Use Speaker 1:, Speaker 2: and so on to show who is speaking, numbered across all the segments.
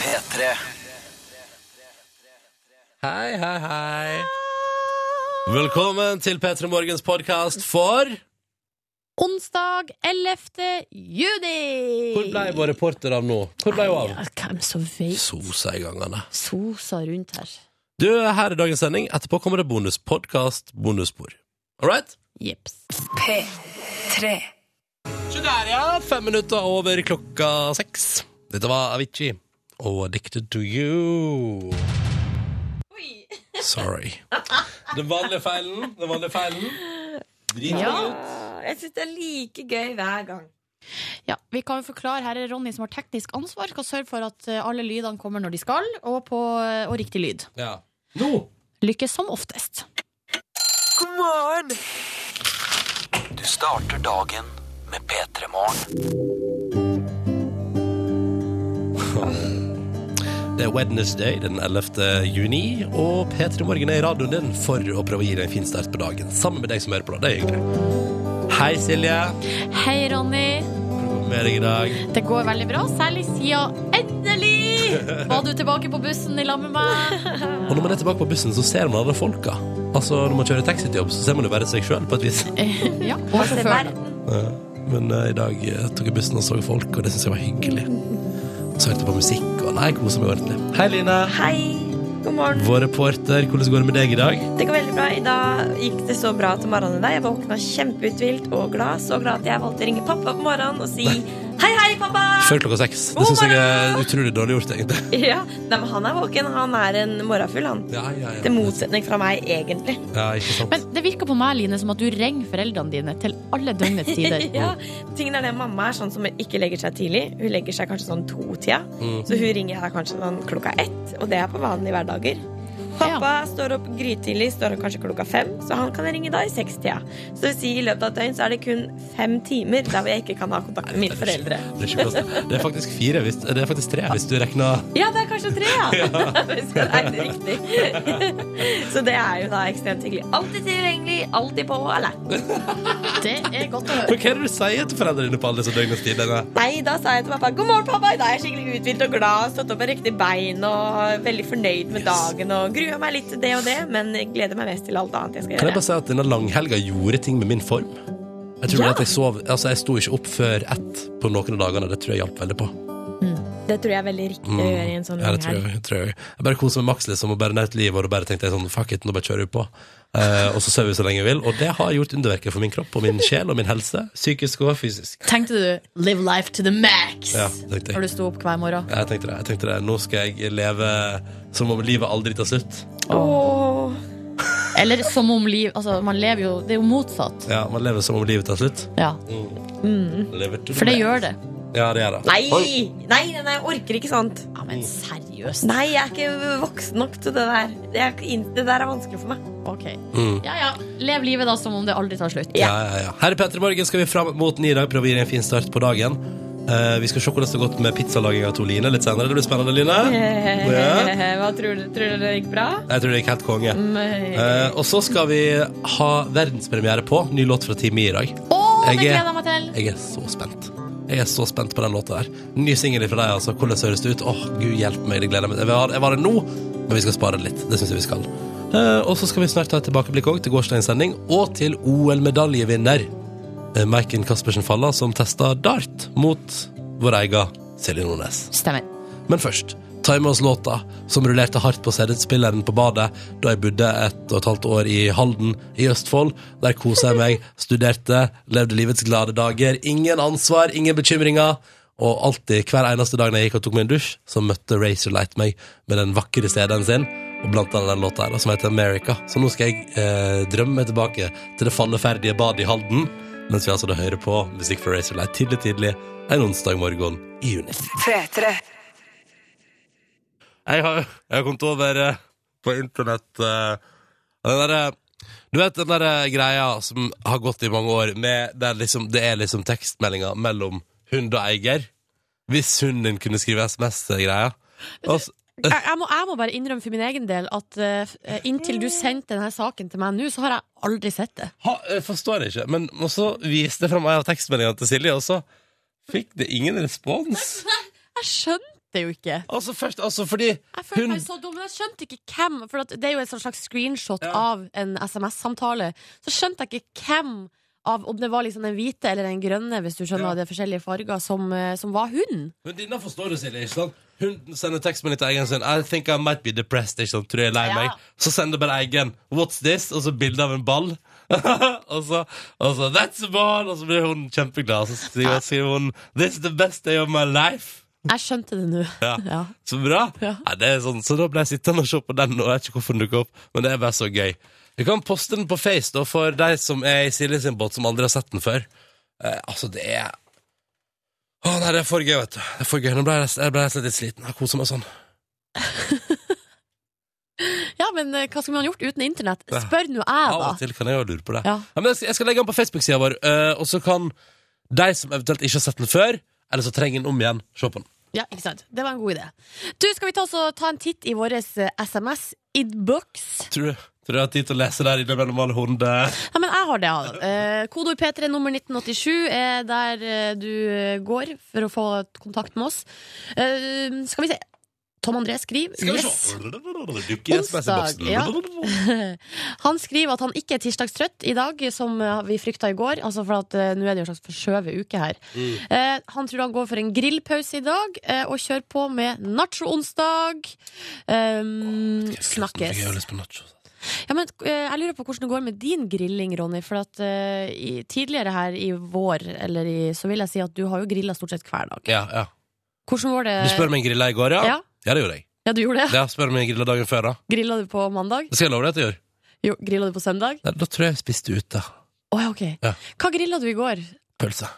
Speaker 1: P3
Speaker 2: Hei, hei, hei. Velkommen til P3 Morgens podkast for
Speaker 3: Onsdag 11. juni!
Speaker 2: Hvor ble vår reporter av nå? Hvor ble hun av?
Speaker 3: Ja, hvem som vet?
Speaker 2: Sosa i gangene.
Speaker 3: Sosa rundt her.
Speaker 2: Du, her er dagens sending. Etterpå kommer det bonuspodkast, bonusspor. All right?
Speaker 3: Jeps.
Speaker 4: P3
Speaker 2: Så der, ja. Fem minutter over klokka seks. Dette var Avicii og Addicted to You. Sorry. Den vanlige feilen. Den vanlige feilen. Drit
Speaker 3: Ja.
Speaker 5: Jeg syns det er like gøy hver gang.
Speaker 3: Ja, vi kan jo forklare Her er Ronny som har teknisk ansvar, skal sørge for at eh, alle lydene kommer når de skal, og, på, eh, og riktig lyd.
Speaker 2: ja. Nå!
Speaker 3: Lykkes som oftest.
Speaker 5: God morgen!
Speaker 1: Du starter dagen med P3 Morgen.
Speaker 2: Det er Wednesday den 11. juni, og P3 Morgen er i radioen din for å prøve å gi deg en fin start på dagen. Sammen med deg som hører på. Det er hyggelig. Hei, Silje.
Speaker 3: Hei, Ronny.
Speaker 2: Hvordan går det med deg i dag?
Speaker 3: Det går veldig bra, særlig siden endelig var du tilbake på bussen i lag med meg.
Speaker 2: Og når man er tilbake på bussen, så ser man alle folka. Altså, når man kjører taxi til jobb, så ser man jo bare seg sjøl, på et vis.
Speaker 3: Ja, og sjåføren.
Speaker 2: Men eh, i dag eh, tok jeg bussen og så folk, og det syns jeg var hyggelig. Så hørte jeg på musikk, og nei, kosa meg ordentlig. Hei, Line.
Speaker 5: Hei. God morgen.
Speaker 2: Vår reporter, hvordan går det med deg i dag?
Speaker 5: Det går veldig bra. I dag gikk det så bra til morgenen i dag. Jeg våkna kjempeuthvilt og glad. Så glad at jeg valgte å ringe pappa på morgenen og si hei, hei, pappa.
Speaker 2: Før klokka seks. Det syns jeg er utrolig dårlig gjort, egentlig.
Speaker 5: Ja, Nei, men Han er våken. Han er en morgenfugl, han.
Speaker 2: Ja, ja, ja.
Speaker 5: Til motsetning fra meg, egentlig.
Speaker 2: Ja, ikke sant.
Speaker 3: Men det virker på meg, Line, som at du ringer foreldrene dine til alle døgnets tider.
Speaker 5: Ja, tingen er det Mamma er sånn som ikke legger seg tidlig. Hun legger seg kanskje sånn to-tida.
Speaker 2: Mm.
Speaker 5: Så hun ringer jeg da kanskje sånn klokka ett, og det er på vanlige hverdager. Pappa står opp grytidlig, står opp kanskje klokka fem, så han kan jeg ringe da i sekstida. Så det vil si i løpet av et døgn så er det kun fem timer der hvor jeg ikke kan ha kontakt med mine foreldre.
Speaker 2: Det er, ikke plass. det er faktisk fire hvis, Det er faktisk tre hvis du regner
Speaker 5: Ja, det er kanskje tre, ja! Hvis jeg regner riktig. så det er jo da ekstremt hyggelig. Alltid tilgjengelig, alltid på alert.
Speaker 3: Det er godt å høre.
Speaker 2: Hva er det du sier til foreldrene dine på alle disse døgnets tidene?
Speaker 5: Nei, da sa jeg til pappa 'God morgen, pappa'. I dag er jeg skikkelig uthvilt og glad. Stått opp med riktig bein og veldig fornøyd med dagen. Og gruer meg litt til det og det, men gleder meg mest til alt annet jeg skal
Speaker 2: Kan jeg
Speaker 5: gjøre.
Speaker 2: bare si at denne langhelga gjorde ting med min form? Jeg tror
Speaker 5: Ja.
Speaker 2: at jeg sov Altså, jeg sto ikke opp før ett på noen av dagene. Det tror jeg hjalp veldig på.
Speaker 5: Det tror jeg er veldig riktig å gjøre i en sånn
Speaker 2: Mm. Ja, det tror jeg, tror jeg. jeg bare koser meg maks, liksom, og bare nøt livet, og da bare tenkte jeg sånn Fuck it, nå bare kjører vi på. Eh, og så sover vi så lenge jeg vil. Og det har gjort underverker for min kropp og min sjel og min helse. Psykisk og fysisk.
Speaker 3: Tenkte du 'live life to the max'
Speaker 2: Ja, tenkte jeg.
Speaker 3: når du sto opp hver morgen?
Speaker 2: Jeg tenkte det. jeg tenkte det Nå skal jeg leve som om livet aldri tar slutt.
Speaker 5: Åh.
Speaker 3: Eller som om liv Altså, man lever jo Det er jo motsatt.
Speaker 2: Ja, Man lever som om livet tar slutt.
Speaker 3: Ja,
Speaker 2: Lever
Speaker 3: Mm.
Speaker 2: to
Speaker 3: For det
Speaker 2: the
Speaker 3: gjør det.
Speaker 2: Ja, det gjør det.
Speaker 5: Nei! Nei, nei, nei, jeg orker ikke sånt.
Speaker 3: Ja, Men seriøst.
Speaker 5: Nei, jeg er ikke voksen nok til det der. Det, er, ikke inn- det der er vanskelig for meg.
Speaker 3: Ok.
Speaker 2: Mm.
Speaker 3: Ja ja. Lev livet da som om det aldri tar slutt.
Speaker 2: Ja, ja, ja. Her i Petter Morgen skal vi fram mot ni i dag prøve å gi deg en fin start på dagen. Eh, vi skal se hvordan det har gått med pizzalaginga til Line litt senere. Det blir spennende, Line. Ja.
Speaker 5: Hva tror du? Tror du det gikk bra?
Speaker 2: Jeg tror det gikk helt konge. Eh, og så skal vi ha verdenspremiere på ny låt fra Team I i dag.
Speaker 3: Å, det
Speaker 2: Jeg er-
Speaker 3: gleder jeg meg til!
Speaker 2: Jeg er så spent. Jeg er så spent på den låta der. Ny singel fra deg, altså. Hvordan høres det ut? Åh, gud hjelpe meg, det gleder jeg meg til. Jeg vil ha- Jeg var det nå, men vi skal spare det litt. Det syns jeg vi skal. Eh, og så skal vi snart ta et tilbakeblikk òg til gårsdagens sending, og til OL-medaljevinner eh, Maiken Caspersen Falla, som testa dart mot vår egen Silje Nordnes.
Speaker 3: Stemmer.
Speaker 2: Men først, ta med oss låta som rullerte hardt på CD-spilleren på badet da jeg bodde et og et halvt år i Halden i Østfold. Der kosa jeg meg, studerte, levde livets glade dager. Ingen ansvar, ingen bekymringer. Og alltid, hver eneste dag når jeg gikk og tok meg en dusj, så møtte Razorlight meg med den vakre CD-en sin, og blant annet den låta her, da, som heter America. Så nå skal jeg eh, drømme meg tilbake til det falleferdige badet i Halden, mens vi altså da hører på musikk fra Razorlight tidlig, tidlig en onsdag morgen i juni. Jeg har, jeg har kommet over eh, på internett eh, den derre- Du vet den der eh, greia som har gått i mange år, med der liksom, det er liksom tekstmeldinger mellom hund og eier? Hvis hunden din kunne skrive SMS-greia. Altså,
Speaker 6: jeg, jeg, må, jeg må bare innrømme for min egen del at eh, f- eh, inntil du sendte denne saken til meg nå, så har jeg aldri sett det.
Speaker 2: ha, jeg forstår ikke. Men og så viste jeg fram en av tekstmeldingene til Silje, og så fikk det ingen respons.
Speaker 6: Jeg skjønte det jo ikke.
Speaker 2: Altså, først, altså fordi
Speaker 6: Jeg følte
Speaker 2: hun
Speaker 6: meg så dum, men jeg skjønte ikke hvem For at det er jo et sånt slags screenshot
Speaker 2: Ja.
Speaker 6: av en SMS-samtale. Så skjønte jeg ikke hvem av om det var liksom den hvite eller den grønne, hvis du skjønner
Speaker 2: Ja.
Speaker 6: at det er forskjellige farger, som, eh, som var hun.
Speaker 2: Men denne forstår du, Silje. ikke sant? Hun sender tekstmelding til egen sin. I think I might be depressed. ikke sant? Tror jeg er lei
Speaker 6: Ja.
Speaker 2: meg. Så sender bare egen What's this? Og så bilde av en ball. og, så, og så That's a ball! Og så blir hun kjempeglad. Så skriver, skriver hun This is the best day of my life.
Speaker 6: Jeg skjønte det nå.
Speaker 2: Ja.
Speaker 6: Ja.
Speaker 2: Så bra.
Speaker 6: Ja.
Speaker 2: Nei, det er sånn, så da ble jeg sittende og se på den, og jeg vet ikke hvorfor den dukker opp. Men det er bare så gøy. Vi kan poste den på Face da, for de som er i Silje sin båt, som aldri har sett den før. Eh, altså, det er Å nei, det er for gøy, vet du. Det er for gøy. Nå ble jeg, jeg ble nesten litt sliten. Jeg koser meg sånn.
Speaker 6: Ja, men eh, hva skulle man gjort uten internett?
Speaker 2: Ja.
Speaker 6: Spør nå jeg,
Speaker 2: Av og
Speaker 6: da.
Speaker 2: til kan jeg jo lure på det.
Speaker 6: Ja.
Speaker 2: Ja, men jeg, skal, jeg skal legge den på Facebook-sida vår, eh, og så kan de som eventuelt ikke har sett den før, eller så trenger den om igjen, se på den.
Speaker 6: Ja, ikke sant? Det var en god idé. Du, skal vi ta, oss og ta en titt i vår eh, SMS-inbox?
Speaker 2: Tror du, tror du jeg har tid til å lese der innimellom alle hundene?
Speaker 6: Ja, men jeg har det. Adam. Eh, Kodeord P3 nummer 1987 er der eh, du eh, går for å få kontakt med oss. Eh, skal vi se. Tom André skriver
Speaker 2: Skal vi
Speaker 6: yes.
Speaker 2: se. Dukker i SMS-boksen.
Speaker 6: Onsdag, Han skriver at han ikke er tirsdagstrøtt i dag, som eh, vi frykta i går. Altså for at eh, Nå er det jo en slags forskjøvet uke her.
Speaker 2: Mm.
Speaker 6: Eh, han tror han går for en grillpause i dag, eh, og kjører på med nacho-onsdag. Um, snakkes.
Speaker 2: Jeg har lyst på altså. nachos.
Speaker 6: Ja, men eh, Jeg lurer på hvordan det går med din grilling, Ronny. For at eh, i, tidligere her i vår eller i, så vil jeg si at du har jo grilla stort sett hver dag.
Speaker 2: Ja, ja.
Speaker 6: Hvordan går det?
Speaker 2: Du spør om jeg grilla i går, Eh, ja?
Speaker 6: Ja.
Speaker 2: Ja, det gjorde jeg.
Speaker 6: Ja, du gjorde det?
Speaker 2: Ja, spør om jeg grilla dagen før, da.
Speaker 6: Grilla du på mandag?
Speaker 2: Det skal jeg love deg at jeg gjør.
Speaker 6: Jo, grilla du på søndag?
Speaker 2: Nei, da tror jeg jeg spiste ute.
Speaker 6: Å ja, ok.
Speaker 2: Ja.
Speaker 6: Hva grilla du i går?
Speaker 2: Pølse.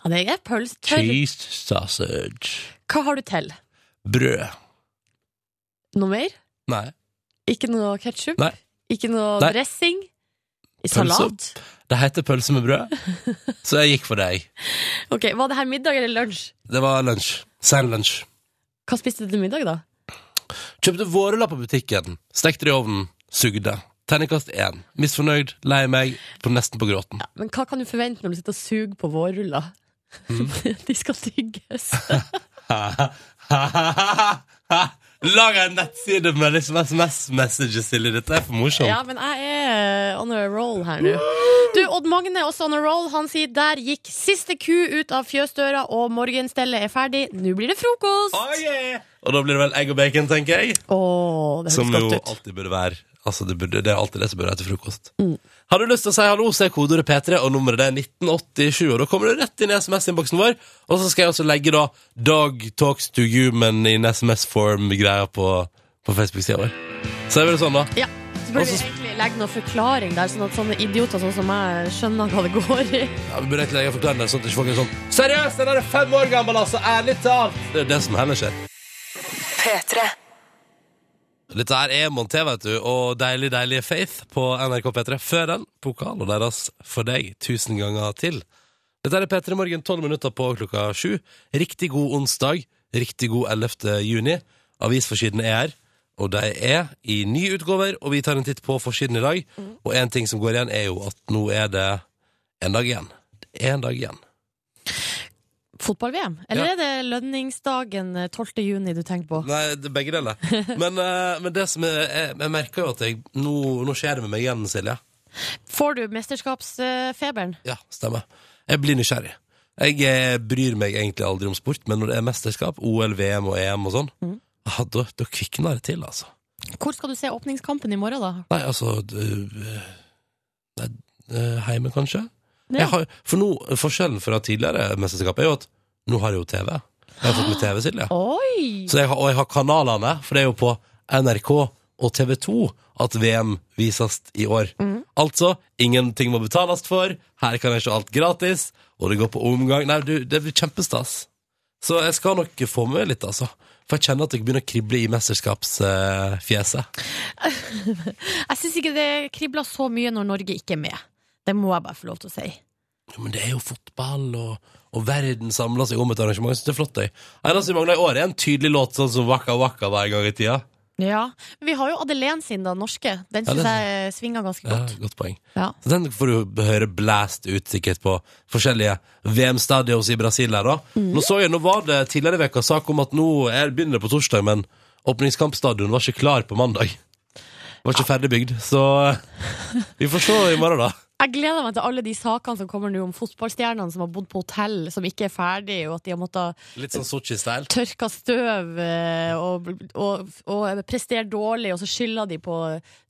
Speaker 6: Ja, det er pølse. Tørr.
Speaker 2: Cheese sausage.
Speaker 6: Hva har du til?
Speaker 2: Brød.
Speaker 6: Noe mer?
Speaker 2: Nei.
Speaker 6: Ikke noe ketsjup?
Speaker 2: Nei.
Speaker 6: Ikke noe
Speaker 2: Nei.
Speaker 6: dressing?
Speaker 2: Pølse.
Speaker 6: Salat?
Speaker 2: Det heter pølse med brød, så jeg gikk for det, jeg.
Speaker 6: Ok, Var det her middag eller lunsj?
Speaker 2: Det var lunsj. Sein lunsj.
Speaker 6: Hva spiste du til middag, da?
Speaker 2: Kjøpte vårruller på butikken. Stekte det i ovnen. Sugde. Terningkast én. Misfornøyd, lei meg, på nesten på gråten.
Speaker 6: Men hva kan du forvente når du sitter og suger på vårruller?
Speaker 2: Mm.
Speaker 6: De skal tygges.
Speaker 2: Lag en nettside med liksom SMS-messages, Silje. Dette er for morsomt.
Speaker 6: Ja, men jeg er eh, on a roll her nå. Du, Odd Magne er også on a roll. Han sier der gikk siste ku ut av fjøsdøra, og morgenstellet er ferdig. Nå blir det frokost!
Speaker 2: Oh, yeah. Og da blir det vel egg og bacon, tenker jeg.
Speaker 6: Åh, det
Speaker 2: Som
Speaker 6: høres
Speaker 2: jo
Speaker 6: godt ut.
Speaker 2: alltid burde være Altså, det, burde, det er alltid det som burde være til frokost. Har du lyst til å si hallo, så er kodeordet P3, og nummeret det er 1987. Og da kommer du rett inn i SMS-innboksen vår. Og så skal jeg også legge da Dog talks to human in SMS-form-greia på, på Facebook-sida vår. Så er det vel sånn, da.
Speaker 6: Ja. Så burde
Speaker 2: Også-
Speaker 6: vi egentlig legge noen forklaring der, sånn at sånne idioter sånn som meg skjønner hva det går i.
Speaker 2: Ja, vi burde egentlig legge forklarende, sånn at ikke folk er sånn Seriøst, den er fem år gammel, altså! Ærlig talt! Det er jo det som heller skjer.
Speaker 4: P3.
Speaker 2: Dette her er Monté, vet du, og deilig, deilig Faith på NRK P3. Før den, pokalen deres for deg tusen ganger til. Dette er P3 Morgen, tolv minutter på klokka sju. Riktig god onsdag, riktig god 11. juni. Avisforsidene er her, og de er i nye utgaver, og vi tar en titt på forsiden i dag. Og en ting som går igjen, er jo at nå er det en dag igjen. Det er en dag igjen.
Speaker 6: Fotball-VM? Eller
Speaker 2: Ja.
Speaker 6: er det lønningsdagen eh, 12. juni du tenker på?
Speaker 2: Nei, det er begge deler. Men, eh, men det som er, jeg, jeg merker jo at jeg, nå, nå skjer det med meg igjen, Silje.
Speaker 6: Får du mesterskapsfeberen?
Speaker 2: Ja, stemmer. Jeg blir nysgjerrig. Jeg eh, bryr meg egentlig aldri om sport, men når det er mesterskap, OL, VM og EM og sånn, ah, da, da kvikner det til, altså.
Speaker 6: Hvor skal du se åpningskampen i morgen, da?
Speaker 2: Nei, altså d- øh, Nei, øh, heime, kanskje?
Speaker 6: Ja.
Speaker 2: Jeg har, for nå, Forskjellen fra tidligere mesterskap er jo at nå har jeg jo TV. Jeg har fått med TV, Silje.
Speaker 6: Oi!
Speaker 2: Så jeg har, og jeg har kanalene, for det er jo på NRK og TV 2 at VM vises i år. Altså, ingenting må betales for, her kan jeg se alt gratis, og det går på omgang. Nei, du, det blir kjempestas. Så jeg skal nok få med litt, altså. For jeg kjenner at jeg begynner å krible i mesterskapsfjeset.
Speaker 6: Jeg syns ikke det kribler så mye når Norge ikke er med. Det må jeg bare få lov til å si.
Speaker 2: Jo, men det er jo fotball, og, og verden samler seg om et arrangement. Jeg synes det er flott, jeg. Eneste vi mangler i år, er en tydelig låt, sånn som Waka Waka var en gang i tida.
Speaker 6: Ja, men Vi har jo Adelén sin, da, norske. Den
Speaker 2: Ja,
Speaker 6: syns
Speaker 2: den-
Speaker 6: jeg eh, svinger ganske
Speaker 2: Ja,
Speaker 6: godt.
Speaker 2: godt poeng.
Speaker 6: Ja.
Speaker 2: Så den får du høre blæst ut sikkert på forskjellige VM-stadions i Brasil her, da. Nå så jeg, nå var det tidligere i veka sak om at nå er, begynner det på torsdag, men åpningskampstadion var ikke klar på mandag. Var ikke ferdig bygd, så vi får se i morgen, da.
Speaker 6: Jeg gleder meg til alle de sakene som kommer nå om fotballstjernene som har bodd på hotell som ikke er ferdig, og at de har måttet
Speaker 2: Litt sånn Sotsji-style.
Speaker 6: tørke støv eh, og, og, og prestere dårlig, og så skylder de på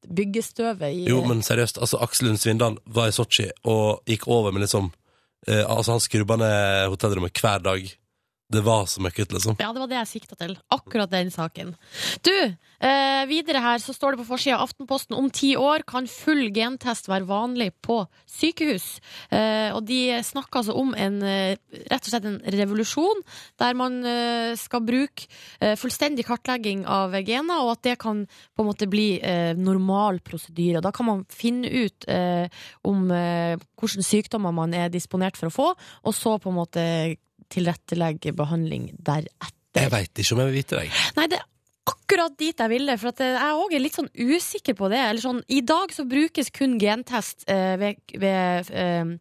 Speaker 6: byggestøvet i
Speaker 2: Jo, men seriøst, altså Aksel Lund Svindal var i Sotsji og gikk over med liksom eh, Altså, han skrubba ned hotellrommet hver dag. Det var så møkkete, liksom.
Speaker 6: Ja, det var det jeg sikta til. Akkurat den saken. Du, eh, videre her så står det på forsida av Aftenposten om ti år kan full gentest være vanlig på sykehus. Eh, og de snakker altså om en eh, rett og slett en revolusjon der man eh, skal bruke eh, fullstendig kartlegging av gener, og at det kan på en måte bli eh, normal prosedyre. Da kan man finne ut eh, om eh, hvilke sykdommer man er disponert for å få, og så på en måte tilrettelegge behandling deretter.
Speaker 2: Jeg veit ikke om jeg vil vite det, jeg.
Speaker 6: Nei, det er akkurat dit jeg ville, for at eh, jeg òg er litt sånn usikker på det. Eller sånn, I dag så brukes kun gentest eh, ved, ved eh,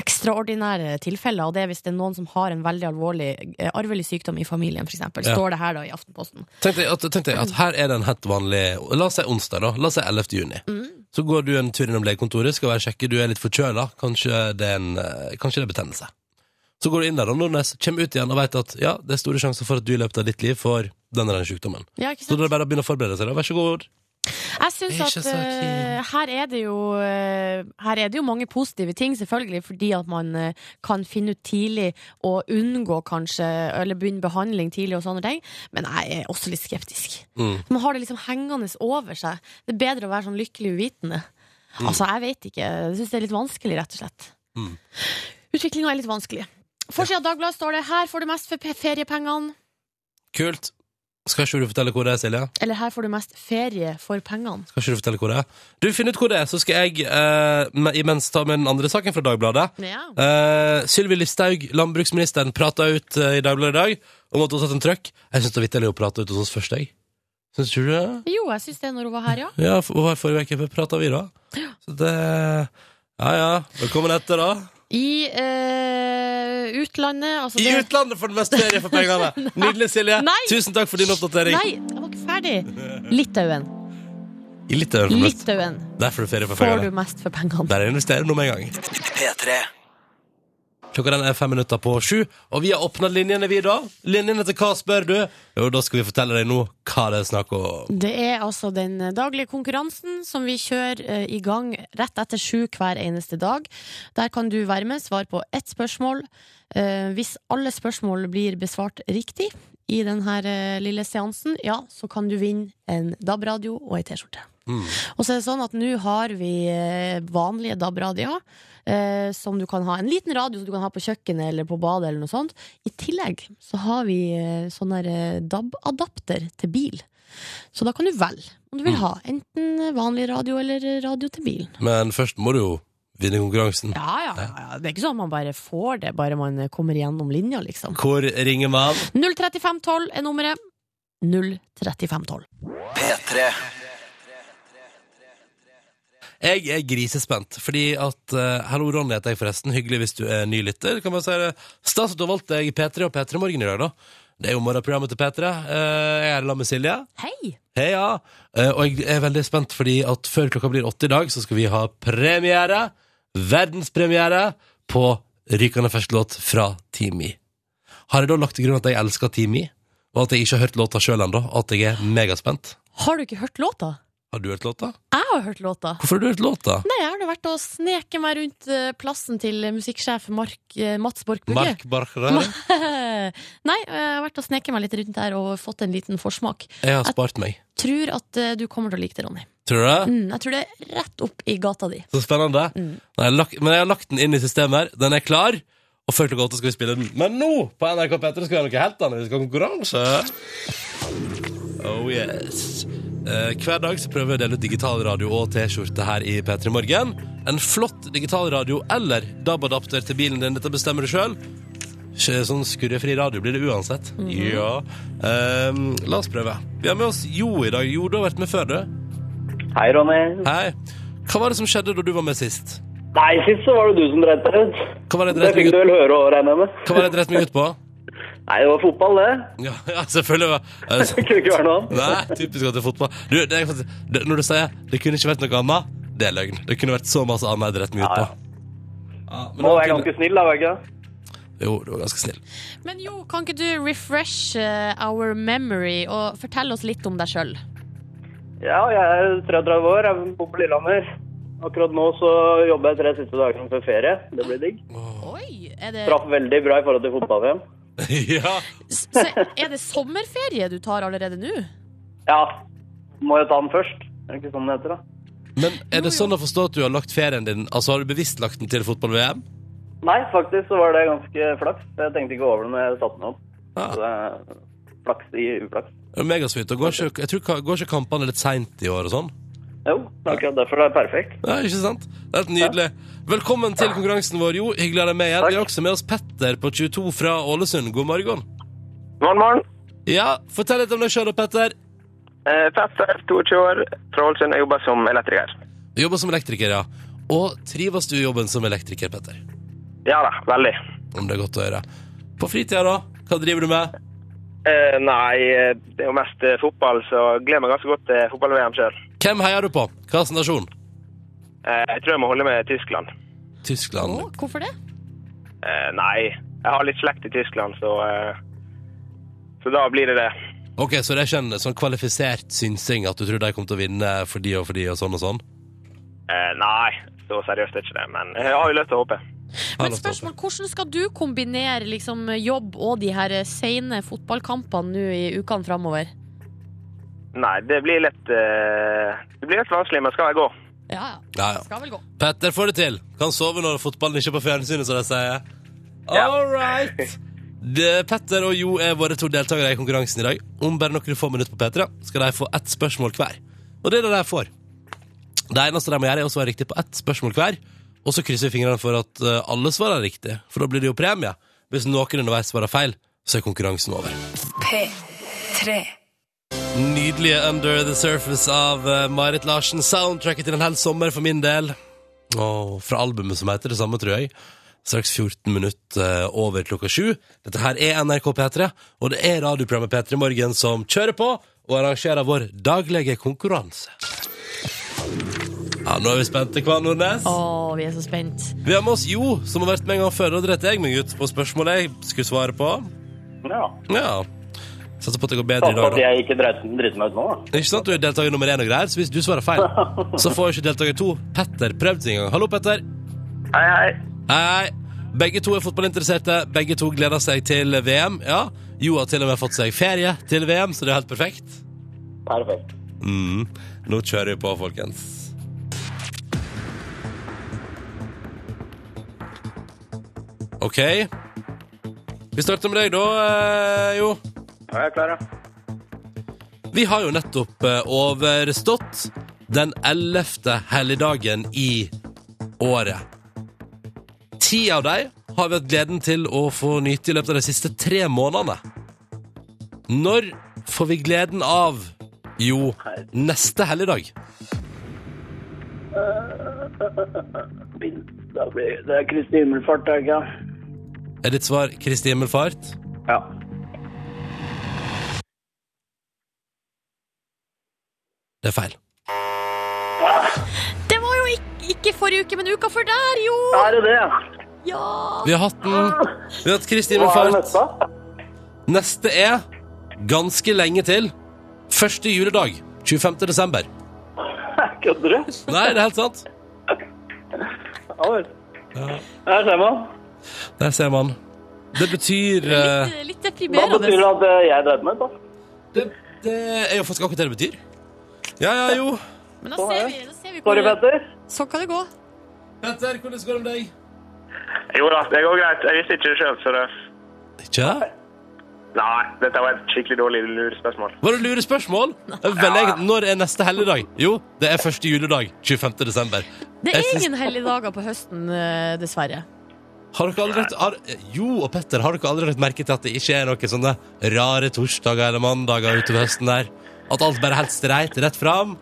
Speaker 6: ekstraordinære tilfeller, og det er hvis det er noen som har en veldig alvorlig eh, arvelig sykdom i familien, f.eks. eksempel
Speaker 2: Ja.
Speaker 6: Står det her da i Aftenposten.
Speaker 2: Tenk deg, at, tenk deg at her er det en helt vanlig La oss si onsdag, da. La oss si 11. juni. Så går du en tur innom legekontoret, skal være sjekke, du er litt forkjøla. Kanskje, det er en, eh, kanskje det er betennelse. Så går du inn der om noen kommer ut igjen og vet at ja, det er store sjanser for at du i løpet av ditt liv får den og den sykdommen.
Speaker 6: Ja, ikke
Speaker 2: Så
Speaker 6: sant?
Speaker 2: da er det bare å begynne å forberede seg. da, Vær så god.
Speaker 6: Jeg syns
Speaker 2: Jeg er
Speaker 6: at
Speaker 2: ikke så
Speaker 6: eh,
Speaker 2: keen.
Speaker 6: her, er det jo, eh, her er det jo mange positive ting, selvfølgelig, fordi at man eh, kan finne ut tidlig og unngå kanskje, eller begynne behandling tidlig og sånne ting. Men jeg er også litt skeptisk.
Speaker 2: Mm.
Speaker 6: Man har det liksom hengende over seg. Det er bedre å være sånn lykkelig uvitende. Altså, jeg vet ikke. Jeg syns det er litt vanskelig, rett og slett.
Speaker 2: Mm.
Speaker 6: Utviklinga er litt vanskelig. Forsida av Dagbladet står det 'Her får du mest for pe- feriepengene'.
Speaker 2: Kult. Skal ikke du fortelle hvor det er, Silje?
Speaker 6: Eller 'Her får du mest ferie for pengene'.
Speaker 2: Skal ikke du fortelle hvor det er? Du, finn ut hvor det er, så skal jeg eh, me- imens ta med den andre saken fra Dagbladet.
Speaker 6: Ja.
Speaker 2: Uh, Sylvi Listhaug, landbruksministeren, prata ut eh, i Dagbladet i dag om at hun har tatt en trøkk. Jeg syns det var vitterlig å prate ut hos oss først, jeg. Syns du det?
Speaker 6: Jo, jeg syns det når hun var her, ja.
Speaker 2: Ja, for, og her forrige uke prata vi, da. Så det Ja ja. Velkommen etter, da.
Speaker 6: I eh, utlandet altså
Speaker 2: I
Speaker 6: det-
Speaker 2: utlandet for den meste ferie for pengene! Nydelig, Silje.
Speaker 6: Nei.
Speaker 2: Tusen takk for din oppdatering.
Speaker 6: Nei, jeg var ikke ferdig. Litauen.
Speaker 2: I Litauen for mest.
Speaker 6: Litauen
Speaker 2: Der får du ferie for
Speaker 6: får du
Speaker 2: pengene.
Speaker 6: mest for pengene.
Speaker 2: Der investerer du nå med en gang.
Speaker 1: P3.
Speaker 2: Klokka den er fem minutter på sju, og vi har åpna linjene, vi, da. Linjene til hva, spør du? Jo, da skal vi fortelle deg nå hva det er snakk om.
Speaker 6: Det er altså den daglige konkurransen som vi kjører eh, i gang rett etter sju hver eneste dag. Der kan du være med, svare på ett spørsmål. Eh, hvis alle spørsmål blir besvart riktig i denne lille seansen, ja, så kan du vinne en DAB-radio og ei T-skjorte. Og så er det sånn at nå har vi eh, vanlige DAB-radioer, eh, som du kan ha en liten radio som du kan ha på kjøkkenet eller på badet eller noe sånt. I tillegg så har vi eh, sånn der eh, DAB-adapter til bil. Så da kan du velge om du vil ha enten vanlig radio eller radio til bilen.
Speaker 2: Men først må du jo vinne konkurransen.
Speaker 6: Ja, ja, ja, ja. Det er ikke sånn at man bare får det, bare man kommer gjennom linja, liksom.
Speaker 2: Hvor ringer man?
Speaker 6: 03512 er nummeret. 03512.
Speaker 1: P3.
Speaker 2: Jeg er grisespent, fordi at eh, Hallo, Ronny heter jeg forresten. Hyggelig hvis du er ny lytter. Kan man si det. Stas at du har valgt deg P3 og P3 Morgen i dag, da. Det er jo morgenprogrammet til P3. Eh, jeg er her sammen med Silje.
Speaker 6: Hei!
Speaker 2: Heia! Eh, og jeg er veldig spent, fordi at før klokka blir åtte i dag, så skal vi ha premiere, verdenspremiere, på rykende fersk låt fra Teamy. Har jeg da lagt til grunn at jeg elsker Teamy, og at jeg ikke har hørt låta sjøl ennå, og at jeg er megaspent?
Speaker 6: Har du ikke hørt låta?
Speaker 2: Har du hørt låta?
Speaker 6: Jeg har hørt låta.
Speaker 2: Hvorfor har du hørt låta?
Speaker 6: Nei, jeg har nå vært og sneket meg rundt eh, plassen til musikksjef Mark, eh, Mats Borch Bugge.
Speaker 2: Mark Barkere?
Speaker 6: Nei, eh, jeg har vært og sneket meg litt rundt der og fått en liten forsmak.
Speaker 2: Jeg har spart meg.
Speaker 6: Tror at eh, du kommer til å like det, Ronny.
Speaker 2: Tror du det?
Speaker 6: Mm, jeg tror det er rett opp i gata di.
Speaker 2: Så spennende. Nei, jeg har lagt, men jeg har lagt den inn i systemet her. Den er klar. Og før klokka åtte skal vi spille den. Men nå på NRK P3 skal vi ha noe helt annet. Vi skal ha konkurranse. Oh yes. Eh, hver dag så prøver vi å dele ut digital radio og T-skjorte her i P3 Morgen. En flott digital radio eller DAB-adapter til bilen din. Dette bestemmer du sjøl. Skje- Sånn skurrefri radio blir det uansett. Ja. Ehm, la oss prøve. Vi har med oss Jo i dag. Jo, du har vært med før, du.
Speaker 7: Hei, Ronny.
Speaker 2: Hei. Hva var det som skjedde da du var med sist?
Speaker 7: Nei, sist så var det du som dreit deg ut.
Speaker 2: Hva var det
Speaker 7: Det
Speaker 2: dreit
Speaker 7: fikk
Speaker 2: meg ut,
Speaker 7: du vel høre og regne med.
Speaker 2: hva var det dreit meg ut på?
Speaker 7: Nei, det var fotball, det.
Speaker 2: Ja, ja selvfølgelig. var-
Speaker 7: Det kunne ikke være noe annet.
Speaker 2: Nei, typisk at det er fotball. Du, det er faktisk, det, når du sier 'det kunne ikke vært noe annet', det er løgn. Det kunne vært så masse annet jeg dreit meg ut på.
Speaker 7: Ja, ja.
Speaker 2: Ja, men
Speaker 7: Nå var jeg
Speaker 2: kunne-
Speaker 7: ganske snill, da, var jeg ikke det?
Speaker 2: Jo, du var ganske snill.
Speaker 3: Men jo, kan ikke du refresh eh, our memory og fortelle oss litt om deg sjøl?
Speaker 7: Ja, jeg er 33 år, jeg bor på Lillehammer. Akkurat nå så jobber jeg tre siste dagene før ferie. Det blir digg.
Speaker 3: Oi! Er det,
Speaker 7: Traff veldig bra i forhold til fotball-VM.
Speaker 2: ja.
Speaker 3: s- så er det sommerferie du tar allerede nå?
Speaker 7: Ja, må jo ta den først. Er det ikke sånn det heter, da?
Speaker 2: Men er det sånn å forstå at du har lagt ferien din Altså, har du bevisst lagt den til fotball-VM?
Speaker 7: Nei, faktisk så var det ganske flaks. Jeg tenkte ikke over det når jeg satte meg opp.
Speaker 2: Ja.
Speaker 7: Så det er flaks i uflaks.
Speaker 2: Det er Megasweet. Og går ikke, jeg tror, ka- går ikke kampene litt seint i år og sånn?
Speaker 7: Jo, akkurat derfor er det perfekt.
Speaker 2: Ja, ikke sant? Det er helt nydelig. Velkommen til konkurransen vår, Jo. Hyggelig å ha deg med igjen.
Speaker 7: Takk.
Speaker 2: Vi har også med oss Petter på 22 fra Ålesund. God morgen.
Speaker 8: Morgen, morgen.
Speaker 2: Ja, fortell litt om deg sjøl, Petter.
Speaker 8: Eh, Petter, 22 år, fra Ålesund. Jeg jobber som elektriker.
Speaker 2: Du jobber som elektriker, ja. Og trives du i jobben som elektriker, Petter?
Speaker 8: Ja da, veldig.
Speaker 2: Om det er godt å høre. På fritida, da? Hva driver du med?
Speaker 8: Eh, nei, eh, det er jo mest eh, fotball, så jeg gleder meg ganske godt til fotball-VM sjøl.
Speaker 2: Hvem heier du på? Hvilken nasjon?
Speaker 8: Eh, jeg tror jeg må holde med Tyskland.
Speaker 2: Tyskland.
Speaker 3: Å, hvorfor det?
Speaker 8: Eh, nei, jeg har litt slekt i Tyskland, så eh, Så da blir det det.
Speaker 2: Ok, Så det er ikke en sånn kvalifisert synsing at du tror de kommer til å vinne fordi og fordi og sånn og sånn?
Speaker 8: Eh, nei, så seriøst er det ikke det, men eh, jeg har jo lyst til å håpe.
Speaker 2: Har
Speaker 3: Men
Speaker 2: lov til å
Speaker 3: spørsmål, hvordan skal du kombinere liksom, jobb og de her eh, sene fotballkampene nå i ukene framover?
Speaker 8: Nei, det blir litt eh, Det blir litt vanskelig, men skal jeg gå?
Speaker 3: Ja,
Speaker 2: Ja, ja.
Speaker 3: Skal vel gå.
Speaker 2: Petter får det til. Kan sove når fotballen ikke er på fjernsynet, som de sier.
Speaker 8: Ja.
Speaker 2: All right. Det, Petter og Jo er våre to deltakere i konkurransen i dag. Om bare noen få minutter på P3 skal de få ett spørsmål hver. Og det er det de får. Det eneste de må gjøre, er å svare riktig på ett spørsmål hver. Og så krysser vi fingrene for at eh, alle svarer riktig, for da blir det jo premie. Hvis noen underveis svarer feil, så er konkurransen over.
Speaker 4: P3.
Speaker 2: Nydelige Under the Surface av eh, Marit Larsen. Soundtracket til en hel sommer for min del. Og fra albumet som heter det samme, tror jeg. Straks 14 minutter eh, over klokka sju. Dette her er NRK P3, og det er radioprogrammet P3 Morgen som kjører på og arrangerer vår daglige konkurranse. Ja, Nå er vi spente, hva, Nordnes?
Speaker 3: Å, vi er så spent.
Speaker 2: Vi har med oss Jo, som har vært med en gang før. Da dreit jeg meg ut på spørsmålet jeg skulle svare på.
Speaker 7: Ja.
Speaker 2: Ja. Satser på at det går bedre i
Speaker 7: Satser
Speaker 2: dag,
Speaker 7: at
Speaker 2: da.
Speaker 7: jeg ikke dreit driter meg ut nå, da.
Speaker 2: Det er Ikke sant, Du er deltaker nummer én og greier, så hvis du svarer feil, så får ikke deltaker to, Petter, prøvd sin gang. Hallo, Petter.
Speaker 8: Hei, hei.
Speaker 2: Hei. Begge to er fotballinteresserte. Begge to gleder seg til VM. Ja, Jo har til og med fått seg ferie til VM, så det er helt perfekt.
Speaker 7: Perfekt.
Speaker 2: Mm. Nå kjører vi på, folkens. OK. Vi starter med deg, da, eh, Jo.
Speaker 8: Ja, jeg er klar, ja.
Speaker 2: Vi har jo nettopp eh, overstått den 11. helligdagen i året. Ti av dem har vi hatt gleden til å få nyte i løpet av de siste tre månedene. Når får vi gleden av jo neste helligdag?
Speaker 7: Da blir det er Kristi himmelfart, er det ikke?
Speaker 2: Er ditt svar Kristi himmelfart?
Speaker 7: Ja.
Speaker 2: Det er feil.
Speaker 3: Det var jo ikke, ikke forrige uke, men uka før der, jo!
Speaker 7: Er det det?
Speaker 3: Ja!
Speaker 2: Vi har hatt den. Vi har hatt Kristi
Speaker 7: Hva er det
Speaker 2: himmelfart.
Speaker 7: neste?
Speaker 2: Neste er ganske lenge til. Første juledag. 25. desember.
Speaker 7: Kødder du?
Speaker 2: Nei, det er helt sant.
Speaker 7: Ja vel. Der ser man.
Speaker 2: Der ser man. Det betyr eh,
Speaker 3: Litt, litt
Speaker 7: Da betyr
Speaker 3: deprimerende.
Speaker 7: det at eh, jeg dreit meg ut, da.
Speaker 2: det, det er jo faktisk akkurat det det betyr. Ja, ja, jo.
Speaker 3: Men da ser vi, da ser vi
Speaker 7: Sorry,
Speaker 3: hvor
Speaker 7: Petter.
Speaker 3: Sånn kan det gå.
Speaker 2: Petter, hvordan går det med deg?
Speaker 8: Jo da, det går greit. Jeg visste ikke det sjøl, så det
Speaker 2: Ikke?
Speaker 8: Nei, dette var et skikkelig dårlig lurespørsmål.
Speaker 2: Var det lure spørsmål? Veldig, enkelt. når er neste helligdag? Jo, det er første juledag. 25. desember.
Speaker 3: Det
Speaker 2: Jeg
Speaker 3: er
Speaker 2: syns-
Speaker 3: ingen helligdager på høsten, eh, dessverre.
Speaker 2: Har dere aldri lagt- har, Jo og Petter, har dere aldri lagt merke til at det ikke er noen sånne rare torsdager eller mandager utover høsten der? At alt bare er helt streit rett fram?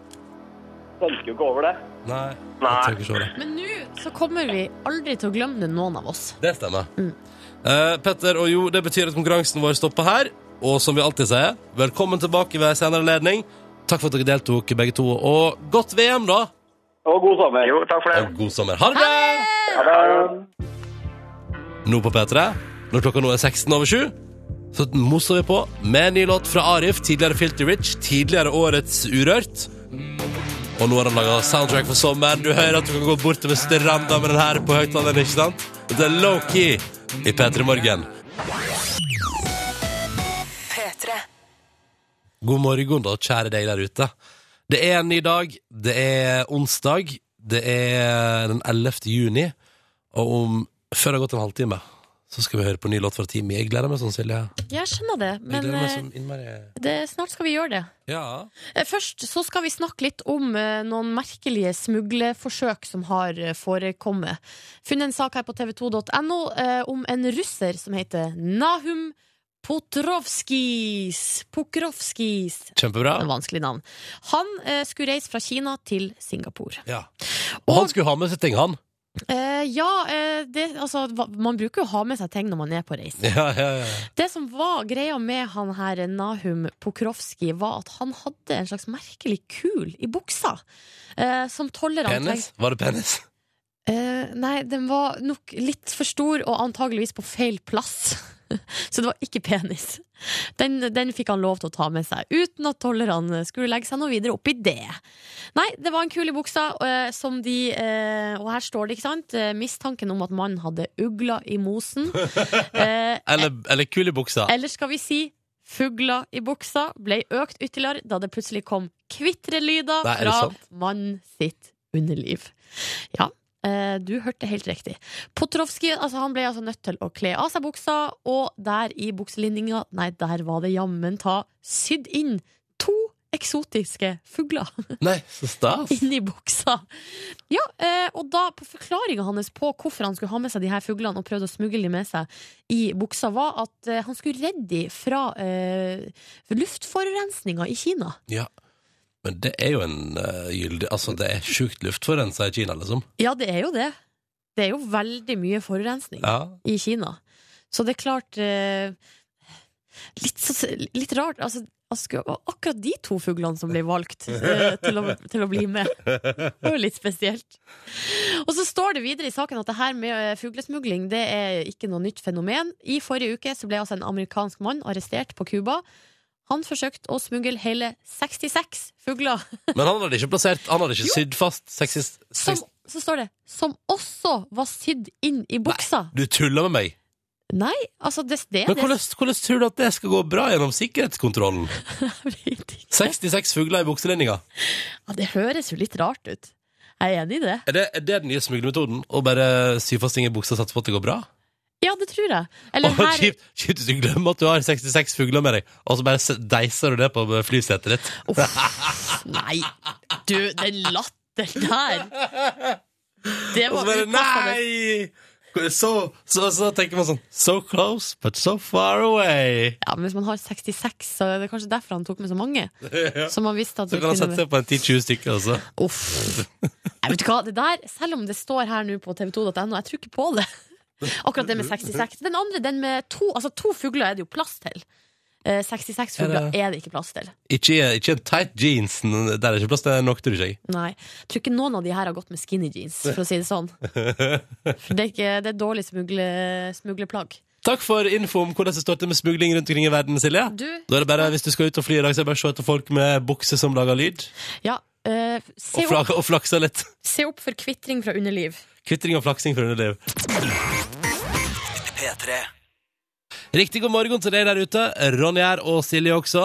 Speaker 7: Tenker jo ikke over det.
Speaker 2: Nei.
Speaker 8: Nei.
Speaker 2: Jeg tenker ikke over det.
Speaker 6: Men nå så kommer vi aldri til å glemme det, noen av oss.
Speaker 2: Det stemmer. Eh, Petter og Jo, det betyr at konkurransen vår stopper her. Og som vi alltid sier, velkommen tilbake ved en senere ledning. Takk for at dere deltok, begge to. Og godt VM, da!
Speaker 7: Og god sommer.
Speaker 8: Jo, takk for det.
Speaker 2: Og god sommer. Ha det bra!
Speaker 7: Ha det.
Speaker 2: Nå på P3, når klokka nå er 16 over 7, så moser vi på med en ny låt fra Arif, tidligere Filty Rich, tidligere årets Urørt. Og nå har han laga soundtrack for sommeren. Du hører at du kan gå bortover stranda med den her på høyttaleren, ikke sant? Det er low-key i P3 Morgen.
Speaker 4: P3.
Speaker 2: God morgen, da, kjære deg der ute. Det er en ny dag. Det er onsdag. Det er den 11. juni. Og om før det har gått en halvtime, så skal vi høre på en ny låt fra Teamy. Jeg gleder meg sånn, Silje.
Speaker 6: Jeg skjønner det,
Speaker 2: Jeg
Speaker 6: men
Speaker 2: gleder meg
Speaker 6: eh,
Speaker 2: sånn innmari.
Speaker 6: det, snart skal vi gjøre det.
Speaker 2: Ja.
Speaker 6: Eh, Først så skal vi snakke litt om eh, noen merkelige smugleforsøk som har eh, forekommet. Funnet en sak her på tv2.no eh, om en russer som heter Nahum Potrovskis. Pokrovskis.
Speaker 2: Kjempebra.
Speaker 6: En vanskelig navn. Han eh, skulle reise fra Kina til Singapore.
Speaker 2: Ja. Og han skulle ha med seg ting, han.
Speaker 6: Eh, ja, eh, det, altså, hva- man bruker jo å ha med seg ting når man er på reise.
Speaker 2: Ja, ja, ja.
Speaker 6: Det som var greia med han her Nahum Pokrovski, var at han hadde en slags merkelig kul i buksa. Eh, som toller
Speaker 2: Penis? Var det penis?
Speaker 6: Eh, nei, den var nok litt for stor og antageligvis på feil plass. Så det var ikke penis. Den, den fikk han lov til å ta med seg, uten at tollerne skulle legge seg noe videre opp i det. Nei, det var en kul i buksa, eh, som de eh, Og her står det, ikke sant? eh, Mistanken om at mannen hadde ugla i mosen. Eh,
Speaker 2: Eller, eller kul i buksa?
Speaker 6: eller skal vi si fugler i buksa ble økt ytterligere da det plutselig kom kvitrelyder
Speaker 2: Nei, er det
Speaker 6: fra
Speaker 2: sant?
Speaker 6: mannen sitt underliv. Ja, eh, du hørte helt riktig. Potrovskij altså, han ble altså nødt til å kle av seg buksa, og der i bukselinninga, nei, der var det jammen ta sydd inn to eksotiske fugler
Speaker 2: Nei, så stas.
Speaker 6: inni buksa. Ja, eh, og da på forklaringa hans på hvorfor han skulle ha med seg de her fuglene og prøvde å smugle de med seg i buksa, var at eh, han skulle redde de fra eh, luftforurensninga i Kina.
Speaker 2: Ja. Men det er jo en eh, gyldig Altså, det er sjukt luftforurensa i Kina, liksom.
Speaker 6: Ja, det er jo det. Det er jo veldig mye forurensning
Speaker 2: Ja.
Speaker 6: i Kina. Så det er klart eh, litt, så, litt rart. Altså, altså, det var akkurat de to fuglene som ble valgt eh, til, å, til å bli med. Det var jo litt spesielt. Og så står det videre i saken at det her med eh, fuglesmugling det er ikke noe nytt fenomen. I forrige uke så ble altså en amerikansk mann arrestert på Cuba. Han forsøkte å smugle hele 66 fugler
Speaker 2: Men han hadde ikke plassert Han hadde ikke sydd fast sexist...
Speaker 6: som,
Speaker 2: sex-
Speaker 6: så står det, som også var sydd inn i buksa.
Speaker 2: Du tuller med meg!
Speaker 6: Nei, altså det, det,
Speaker 2: Men
Speaker 6: det,
Speaker 2: hvordan, hvordan tror du at det skal gå bra gjennom sikkerhetskontrollen?
Speaker 6: vet ikke.
Speaker 2: 66 fugler i bukselinninga.
Speaker 6: Ja, det høres jo litt rart ut. Jeg er enig i det.
Speaker 2: Er det, er det den nye smuglermetoden? Å bare sy fast ting i buksa og satse på at det går bra?
Speaker 6: Ja, det tror jeg. Eller
Speaker 2: Åh,
Speaker 6: her,
Speaker 2: Kjipt kjipt hvis du glemmer at du har 66 fugler med deg, og så bare se- deiser du det på flysetet ditt.
Speaker 6: Nei, du, den latteren der. Det
Speaker 2: Og så
Speaker 6: var
Speaker 2: bare
Speaker 6: upassende.
Speaker 2: Nei! Så, så, så tenker man sånn So close, but so far away.
Speaker 6: Ja, men hvis man har 66, så er det kanskje derfor han tok med så mange. Så man visste at
Speaker 2: Så
Speaker 6: det
Speaker 2: kan han sette
Speaker 6: kunne...
Speaker 2: seg på en 10-20 stykker også.
Speaker 6: Uff. Nei, vet du hva, det der, selv om det står her nå på tv2.no, jeg tror ikke på det. Akkurat det med 66. Den andre, den med to, altså to fugler er det jo plass til. Eh, 66 fugler
Speaker 2: Er det-
Speaker 6: er det ikke plass til.
Speaker 2: Ikke, ikke en tight jeans. Der er det ikke plass til nok, tror jeg.
Speaker 6: Nei, jeg tror ikke noen av de her har gått med skinny jeans, for å si det sånn. For det er, ikke, det er dårlig smugle, smugleplagg.
Speaker 2: Takk for info om hvordan det står til med smugling rundt omkring i verden, Silje.
Speaker 6: Du-
Speaker 2: Da er det bare, Hvis du skal ut og fly i dag, så er det bare å se etter folk med bukse som lager lyd,
Speaker 6: Ja, eh, se,
Speaker 2: og,
Speaker 6: opp,
Speaker 2: flak, og flakser litt.
Speaker 6: se opp for kvittring fra underliv.
Speaker 2: Kvittring og flaksing for underliv.
Speaker 1: P3.
Speaker 2: Riktig god morgen til deg der ute. Ronny her, og Silje også.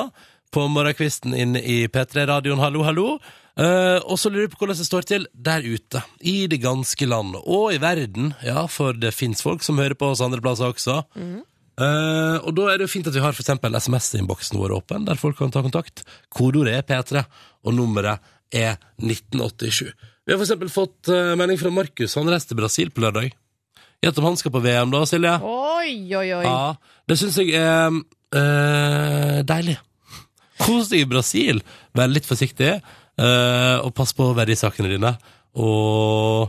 Speaker 2: På morgenkvisten inne i P3-radioen. Hallo, hallo. Eh, og så lurer du på hvordan det står til der ute. I det ganske land. Og i verden. Ja, for det fins folk som hører på oss andre plasser også. Eh, og da er det jo fint at vi har for eksempel SMS-innboksen vår åpen, der folk kan ta kontakt. Kodeordet er P3, og nummeret er 1987. Vi har for eksempel fått eh, melding fra Markus. Han reiste til Brasil på lørdag. Gjett om han skal på VM, da, Silje?
Speaker 6: Oi, oi, oi.
Speaker 2: Ja, det syns jeg er eh, deilig. Kos deg i Brasil. Vær litt forsiktig, eh, og pass på verdisakene dine. Og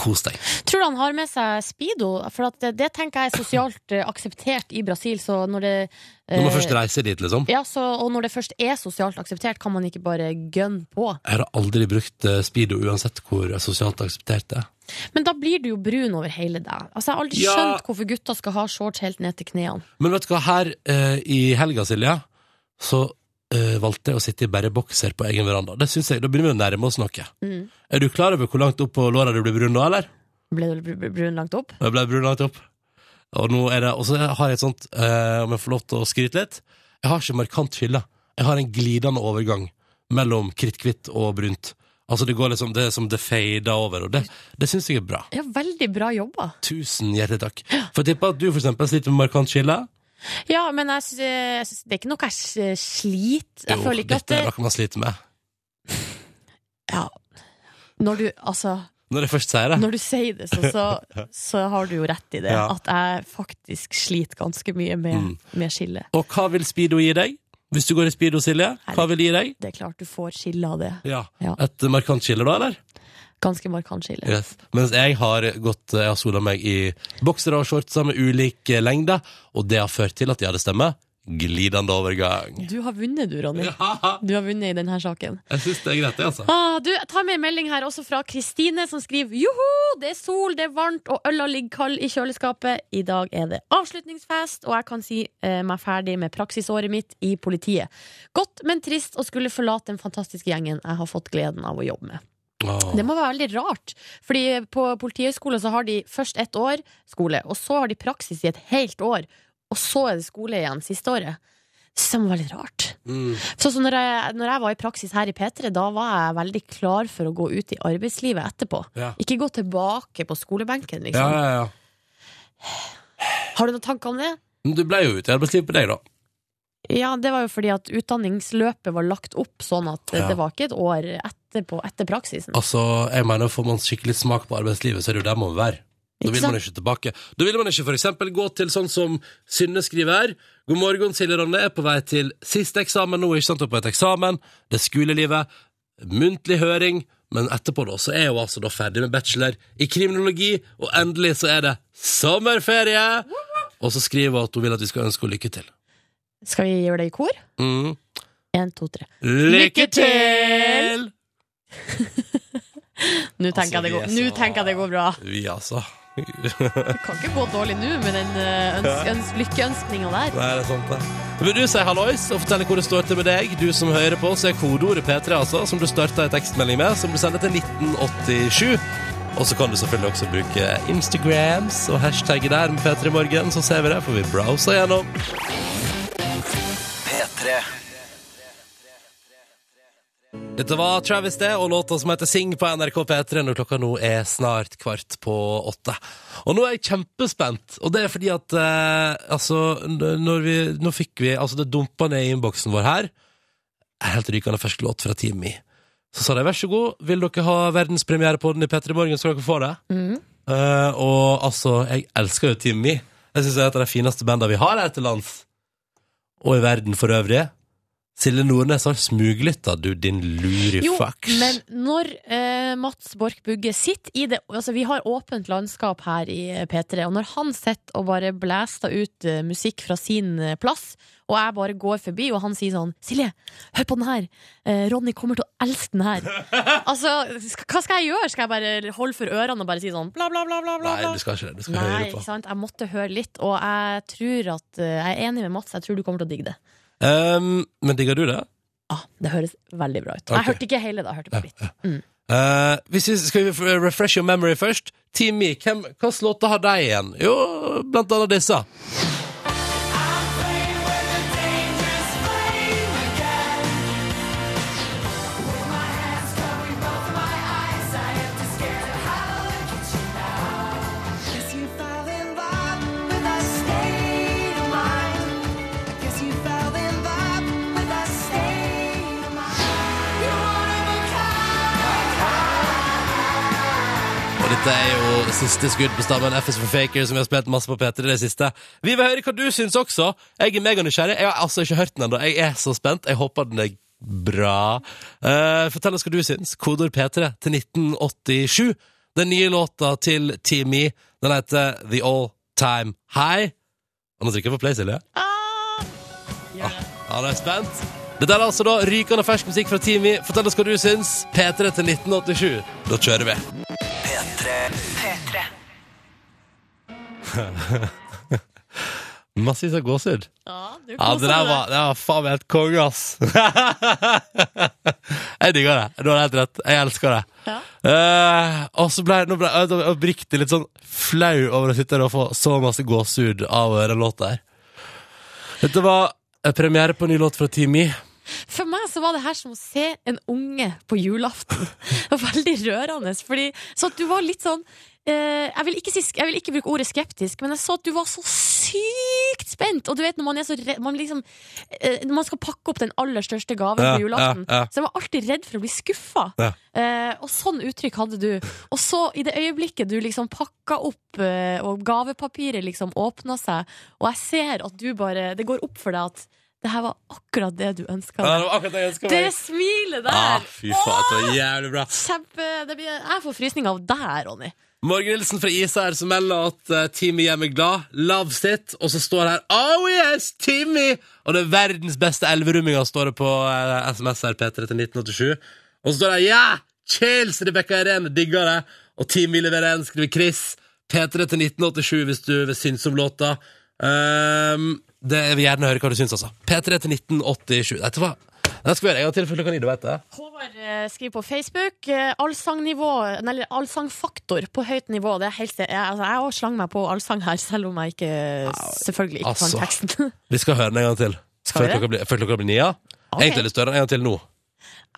Speaker 2: kos deg.
Speaker 6: Tror du han har med seg speedo? For at det, det tenker jeg er sosialt eh, akseptert i Brasil. Så når det eh,
Speaker 2: Når man først reiser dit, liksom.
Speaker 6: ja, så, Og når det først er sosialt akseptert, kan man ikke bare gønne på.
Speaker 2: Jeg har aldri brukt eh, speedo, uansett hvor sosialt akseptert det er.
Speaker 6: Men da blir du jo brun over hele deg. Altså, Jeg har aldri
Speaker 2: Ja.
Speaker 6: skjønt hvorfor gutter skal ha shorts helt ned til knærne.
Speaker 2: Men vet du hva, her eh, i helga, Silje, så eh, valgte jeg å sitte i bare bokser på egen veranda. Det synes jeg, Da begynner vi å nærme oss noe.
Speaker 6: Mm.
Speaker 2: Er du klar over hvor langt opp på låra du blir brun nå, eller?
Speaker 6: Ble du br- br- brun langt opp?
Speaker 2: Og jeg ble brun langt opp. Og nå er det, og så har jeg et sånt, eh, om jeg får lov til å skryte litt, jeg har ikke markant fylle. Jeg har en glidende overgang mellom kritthvitt og brunt. Altså det går liksom, det er som det fader over, og det, det synes jeg er bra.
Speaker 6: Ja, veldig bra jobba.
Speaker 2: Tusen hjertelig takk. For jeg tipper at du for eksempel sliter med markant skille.
Speaker 6: Ja, men jeg, sy- jeg syns- det er ikke noe jeg s- sliter. Jeg føler ikke at
Speaker 2: dette
Speaker 6: det,
Speaker 2: er noe man sliter med.
Speaker 6: ja. Når du, altså,
Speaker 2: Når jeg først sier det.
Speaker 6: når du sier det, så, så, så har du jo rett i det.
Speaker 2: Ja.
Speaker 6: At jeg faktisk sliter ganske mye med,
Speaker 2: Mm.
Speaker 6: med skille.
Speaker 2: Og hva vil Speedo gi deg? Hvis du går i Speedo, Silje, hva vil det gi deg?
Speaker 6: Det er klart du får skille av det.
Speaker 2: Ja.
Speaker 6: Ja.
Speaker 2: Et markant skille, da, eller?
Speaker 6: Ganske markant skille.
Speaker 2: Yes. Mens jeg har gått Jeg har sola meg i boksere og shorts med ulik eh, lengde, og det har ført til at jeg hadde stemme. Glidende overgang.
Speaker 6: Du har vunnet, du, Ronny.
Speaker 2: Ja,
Speaker 6: Du har vunnet i denne saken.
Speaker 2: jeg syns det er greit, det, altså.
Speaker 6: Ah, du, jeg tar med en melding her også fra Kristine, som skriver Joho, det er sol, det er varmt, og øla ligger kald i kjøleskapet. I dag er det avslutningsfest, og jeg kan si eh, meg ferdig med praksisåret mitt i politiet. Godt, men trist å skulle forlate den fantastiske gjengen jeg har fått gleden av å jobbe med.
Speaker 2: Åh.
Speaker 6: Det må være veldig rart, fordi på Politihøgskolen så har de først ett år skole, og så har de praksis i et helt år, og så er det skole igjen siste året. Så det må være litt rart.
Speaker 2: Mm.
Speaker 6: Sånn som når jeg, når jeg var i praksis her i P3, da var jeg veldig klar for å gå ut i arbeidslivet etterpå.
Speaker 2: Ja.
Speaker 6: Ikke gå tilbake på
Speaker 2: ja,
Speaker 6: skolebenken, liksom.
Speaker 2: ja, ja.
Speaker 6: Har du noen tanker om det?
Speaker 2: Men du ble jo ute i arbeidslivet på deg, da.
Speaker 6: Ja, det var jo fordi at utdanningsløpet var lagt opp sånn at eh,
Speaker 2: Ja.
Speaker 6: det var ikke et år etterpå, etter praksisen.
Speaker 2: Altså, jeg mener, Får man skikkelig smak på arbeidslivet, så er det jo der man må være. Da
Speaker 6: Ikke
Speaker 2: vil man ikke tilbake. Da vil man ikke for eksempel gå til sånn som Synne skriver her. God morgen, Silje Ronne er på vei til siste eksamen nå, ikke sant? Og på et eksamen, det er skolelivet, muntlig høring, men etterpå da, så er hun altså da ferdig med bachelor i kriminologi, og endelig så er det sommerferie! Og så skriver hun at hun vil at vi skal ønske henne lykke til.
Speaker 6: Skal vi gjøre det i kor?
Speaker 2: Mm.
Speaker 6: Én, to, tre.
Speaker 2: Lykke til!
Speaker 6: Nå tenker,
Speaker 2: Altså,
Speaker 6: jeg, det går,
Speaker 2: vi er
Speaker 6: nå
Speaker 2: så-
Speaker 6: tenker jeg det går bra.
Speaker 2: Vi, altså.
Speaker 6: Det kan ikke gå dårlig nå med den eh, øns, øns, lykkeønskninga der.
Speaker 2: Nei, det er sant det. Vil du si hallois og fortelle hvor det står til med deg? Du som hører på, så er kodeordet P3, altså, som du starta en tekstmelding med, som du sender til 1987. Og så kan du selvfølgelig også bruke Instagrams og hashtagget der med P3 Morgen, så ser vi det, for vi browser gjennom.
Speaker 1: P3.
Speaker 2: Dette var Travis D og låta som heter Sing på NRK P3 når klokka nå er snart kvart på åtte. Og nå er jeg kjempespent, og det er fordi at eh, altså, n- når vi, nå fikk vi, altså det dumpa ned i innboksen vår her, en helt rykende fersk låt fra Teamy. Så sa de, vær så god, vil dere ha verdenspremiere på den i P3 Morgen, skal dere få det.
Speaker 6: Mm.
Speaker 2: Eh, og altså, jeg elsker jo Teamy. Jeg synes det er et av de fineste bandene vi har her til lands. Og i verden for øvrig. Silje Nordnes har smuglytta, du din
Speaker 6: Jo,
Speaker 2: lurifucks.
Speaker 6: men når eh, Mats Borch Bugge sitter i det Altså, vi har åpent landskap her i eh, P3, og når han sitter og bare blæster ut eh, musikk fra sin eh, plass, og jeg bare går forbi, og han sier sånn Silje, hør på den her! Eh, Ronny kommer til å elske den her! altså, sk hva skal jeg gjøre? Skal jeg bare holde for ørene og bare si sånn bla, bla, bla, bla? bla?
Speaker 2: Nei,
Speaker 6: bla?
Speaker 2: du skal ikke det. Du skal
Speaker 6: Nei,
Speaker 2: høre
Speaker 6: ikke
Speaker 2: på.
Speaker 6: sant? Jeg måtte høre litt, og jeg tror at eh, Jeg er enig med Mats, jeg tror du kommer til å digge det.
Speaker 2: Um, men digger du det?
Speaker 6: Ah, det høres veldig bra ut.
Speaker 2: Ok.
Speaker 6: Jeg hørte ikke hele, da. Jeg hørte bare litt.
Speaker 2: Eh, hvis vi skal vi f- refresh your memory først? Team E, hvem, hva låter har de igjen? Jo, blant annet disse. Og det Dette er jo siste skudd på stammen FS for Faker, som vi har spilt masse på P3 i det siste. Vi vil høre hva du syns også. Jeg er meganysgjerrig. Jeg har altså ikke hørt den ennå. Jeg er så spent. Jeg håper den er bra. Eh, fortell oss hva du syns. Kodord P3 til 1987. Den nye låta til Team E. Den heter The All Time High. Og nå trykker jeg på play, Silje. Ja, det er spent. Dette er altså da rykende fersk musikk fra Team E. Fortell oss hva du syns. P3 til 1987. Da kjører vi.
Speaker 4: P3.
Speaker 2: Massis av gåsehud.
Speaker 6: Ja, du
Speaker 2: Ja, det der var, det var faen meg helt konge, ass. jeg digger det. Du har helt rett. Jeg elsker det.
Speaker 6: Ja.
Speaker 2: Eh, og så ble jeg, nå ble jeg, jeg ble riktig litt sånn flau over å sitte her og få så masse gåsehud av den låta her. Dette var eh, premiere på en ny låt fra Team E.
Speaker 6: For meg så var det her som å se en unge på julaften. Det var veldig rørende. Fordi, så at du var litt sånn eh, jeg, vil ikke si, sk- jeg vil ikke bruke ordet skeptisk, men jeg så at du var så sykt spent. Og du vet når man er så redd man, liksom, eh, når man skal pakke opp den aller største gaven
Speaker 2: Ja,
Speaker 6: på julaften,
Speaker 2: ja, ja.
Speaker 6: så jeg var alltid redd for å bli skuffa.
Speaker 2: Ja.
Speaker 6: Eh, og sånn uttrykk hadde du. Og så, i det øyeblikket du liksom pakka opp, eh, og gavepapiret liksom åpna seg, og jeg ser at du bare Det går opp for deg at det her var akkurat det du ønska.
Speaker 2: Ja, det var akkurat det jeg ønsket meg.
Speaker 6: Det smilet der!
Speaker 2: Ah, fy faen, det var jævlig bra.
Speaker 6: Kjempe, det blir, jeg får frysning av deg, Ronny.
Speaker 2: Morgen Nilsen fra Især som melder at eh, Timmy gjør meg glad. Love sitt. Og så står det her Oh yes, Timmy! Og det er verdens beste elverumminga, står det på eh, SMS her, P3 til 1987. Og så står det ja! Chills! Rebekka Irene digger det. Og Timmy leverer en, skriver Chris. P3 til 1987 hvis du vil synes om låta. Ehm, det, jeg vil gjerne høre hva du syns, altså. P3 til 1987. Dette var Den skal vi gjøre en gang til for klokka ni, du veit det.
Speaker 6: Håvard eh, skriver på Facebook eh, allsangnivå, nei, eller allsangfaktor på høyt nivå. Det er helt, jeg, altså, jeg også slang meg på allsang her, selv om jeg ikke, selvfølgelig ikke
Speaker 2: altså.
Speaker 6: kan teksten.
Speaker 2: Vi skal høre den en gang til. Før
Speaker 6: Skal vi det?
Speaker 2: klokka, blir, før klokka blir ni, ja.
Speaker 6: Ok.
Speaker 2: Egentlig har jeg lyst til å høre den en gang til nå.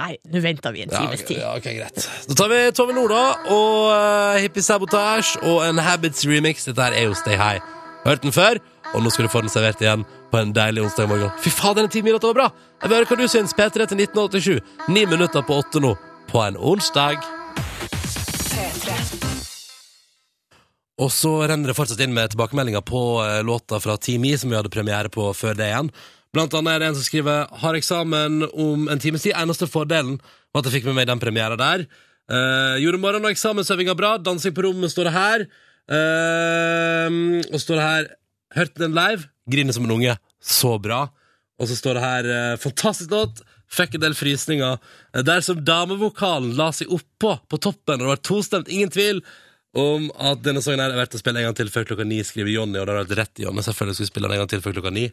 Speaker 6: Nei, nå venter vi en
Speaker 2: Ja,
Speaker 6: times
Speaker 2: ok,
Speaker 6: tid.
Speaker 2: ja, ok, greit. Da tar vi Tove Norda og eh, Hippie Sabotage og en Habits remix. Dette her er jo Stay High. Hørt den før, og nå skal du få den servert igjen på en deilig onsdag morgen. Fy fader, den timen i låta var bra! Jeg vil høre hva du syns. P3 til 1987. Ni minutter på åtte nå, på en onsdag. Og så renner det fortsatt inn med tilbakemeldinger på eh, låta fra Team E, som vi hadde premiere på før det igjen. Blant annet er det en som skriver Har eksamen om en times tid. Eneste fordelen var at jeg fikk med meg den premiera der. Eh, gjorde morgen- og eksamensøvinga bra. Dansing på rommet står det her. Eh, og står det her Hørte den live. Griner som en unge. Så bra. Og så står det her eh, Fantastisk låt. Fikk en del frysninger. Eh, Der som damevokalen la seg oppå på toppen, og det var tostemt, ingen tvil om at denne sangen her er verdt å spille en gang til før klokka ni, skriver Jonny. Og det har vært rett, Jonny. Selvfølgelig skulle vi spille den en gang til før klokka ni.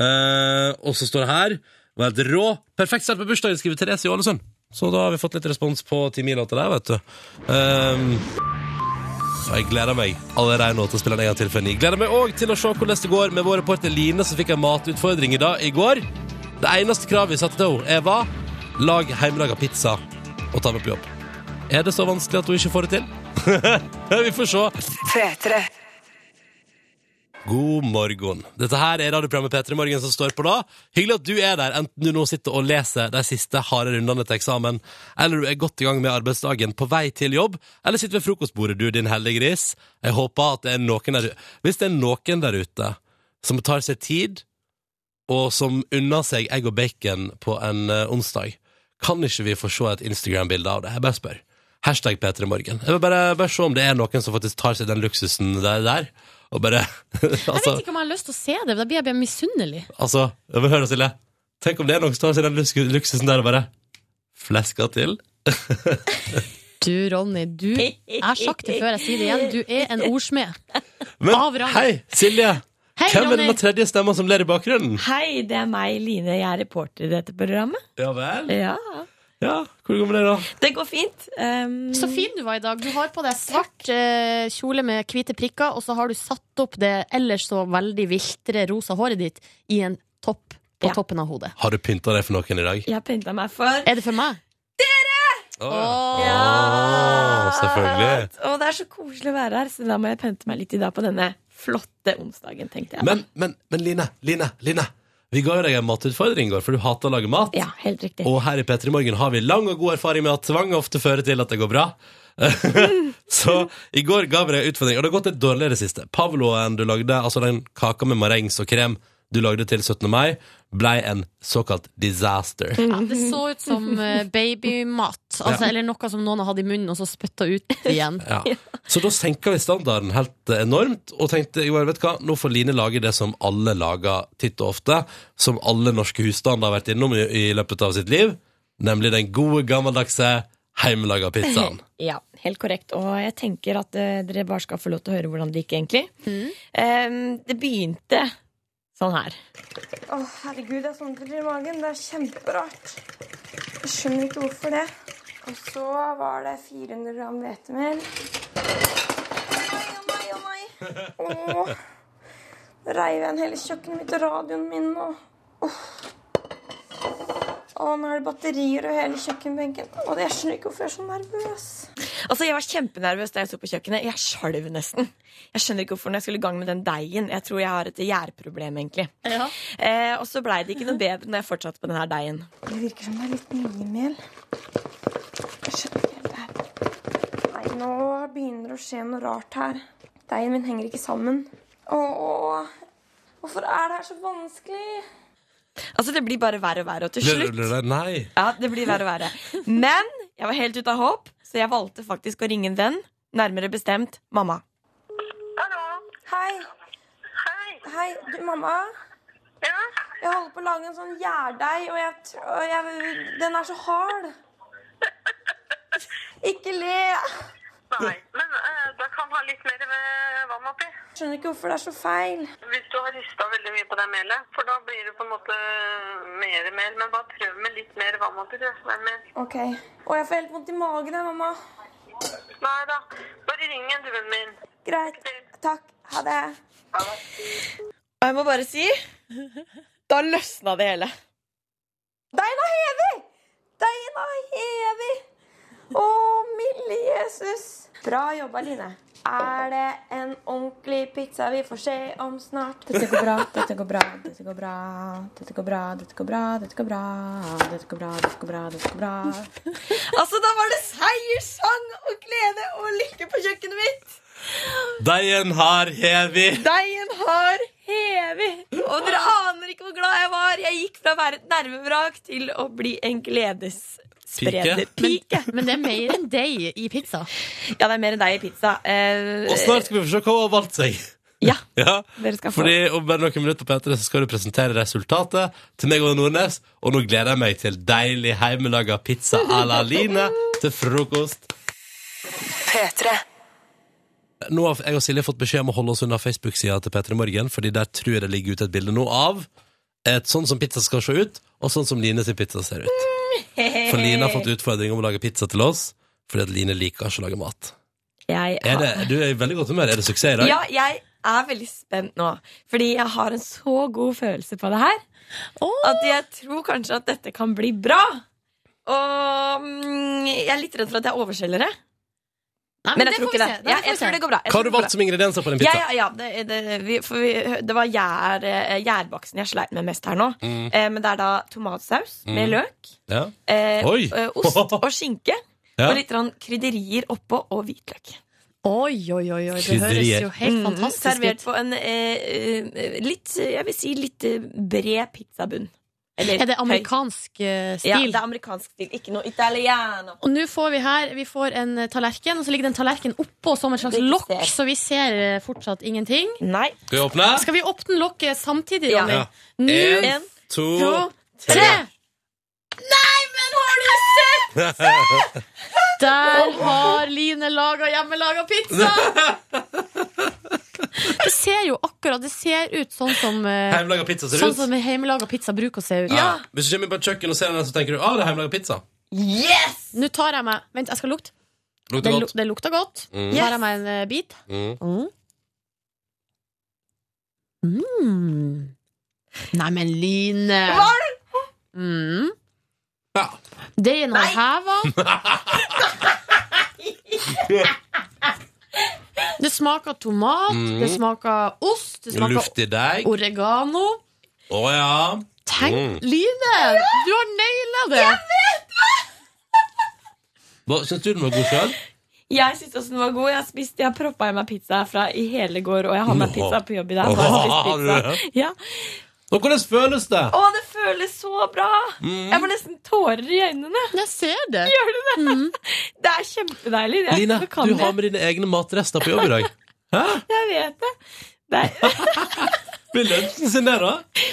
Speaker 2: Eh, og så står det her Var helt rå. Perfekt start på bursdagen, skriver Therese i Ålesund. Så da har vi fått litt respons på Timil-låta der, vet du. Um, og jeg gleder meg allerede nå til å spille den en gang til før ni. Gleder meg òg til å se hvordan det går med vår reporter Line, som fikk en matutfordring i dag i går. Det eneste kravet vi satte til henne, er hva? Lag hjemmelaga pizza og ta med på jobb. Er det så vanskelig at hun ikke får det til? vi får se.
Speaker 4: P3.
Speaker 2: God morgen. Dette her er radioprogrammet P3 Morgen som står på da. Hyggelig at du er der, enten du nå sitter og leser de siste harde rundene til eksamen, eller du er godt i gang med arbeidsdagen på vei til jobb, eller sitter ved frokostbordet, du, din heldige gris. Jeg håper at det er noen der Hvis det er noen der ute som tar seg tid, og som unner seg egg og bacon på en eh, onsdag, kan ikke vi få se et Instagram-bilde av det? Jeg bare spør. Hashtag P3morgen. Jeg vil bare, bare se om det er noen som faktisk tar seg den luksusen der, der og bare
Speaker 6: Jeg
Speaker 2: altså,
Speaker 6: vet ikke om jeg har lyst til å se det, da blir jeg bare misunnelig.
Speaker 2: altså, jeg vil høre, Silje. Tenk om det er noen som tar seg den luksus- luksusen der og bare flesker til.
Speaker 6: Du, Ronny, du Jeg har sagt det før, jeg sier det igjen. Du er en ordsmed. Av
Speaker 2: Men
Speaker 6: rang.
Speaker 2: hei, Silje!
Speaker 6: Hei,
Speaker 2: Hvem er
Speaker 6: Ronny.
Speaker 2: denne tredje stemma som ler i bakgrunnen?
Speaker 5: Hei, det er meg, Line. Jeg er reporter i dette programmet.
Speaker 2: Ja vel?
Speaker 5: Ja,
Speaker 2: Ja, Hvordan går det med deg, da?
Speaker 5: Det går fint. Um,
Speaker 6: Så fin du var i dag. Du har på deg svart eh, kjole med hvite prikker, og så har du satt opp det ellers så veldig viltre rosa håret ditt i en topp på
Speaker 5: Ja.
Speaker 6: toppen av hodet.
Speaker 2: Har du pynta deg for noen i dag?
Speaker 5: Jeg har pynta meg for
Speaker 6: Er det for meg?
Speaker 2: Å,
Speaker 6: Åh.
Speaker 2: Å, selvfølgelig.
Speaker 5: Og det er så koselig å være her, så da må jeg pynte meg litt i dag på denne flotte onsdagen, tenkte jeg.
Speaker 2: Men, men, men Line, Line, Line Vi ga jo deg en matutfordring i går, for du hater å lage mat.
Speaker 5: Ja, helt riktig.
Speaker 2: Og her i P3 Morgen har vi lang og god erfaring med at tvang ofte fører til at det går bra. så i går ga vi deg en utfordring, og det har gått litt dårligere det siste. Pavloen du lagde, altså den kaka med marengs og krem du lagde til 17. mai, blei en såkalt disaster.
Speaker 6: Ja, det så ut som eh, babymat, altså,
Speaker 2: Ja.
Speaker 6: eller noe som noen har hatt i munnen og så spytta ut igjen.
Speaker 2: Ja. Så da senka vi standarden helt eh, enormt, og tenkte jo, vet du hva, nå får Line lage det som alle lager titt og ofte, som alle norske husstander har vært innom i, i løpet av sitt liv, nemlig den gode, gammeldagse hjemmelaga pizzaen.
Speaker 5: Ja, helt korrekt. Og jeg tenker at eh, dere bare skal få lov til å høre hvordan det gikk, egentlig. Eh, det begynte sånn her.
Speaker 9: Å, herregud, jeg sondrer i magen. Det er kjemperart. Jeg skjønner ikke hvorfor det. Og så var det 400 gram hvetemel. Å nei, å nei, å nei. Åh. Nå reiv jeg en hele kjøkkenet mitt og radioen min og Åh. Å, nå er det batterier og hele kjøkkenbenken. Å, jeg skjønner ikke hvorfor jeg er så nervøs.
Speaker 5: Altså, Jeg var kjempenervøs da jeg sto på kjøkkenet. Jeg skalv nesten. Jeg skjønner ikke hvorfor når jeg skulle i gang med den deigen. Jeg tror jeg har et gjærproblem, egentlig. Eh, og så blei det ikke noe bedre når jeg fortsatte på den her deigen.
Speaker 9: Det virker som det er litt mye mel. Jeg skjønner ikke helt det her. Nei, nå begynner det å skje noe rart her. Deigen min henger ikke sammen. Åh, hvorfor er det her så vanskelig?
Speaker 5: Altså, det blir bare verre og verre. Og til
Speaker 2: Ble-
Speaker 5: slutt
Speaker 2: ble det- Nei.
Speaker 5: Ja, det blir verre og verre. Men jeg var helt ute av håp, så jeg valgte faktisk å ringe en venn. Nærmere bestemt mamma.
Speaker 9: Hei. Hei. Du, mamma. Jeg holder på å lage en sånn gjærdeig, og, jeg, tr- og jeg, den er så hard. Ikke le.
Speaker 10: Nei, men eh, det kan ha litt mer eh, vann oppi.
Speaker 9: Skjønner ikke hvorfor det er så feil.
Speaker 10: Hvis du har rista veldig mye på det melet, for da blir det på en måte eh, mer mel. Men bare prøv med litt mer vann oppi. Det. Nei, men,
Speaker 9: Ok. Og jeg får helt vondt i magen, jeg, mamma.
Speaker 10: nei da, bare ring en, du, vennen min.
Speaker 9: Greit. Takk. Ha det.
Speaker 5: Og jeg må bare si da løsna det hele.
Speaker 9: Deigen er hevig! Deigen er hevig! Å, milde Jesus! Bra jobba, Line. Er det en ordentlig pizza vi får se om snart?
Speaker 5: Dette går bra, dette går bra, dette går bra. Dette går bra, dette går bra, dette går bra. Dette går bra, dette går bra, dette går bra. Altså, da var det seierssang og glede og lykke på kjøkkenet mitt.
Speaker 2: Deigen har hevi.
Speaker 5: Deigen har hevet. Og dere aner ikke hvor glad jeg var. Jeg gikk fra å være et nervevrak til å bli en gledesspreder. Pike.
Speaker 6: Men det er mer enn deig i pizza.
Speaker 5: Ja, det er mer enn deg i pizza. Eh,
Speaker 2: Og snart skal vi få se hva hun har valgt seg.
Speaker 5: Ja,
Speaker 2: Ja,
Speaker 5: dere skal få.
Speaker 2: fordi Om bare noen minutter på P3 så skal du presentere resultatet til meg og Nordnes. Og nå gleder jeg meg til deilig hjemmelaga pizza à la Line til frokost.
Speaker 4: P3.
Speaker 2: Nå har jeg og Silje fått beskjed om å holde oss unna Facebook-sida til P3 Morgen, fordi der tror jeg det ligger ute et bilde nå av et sånn som pizza skal se ut, og sånn som Line sin pizza ser ut. For Line har fått utfordring om å lage pizza til oss, fordi at Line liker ikke å lage mat.
Speaker 5: Jeg
Speaker 2: Er det, du er i veldig godt humør. Er det suksess i dag?
Speaker 5: Ja, jeg er veldig spent nå. Fordi jeg har en så god følelse på det her at jeg tror kanskje at dette kan bli bra. Og mm, jeg er litt redd for at jeg overselger det.
Speaker 6: Nei,
Speaker 5: Men jeg
Speaker 6: det
Speaker 5: tror
Speaker 6: får vi
Speaker 5: ikke det.
Speaker 6: se. Nei, det
Speaker 5: Ja,
Speaker 6: får vi
Speaker 5: jeg
Speaker 6: se.
Speaker 5: tror det går bra. Jeg
Speaker 2: Hva
Speaker 5: tror
Speaker 2: har
Speaker 5: det
Speaker 2: du
Speaker 5: går bra.
Speaker 2: valgt som ingredienser på din
Speaker 5: Ja,
Speaker 2: pizza?
Speaker 5: ja, ja det, det, vi, for vi, det var gjær, eh, gjærbaksten jeg sleit med mest her nå. Eh, men det er da tomatsaus med løk,
Speaker 2: Mm. Ja.
Speaker 5: eh,
Speaker 2: Mm. Oi.
Speaker 5: eh, ost og skinke.
Speaker 2: Ja.
Speaker 5: Og litt grann krydderier oppå og hvitløk.
Speaker 6: Oi, oi, oi, oi. Det høres
Speaker 2: Krydderier.
Speaker 6: jo helt fantastisk
Speaker 5: Mm, Servert
Speaker 6: ut.
Speaker 5: på en eh, eh, litt, eh, jeg vil si litt eh, bred pizzabunn. Eller
Speaker 6: Er det
Speaker 5: høy.
Speaker 6: amerikansk eh,
Speaker 5: Ja,
Speaker 6: stil?
Speaker 5: det er amerikansk stil. Ikke noe italiano.
Speaker 6: Og nå får vi her Vi får en eh, tallerken, og så ligger det en tallerken oppå som et slags
Speaker 5: Det vi
Speaker 6: lokk,
Speaker 5: ser.
Speaker 6: så vi ser eh, fortsatt ingenting.
Speaker 5: Nei.
Speaker 2: Skal vi åpne?
Speaker 6: Skal vi åpne lokket samtidig,
Speaker 5: Ja.
Speaker 6: Ronny?
Speaker 2: Ja.
Speaker 6: Nå,
Speaker 2: En,
Speaker 5: En,
Speaker 2: to,
Speaker 6: to, tre!
Speaker 2: tre.
Speaker 6: Der har Line laga hjemmelaga pizza! Det ser jo akkurat Det ser ut sånn som eh,
Speaker 2: Hjemmelaga pizza ser
Speaker 6: Sånn
Speaker 2: ut.
Speaker 6: som hjemmelaga pizza bruker å se ut.
Speaker 2: Ja. Hvis du kommer på et kjøkken og ser den, så tenker du ah, det er hjemmelaga pizza.
Speaker 5: Yes!
Speaker 6: Nå tar jeg meg Vent, jeg skal lukte. Det,
Speaker 2: Lukter
Speaker 6: lu
Speaker 2: godt.
Speaker 6: det lukter godt. Tar jeg meg en eh, bit.
Speaker 2: Mm.
Speaker 6: Mm. Nei, men Line mm.
Speaker 2: Ja.
Speaker 6: Deigen har heva. Det smaker tomat,
Speaker 2: Mm.
Speaker 6: det smaker ost, det smaker
Speaker 2: Luftig deig.
Speaker 6: oregano.
Speaker 2: Å ja. Mm.
Speaker 6: Line, du har naila det!
Speaker 2: Hva- Syns du den var god sjøl?
Speaker 5: Jeg syns også den var god. Jeg har spist, jeg har proppa i meg pizza fra i hele går, og jeg har med
Speaker 2: Nå.
Speaker 5: pizza på jobb i dag. så jeg har spist
Speaker 2: Har du
Speaker 5: pizza.
Speaker 2: det?
Speaker 5: Ja.
Speaker 2: Og hvordan føles det?
Speaker 5: Å, det føles så bra!
Speaker 2: Mm.
Speaker 5: Jeg får nesten tårer i øynene.
Speaker 6: Jeg ser det.
Speaker 5: Gjør du det? Det er kjempedeilig. Jeg,
Speaker 2: Line,
Speaker 5: kan
Speaker 2: du
Speaker 5: det.
Speaker 2: har med dine egne matrester på jobb i dag. Hæ?
Speaker 5: jeg vet det. det er,
Speaker 2: Blir lunsjen sin der, da?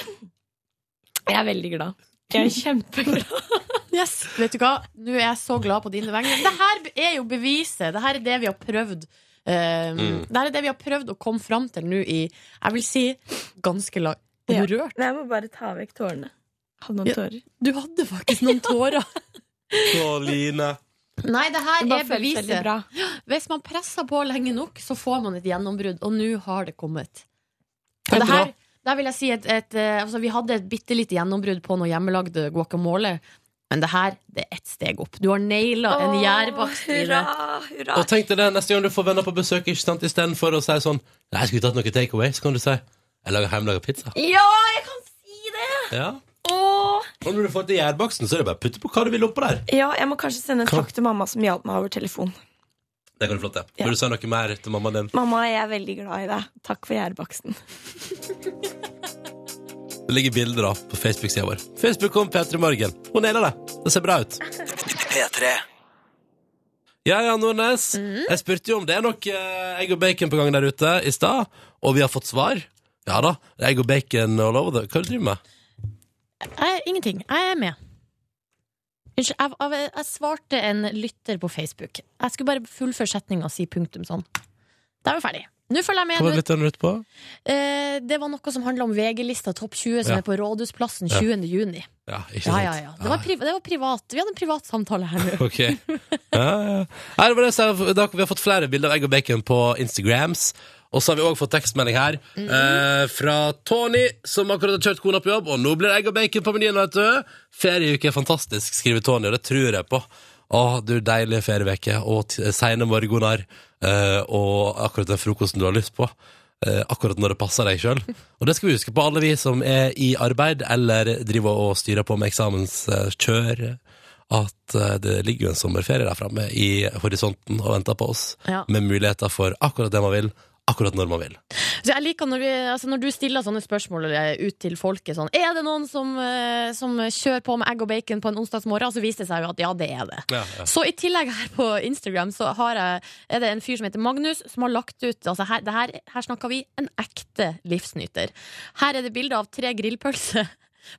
Speaker 5: jeg er veldig glad. Jeg er kjempeglad.
Speaker 6: Yes, vet du hva? Nå er jeg så glad på dine vegne. Det her er jo beviset. Det her er det vi har prøvd. Um,
Speaker 5: Mm.
Speaker 6: Det her er det vi har prøvd å komme fram til nå i Jeg vil si ganske lang
Speaker 5: Ja.
Speaker 6: Rørt.
Speaker 5: Nei, Jeg må bare ta vekk tårene. Hadde noen
Speaker 6: Ja.
Speaker 5: tårer.
Speaker 6: Du hadde faktisk noen tårer.
Speaker 2: Å, Line.
Speaker 6: Nei, det her
Speaker 5: Det bare
Speaker 6: er
Speaker 5: føles veldig
Speaker 6: beviset.
Speaker 5: bra.
Speaker 6: Hvis man presser på lenge nok, så får man et gjennombrudd. Og nå har det kommet. Og
Speaker 2: Helt
Speaker 6: det her, der vil jeg si et, et, eh, altså, Vi hadde et bitte lite gjennombrudd på noe hjemmelagd guacamole. Men det her det er ett steg opp. Du har naila en
Speaker 5: Åh,
Speaker 6: gjærbakst. Line.
Speaker 5: Hurra, hurra.
Speaker 2: Og tenk deg det neste gang du får venner på besøk, ikke sant? istedenfor å si sånn Nei, skulle vi tatt noe takeaway? Så kan du si Jeg lager hjemmelaga pizza.
Speaker 5: Ja, jeg kan si det!
Speaker 2: Ja.
Speaker 5: Åh.
Speaker 2: Og når du får til gjærbaksten, så er det bare å putte på hva du vil oppå der.
Speaker 5: Ja, jeg må kanskje sende en
Speaker 2: Kan-
Speaker 5: takk til mamma som hjalp meg over telefon.
Speaker 2: Det kan du flott, det.
Speaker 5: Ja.
Speaker 2: Vil du si noe mer til mammaen din?
Speaker 5: Mamma, jeg er veldig glad i deg. Takk for gjærbaksten.
Speaker 2: Det ligger bilder da på Facebook-sida vår. Facebook kom P3 Morgen. Hun nailer det. Det ser bra ut.
Speaker 1: P3.
Speaker 2: Ja, ja, Nordnes. Jeg spurte jo om det er nok eh, egg og bacon på gang der ute i stad, og vi har fått svar. Ja da. det er Egg og bacon all over the Hva driver du med?
Speaker 6: Jeg, ingenting. Jeg er med. Unnskyld, jeg, jeg, jeg svarte en lytter på Facebook. Jeg skulle bare fullføre setninga og si punktum sånn. Da er vi ferdig. Nå følger jeg
Speaker 2: Hva var
Speaker 6: med.
Speaker 2: det lytteren lurte på?
Speaker 6: Du, eh, det var noe som handla om VG-lista Topp 20, som
Speaker 2: Ja.
Speaker 6: er på Rådhusplassen
Speaker 2: Ja.
Speaker 6: 20. juni.
Speaker 2: Ja, ikke
Speaker 6: Ja,
Speaker 2: sant?
Speaker 6: ja, ja. Det var, priva, det var privat. Vi hadde en privat samtale her nå.
Speaker 2: Ok. Ja, ja. Nei, det var det jeg sa. Da, vi har fått flere bilder av egg og bacon på Instagrams. Og så har vi òg fått tekstmelding her eh, fra Tony, som akkurat har kjørt kona på jobb. Og nå blir det egg og bacon på menyen, vet du. Ferieuke er fantastisk, skriver Tony, og det tror jeg på. Å, du deilige ferieuke og t- sene morgener eh, og akkurat den frokosten du har lyst på. eh, akkurat når det passer deg sjøl. Og det skal vi huske på, alle vi som er i arbeid eller driver og styrer på med eh, eksamenskjør at eh, det ligger jo en sommerferie der framme i horisonten og venter på oss,
Speaker 6: Ja.
Speaker 2: med muligheter for akkurat det man vil, akkurat når man vil.
Speaker 6: Så jeg liker når, vi, altså når du stiller sånne spørsmål eh, ut til folket sånn Er det noen som, eh, som kjører på med egg og bacon på en onsdagsmorgen? Og så viser det seg jo at ja, det er det. Så i tillegg her på Instagram så har jeg, er det en fyr som heter Magnus, som har lagt ut altså her, det her, her snakker vi en ekte livsnyter. Her er det bilde av tre grillpølser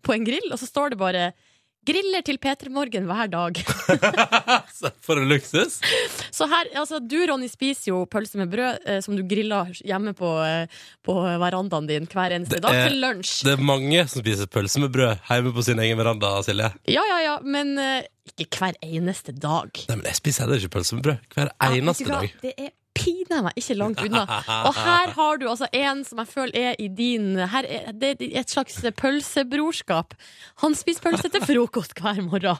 Speaker 6: på en grill, og så står det bare 'Griller til P3 Morgen hver dag'.
Speaker 2: Så For en luksus!
Speaker 6: Så her, altså Du, Ronny, spiser jo pølse med brød eh, som du griller hjemme på, eh, på verandaen din hver eneste
Speaker 2: Det
Speaker 6: dag
Speaker 2: er-
Speaker 6: til lunsj.
Speaker 2: Det er mange som spiser pølse med brød hjemme på sin egen veranda, Silje.
Speaker 6: Ja, ja, ja, men eh, ikke hver eneste dag.
Speaker 2: Nei, men jeg spiser heller ikke pølse med brød hver eneste
Speaker 6: Ja, vet
Speaker 2: dag.
Speaker 6: du hva? Det er pinadø meg ikke langt unna. Og her har du altså en som jeg føler er i din her er, Det er et slags pølsebrorskap. Han spiser pølse til frokost hver morgen.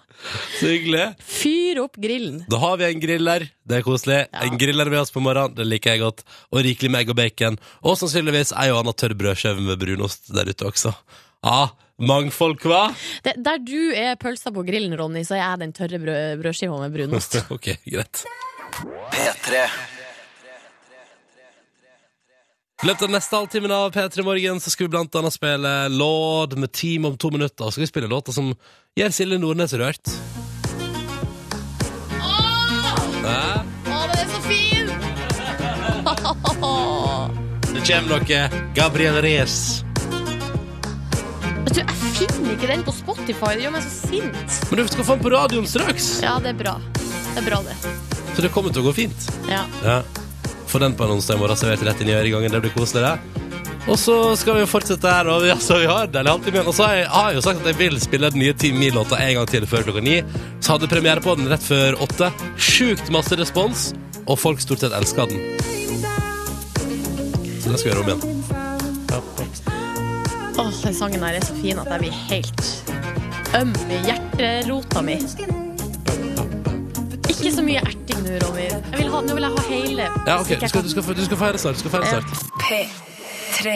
Speaker 2: Så hyggelig.
Speaker 6: Fyr opp grillen.
Speaker 2: Da har vi en griller, det er koselig. En griller med oss på morgenen, det liker jeg godt. Og rikelig med egg og bacon. Og sannsynligvis ei og anna tørr brødskive med brunost der ute også. Ja, mangfold, hva?
Speaker 6: Det, der du er pølsa på grillen, Ronny, så er jeg den tørre brød, brødskiva med brunost.
Speaker 2: ok, greit.
Speaker 1: P3.
Speaker 2: I løpet av neste halvtimen av P3 Morgen så skal vi blant annet spille Lord med Team om to minutter. Og så skal vi spille låter som gjør Silje Nordnes rørt. Hæ?
Speaker 6: Å, den er så fin!
Speaker 2: Det kommer noe Gabriel Reyes.
Speaker 6: Vet du, jeg finner ikke den på Spotify. Det gjør meg så sint.
Speaker 2: Men du skal få den på radioen straks,
Speaker 6: Ja, det er bra. Det er bra, det.
Speaker 2: så det kommer til å gå fint.
Speaker 6: Ja.
Speaker 2: Ja. Få den på en onsdag i morgen servert rett inn i øregangen. Det blir koseligere. Og så skal vi fortsette her. Og vi, altså, vi har en deilig halvtime igjen. Og så har jeg, har jeg jo sagt at jeg vil spille den nye Team Me-låta en gang til før klokka ni. Så hadde premiere på den rett før åtte. Sjukt masse respons, og folk stort sett elsker den. Så den skal vi gjøre om igjen.
Speaker 6: Åh, den sangen her er så fin at jeg blir helt øm i hjerterota mi. Ikke så mye erting nå, Ronny. Jeg vil ha, nå vil jeg ha hele.
Speaker 2: Ja, ok, Du skal, du skal, få- du skal feire snart. Du skal feire snart.
Speaker 4: P3.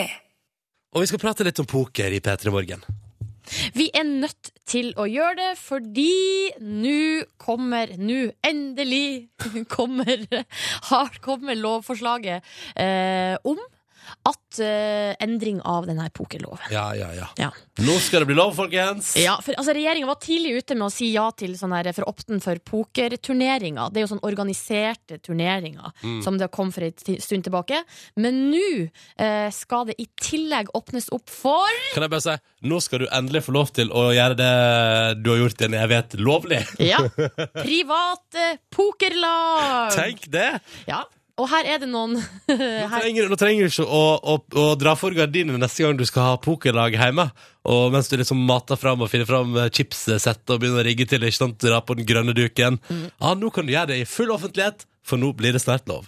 Speaker 2: Og vi skal prate litt om poker i P3 Morgen.
Speaker 6: Vi er nødt til å gjøre det, fordi nå kommer Nå, endelig, kommer, har, kommer lovforslaget eh, om at eh, endring av denne pokerloven.
Speaker 2: Ja, ja, ja.
Speaker 6: Ja.
Speaker 2: Nå skal det bli lov, folkens!
Speaker 6: Ja, for altså, Regjeringa var tidlig ute med å si ja til sånn her, for åpten for pokerturneringer. Det er jo sånn organiserte turneringer,
Speaker 11: Mm.
Speaker 6: som det kom for en ti- stund tilbake. Men nå eh, skal det i tillegg åpnes opp for
Speaker 2: Kan jeg bare si, nå skal du endelig få lov til å gjøre det du har gjort i en evighet, lovlig.
Speaker 6: Ja. private pokerlag!
Speaker 2: Tenk det!
Speaker 6: Ja, og her er det noen
Speaker 2: Nå
Speaker 6: her,
Speaker 2: trenger, nå trenger du ikke å, å, å dra for gardinene neste gang du skal ha pokerlag hjemme. Og mens du liksom mater fram og finner fram eh, chipssettet og begynner å rigge til, ikke sant, dra på den grønne duken.
Speaker 6: Mm.
Speaker 2: Ja, nå kan du gjøre det i full offentlighet, for nå blir det snart lov.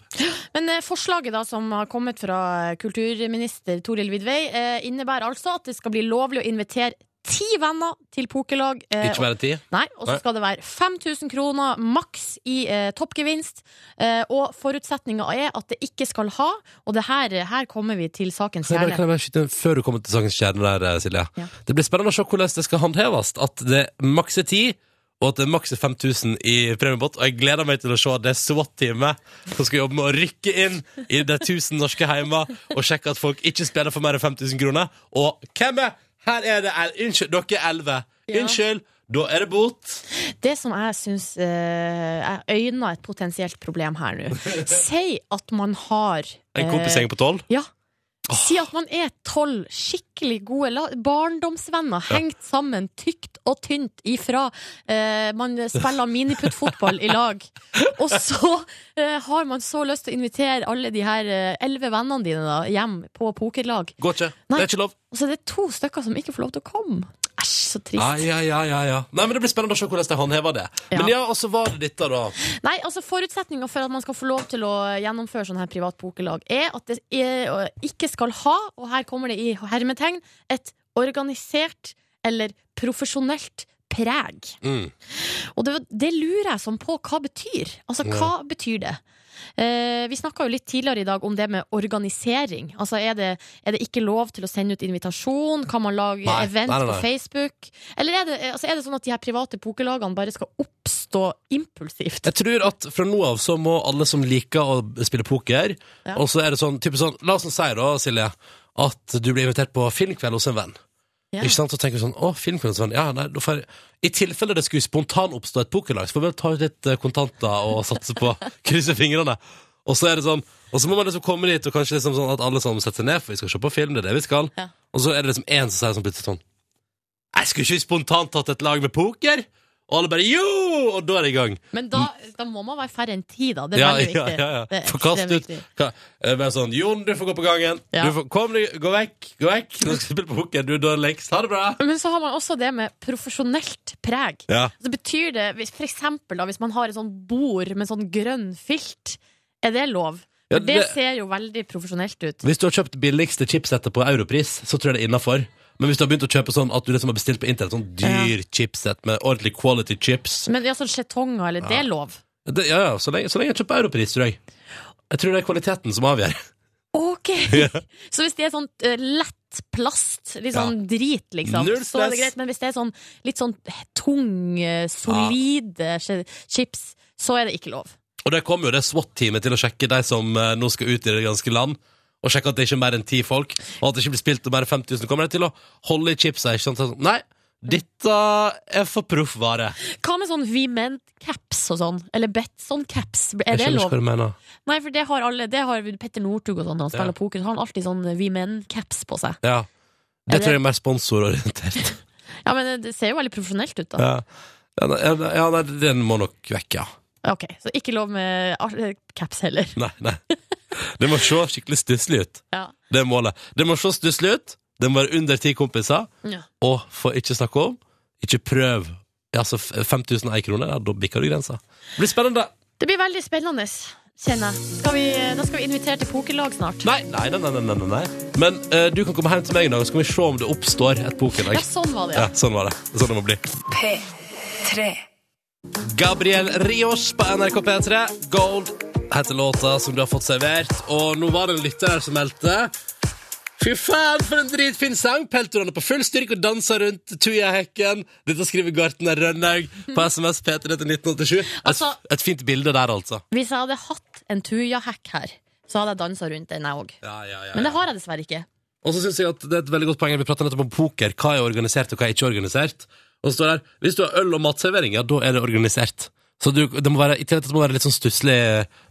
Speaker 6: Men eh, forslaget da som har kommet fra eh, kulturminister Toril Vidvei, eh, innebærer altså at det skal bli lovlig å invitere ti venner til pokerlag. eh,
Speaker 2: Ikke mer enn ti?
Speaker 6: Nei, og så
Speaker 2: Nei.
Speaker 6: skal det være 5000 kroner maks i eh, toppgevinst. Eh, og forutsetninga er at det ikke skal ha, og det her, her kommer vi til sakens
Speaker 2: Kan Altså, jeg bare, kan jeg
Speaker 6: kjerne.
Speaker 2: bare skyte inn før du kommer til sakens kjerne der, eh, Silje? Det blir spennende å se hvordan det skal håndheves. At det maks er 10, og at det maks er 5000 i premiebåt. Og jeg gleder meg til å se det SWAT-teamet som skal jobbe med å rykke inn i de 1000 norske hjemmer og sjekke at folk ikke spiller for mer enn 5000 kroner. Og hvem er Her er det el- Unnskyld, dere er 11.
Speaker 6: Ja.
Speaker 2: Unnskyld, da er det bot.
Speaker 6: Det som jeg syns eh, Jeg øyner et potensielt problem her nå. Si at man har
Speaker 2: En kompisgjeng på 12.
Speaker 6: Ja. Si at man er tolv skikkelig gode la- barndomsvenner, hengt sammen tykt og tynt ifra eh, man spiller miniputt-fotball i lag. Og så eh, har man så lyst til å invitere alle de her eh, elleve vennene dine da, hjem på pokerlag.
Speaker 2: Går ikke.
Speaker 6: Nei.
Speaker 2: Det er ikke lov.
Speaker 6: Og så er det to stykker som ikke får lov til å komme. Æsj, så trist.
Speaker 2: Ja, ja, ja, ja, ja. Nei, men Det blir spennende å se hvordan de håndhever det. Men ja, og så var det dette, da.
Speaker 6: Nei, altså Forutsetninga for at man skal få lov til å gjennomføre sånne her privat pokerlag, er at det er, ikke skal ha, og her kommer det i hermetegn, et organisert eller profesjonelt preg.
Speaker 2: Mm.
Speaker 6: Og det, det lurer jeg sånn på hva betyr. Altså, hva
Speaker 11: Ja.
Speaker 6: betyr det? Eh, vi snakka jo litt tidligere i dag om det med organisering. Altså, er det, er det ikke lov til å sende ut invitasjon? Kan man lage
Speaker 11: Nei,
Speaker 6: event
Speaker 11: nei, nei,
Speaker 6: på
Speaker 11: nei.
Speaker 6: Facebook? Eller er det, altså, er det sånn at de her private pokerlagene bare skal oppstå impulsivt?
Speaker 2: Jeg tror at fra nå av så må alle som liker å spille poker,
Speaker 6: Ja.
Speaker 2: og så er det sånn, typisk sånn La oss nå si da, Silje, at du blir invitert på filmkveld hos en venn.
Speaker 6: Ja.
Speaker 2: Ikke sant? Så tenker du sånn Å, filmkveld hos en venn. Ja, nei, da får jeg I tilfelle det skulle spontan oppstå et pokerlag, så får vi vel ta ut litt eh, kontanter og satse på Krysse fingrene. Og så er det sånn Og så må man liksom komme dit, og kanskje liksom sånn at alle sammen setter seg ned, for vi skal se på film, det er det vi skal. Og så er det liksom én som sier sånn plutselig sånn Jeg skulle ikke spontant hatt et lag med poker! Og alle bare jo! Og da er det i gang.
Speaker 6: Men da, da må man være færre enn ti, da. Det er veldig viktig.
Speaker 2: Ja, ja, ja.
Speaker 6: Det er
Speaker 2: Få kast
Speaker 6: ekstremt
Speaker 2: ut
Speaker 6: viktig.
Speaker 2: Ka- eh, Bare sånn Jon, du får gå på gangen.
Speaker 6: Ja.
Speaker 2: Du får, kom, du, gå vekk. Gå vekk. Nå skal vi spille på poker. Du er dårligst. Ha det bra.
Speaker 6: Men så har man også det med profesjonelt preg.
Speaker 2: Ja.
Speaker 6: Så betyr det, hvis, for eksempel da, hvis man har et sånn bord med sånn grønn filt, er det lov?
Speaker 2: Ja,
Speaker 6: For det,
Speaker 2: det-
Speaker 6: ser jo veldig profesjonelt ut.
Speaker 2: Hvis du har kjøpt billigste chipsettet på europris, så tror jeg det er innafor. Men hvis du har begynt å kjøpe sånn at du liksom har bestilt på internett sånn dyr chipset med ordentlig quality chips
Speaker 6: Men ja, sånn skjetonger, eller det er lov.
Speaker 2: det, Ja, ja, så lenge, så lenge jeg kjøper europris, tror jeg. Jeg tror det er kvaliteten som avgjør.
Speaker 6: Ok! Så hvis det er sånn eh, lett plast, litt
Speaker 2: Ja.
Speaker 6: sånn drit, liksom,
Speaker 2: Null
Speaker 6: så er det
Speaker 2: stress.
Speaker 6: greit. Men hvis det er sånn litt sånn tung, eh, solide skje- chips, så er det ikke lov.
Speaker 2: Og der kommer jo det SWAT-teamet til å sjekke de som eh, nå skal ut i det ganske land, og sjekke at det ikke er mer enn ti folk, og at det ikke blir spilt til mer enn 5000. Kommer de til å holde i chipsa? Ikke sant? Sånn, Nei, dette er for proffvare.
Speaker 6: Hva med sånn We Meant Caps og sånn? Eller Betson-caps? Er
Speaker 2: Jeg
Speaker 6: det
Speaker 2: skjønner
Speaker 6: lov?
Speaker 2: ikke hva du mener.
Speaker 6: Nei, for det har alle Det har Petter Northug og sånn når han
Speaker 2: Ja.
Speaker 6: spiller poker. Så har han alltid sånn We Men-caps på seg.
Speaker 2: Ja.
Speaker 6: Er
Speaker 2: Det
Speaker 6: det-
Speaker 2: tror jeg er mer sponsororientert.
Speaker 6: Ja, men det ser jo veldig profesjonelt ut, da.
Speaker 2: Ja. Ja, nei, ja, nei, den må nok vekk, ja.
Speaker 6: Ok, Så ikke lov med ar- caps heller.
Speaker 2: Nei, nei. Det må se skikkelig stusslig ut.
Speaker 6: Ja.
Speaker 2: Det er målet. Det må se stusslig ut, det må være under ti kompiser,
Speaker 6: Ja.
Speaker 2: og for ikke snakke om, ikke prøv. Ja, altså f- 5000 og 1 kroner, ja, da bikker du grensa. Det blir spennende.
Speaker 6: Det blir veldig spennende, kjenner jeg. Skal vi, da skal vi invitere til pokerlag snart.
Speaker 2: Nei, nei, nei, nei, nei, nei, nei. Men eh, du kan komme hjem til meg en dag, så kan vi se om det oppstår et pokerlag.
Speaker 6: Ja, sånn var det,
Speaker 2: Ja,
Speaker 6: ja.
Speaker 2: sånn var det. Det er Sånn det må bli.
Speaker 4: P3.
Speaker 2: Gabriel Rios på NRK P3. Gold heter låta som du har fått servert. Og nå var det en lytter her som meldte Fy faen, for en dritfin sang! Peltorene på full styrke og danser rundt Tujahekken. Dette skriver Gartner Rønnaug på SMS P3 til 1987. Et,
Speaker 6: Altså-
Speaker 2: et fint bilde der, altså.
Speaker 6: Hvis jeg hadde hatt en tujahekk her, så hadde jeg dansa rundt den, jeg òg.
Speaker 2: Ja, ja, ja,
Speaker 6: Men det
Speaker 2: ja.
Speaker 6: har jeg dessverre ikke.
Speaker 2: Og så synes jeg at det er et veldig godt poeng Vi pratet nettopp om poker, hva er organisert og hva er ikke organisert Og så står det her Hvis du har øl og matservering, ja, da er det organisert Så du, det må være, i tillegg til at det må være litt sånn stusslig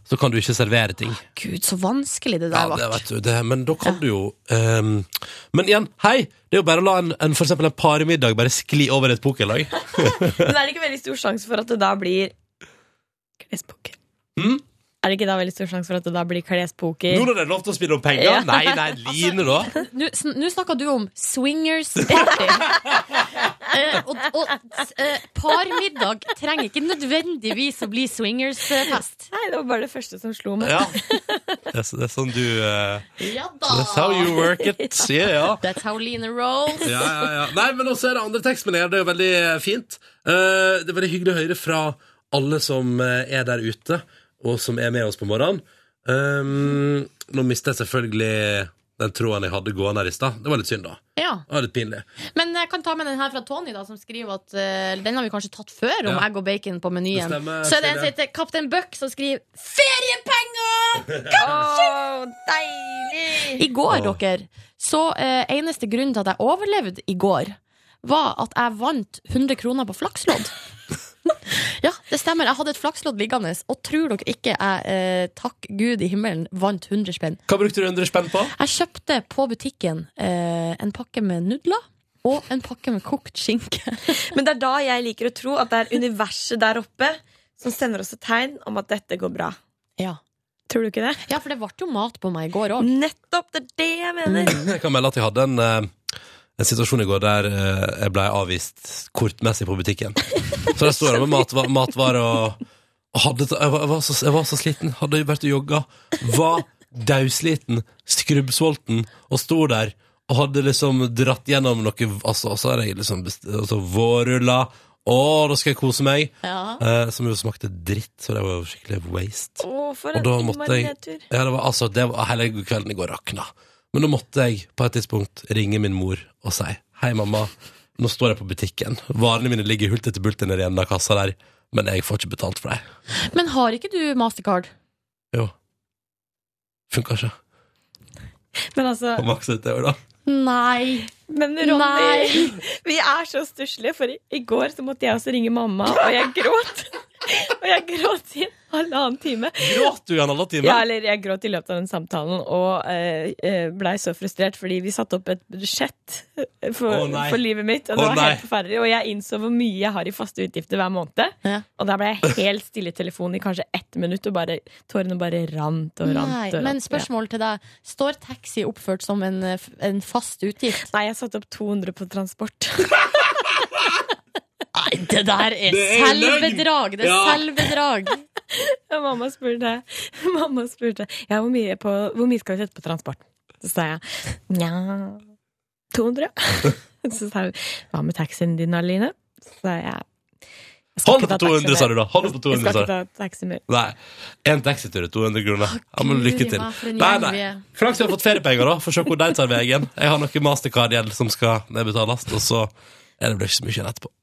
Speaker 2: Så kan du ikke servere ting
Speaker 6: Gud, så vanskelig det
Speaker 2: Ja,
Speaker 6: der
Speaker 2: det
Speaker 6: ble.
Speaker 2: vet du det, Men da kan du jo ehm, Men igjen, hei Det er jo bare å la en, en, for eksempel en paremiddag Bare skli over et pokerlag
Speaker 5: Men er det ikke veldig stor sjanse for at det da blir klespoker?
Speaker 2: Mm?
Speaker 5: Er det ikke da veldig stor sjanse for at det da blir klespoker?
Speaker 2: Nå når det er lov til å spille om penger
Speaker 5: Ja.
Speaker 2: Nei, nei, Line da
Speaker 6: Nå sn- nå snakker du om swingers party. Eh, og og eh, parmiddag trenger ikke nødvendigvis å bli swingers-fest.
Speaker 5: Nei, det var bare det første som slo meg.
Speaker 2: Ja Det er, så- det er sånn du eh,
Speaker 6: Ja
Speaker 2: That's how you work it Ja, ja
Speaker 6: That's how Line rolls.
Speaker 2: ja, ja, ja. Nei, men også er det andre tekstmeldinger. Det er jo veldig eh, fint. Eh, det er veldig hyggelig å høre fra alle som eh, er der ute, og som er med oss på morgenen. Um, nå mistet jeg selvfølgelig den tråden jeg hadde gående her i stad. Det var litt synd, da.
Speaker 6: Ja.
Speaker 2: Det var litt pinlig.
Speaker 6: Men jeg kan ta med den her fra Tony, da, som skriver at eh, den har vi kanskje tatt før, om
Speaker 2: Ja.
Speaker 6: egg og bacon på menyen.
Speaker 2: Det stemmer,
Speaker 6: Så er det en som
Speaker 2: Silje.
Speaker 6: heter Kaptein Buck, som skriver 'Feriepenger'!
Speaker 5: Åh, deilig!
Speaker 6: I går,
Speaker 2: Åh.
Speaker 6: dere, så eh, eneste grunnen til at jeg overlevde i går, var at jeg vant 100 kroner på flakslodd. ja, det stemmer. Jeg hadde et flakslodd liggende, og tror dere ikke jeg, eh, takk Gud i himmelen, vant 100 spenn.
Speaker 2: Hva brukte du 100 spenn på?
Speaker 6: Jeg kjøpte på butikken eh, en pakke med nudler og en pakke med kokt skinke.
Speaker 5: Men det er da jeg liker å tro at det er universet der oppe som sender oss et tegn om at dette går bra.
Speaker 6: ja.
Speaker 5: Tror du ikke det?
Speaker 6: ja, for det ble jo mat på meg i går òg.
Speaker 5: Nettopp! Det er det jeg mener.
Speaker 2: Jeg kan melde at jeg hadde en, eh, en situasjon i går der eh, jeg ble avvist kortmessig på butikken. Så der står jeg med matva- matvarer og, og hadde, jeg, var, jeg, var så, jeg var så sliten. Hadde jo vært og jogga. Var dausliten, skrubbsulten og sto der og hadde liksom dratt gjennom noe altså, Og så har jeg liksom best- altså, vårruller. Å, da skal jeg kose meg!
Speaker 6: Ja.
Speaker 2: Eh, som jo smakte dritt, så det var jo skikkelig waste.
Speaker 5: Å, for
Speaker 2: Og da
Speaker 5: en
Speaker 2: måtte
Speaker 5: innmari
Speaker 2: jeg
Speaker 5: nedtur.
Speaker 2: ja, det var, altså, det var, Hele kvelden i går rakna. Men da måtte jeg på et tidspunkt ringe min mor og si Hei, mamma, nå står jeg på butikken. Varene mine ligger hult etter bult i den ene kassa der, men jeg får ikke betalt for dem.
Speaker 6: Men har ikke du mastercard?
Speaker 2: Jo. Funka ikke.
Speaker 5: Men altså
Speaker 2: På maks utover, da.
Speaker 6: Nei.
Speaker 5: Men Ronny,
Speaker 6: Nei.
Speaker 5: vi er så stusslige, for i, i går så måtte jeg også ringe mamma, og jeg gråt. og jeg gråt i en halvannen time.
Speaker 2: Gråt du i en halv time?
Speaker 5: Ja, eller jeg gråt i løpet av den samtalen og eh, eh, blei så frustrert fordi vi satte opp et budsjett eh, for,
Speaker 2: Å, nei.
Speaker 5: for livet mitt, og det
Speaker 2: Å,
Speaker 5: var
Speaker 2: nei.
Speaker 5: helt forferdelig. Og jeg innså hvor mye jeg har i faste utgifter hver måned.
Speaker 6: Ja.
Speaker 5: Og der ble jeg helt stille i telefonen i kanskje ett minutt, og bare, tårene bare rant og rant.
Speaker 6: Nei,
Speaker 5: og rant.
Speaker 6: men
Speaker 5: Ja.
Speaker 6: spørsmål til deg. Står taxi oppført som en, eh, f- en fast utgift?
Speaker 5: Nei, jeg satte opp 200 på transport.
Speaker 6: Nei, det der er,
Speaker 2: Det er løgn!
Speaker 6: selvbedrag! Det er
Speaker 2: Ja.
Speaker 6: selvbedrag.
Speaker 5: Og mamma spurte, mamma spurte ja, hvor, mye på, hvor mye skal vi sette på transport? Så sa jeg nja 200. Så sa hun hva med taxien din, Aline? Så sa jeg «Jeg skal
Speaker 2: Hold
Speaker 5: ikke
Speaker 2: på
Speaker 5: ta taxi
Speaker 2: 200, sa
Speaker 5: mer.
Speaker 2: du da. Hold på
Speaker 5: Jeg
Speaker 2: 200,
Speaker 5: skal
Speaker 2: sa du.
Speaker 5: ikke ta taxi mer.
Speaker 2: Nei. En taxitur er 200 kroner. Ja, men lykke
Speaker 6: Guri
Speaker 2: til.
Speaker 6: meg, for en
Speaker 2: Nei,
Speaker 6: gjeng vi
Speaker 2: nei.
Speaker 6: er.
Speaker 2: Flaks vi har fått feriepenger, da. Får se hvor de tar veien. Jeg har noe mastercard-gjeld som skal nedbetales, og så er det vel ikke så mye igjen etterpå.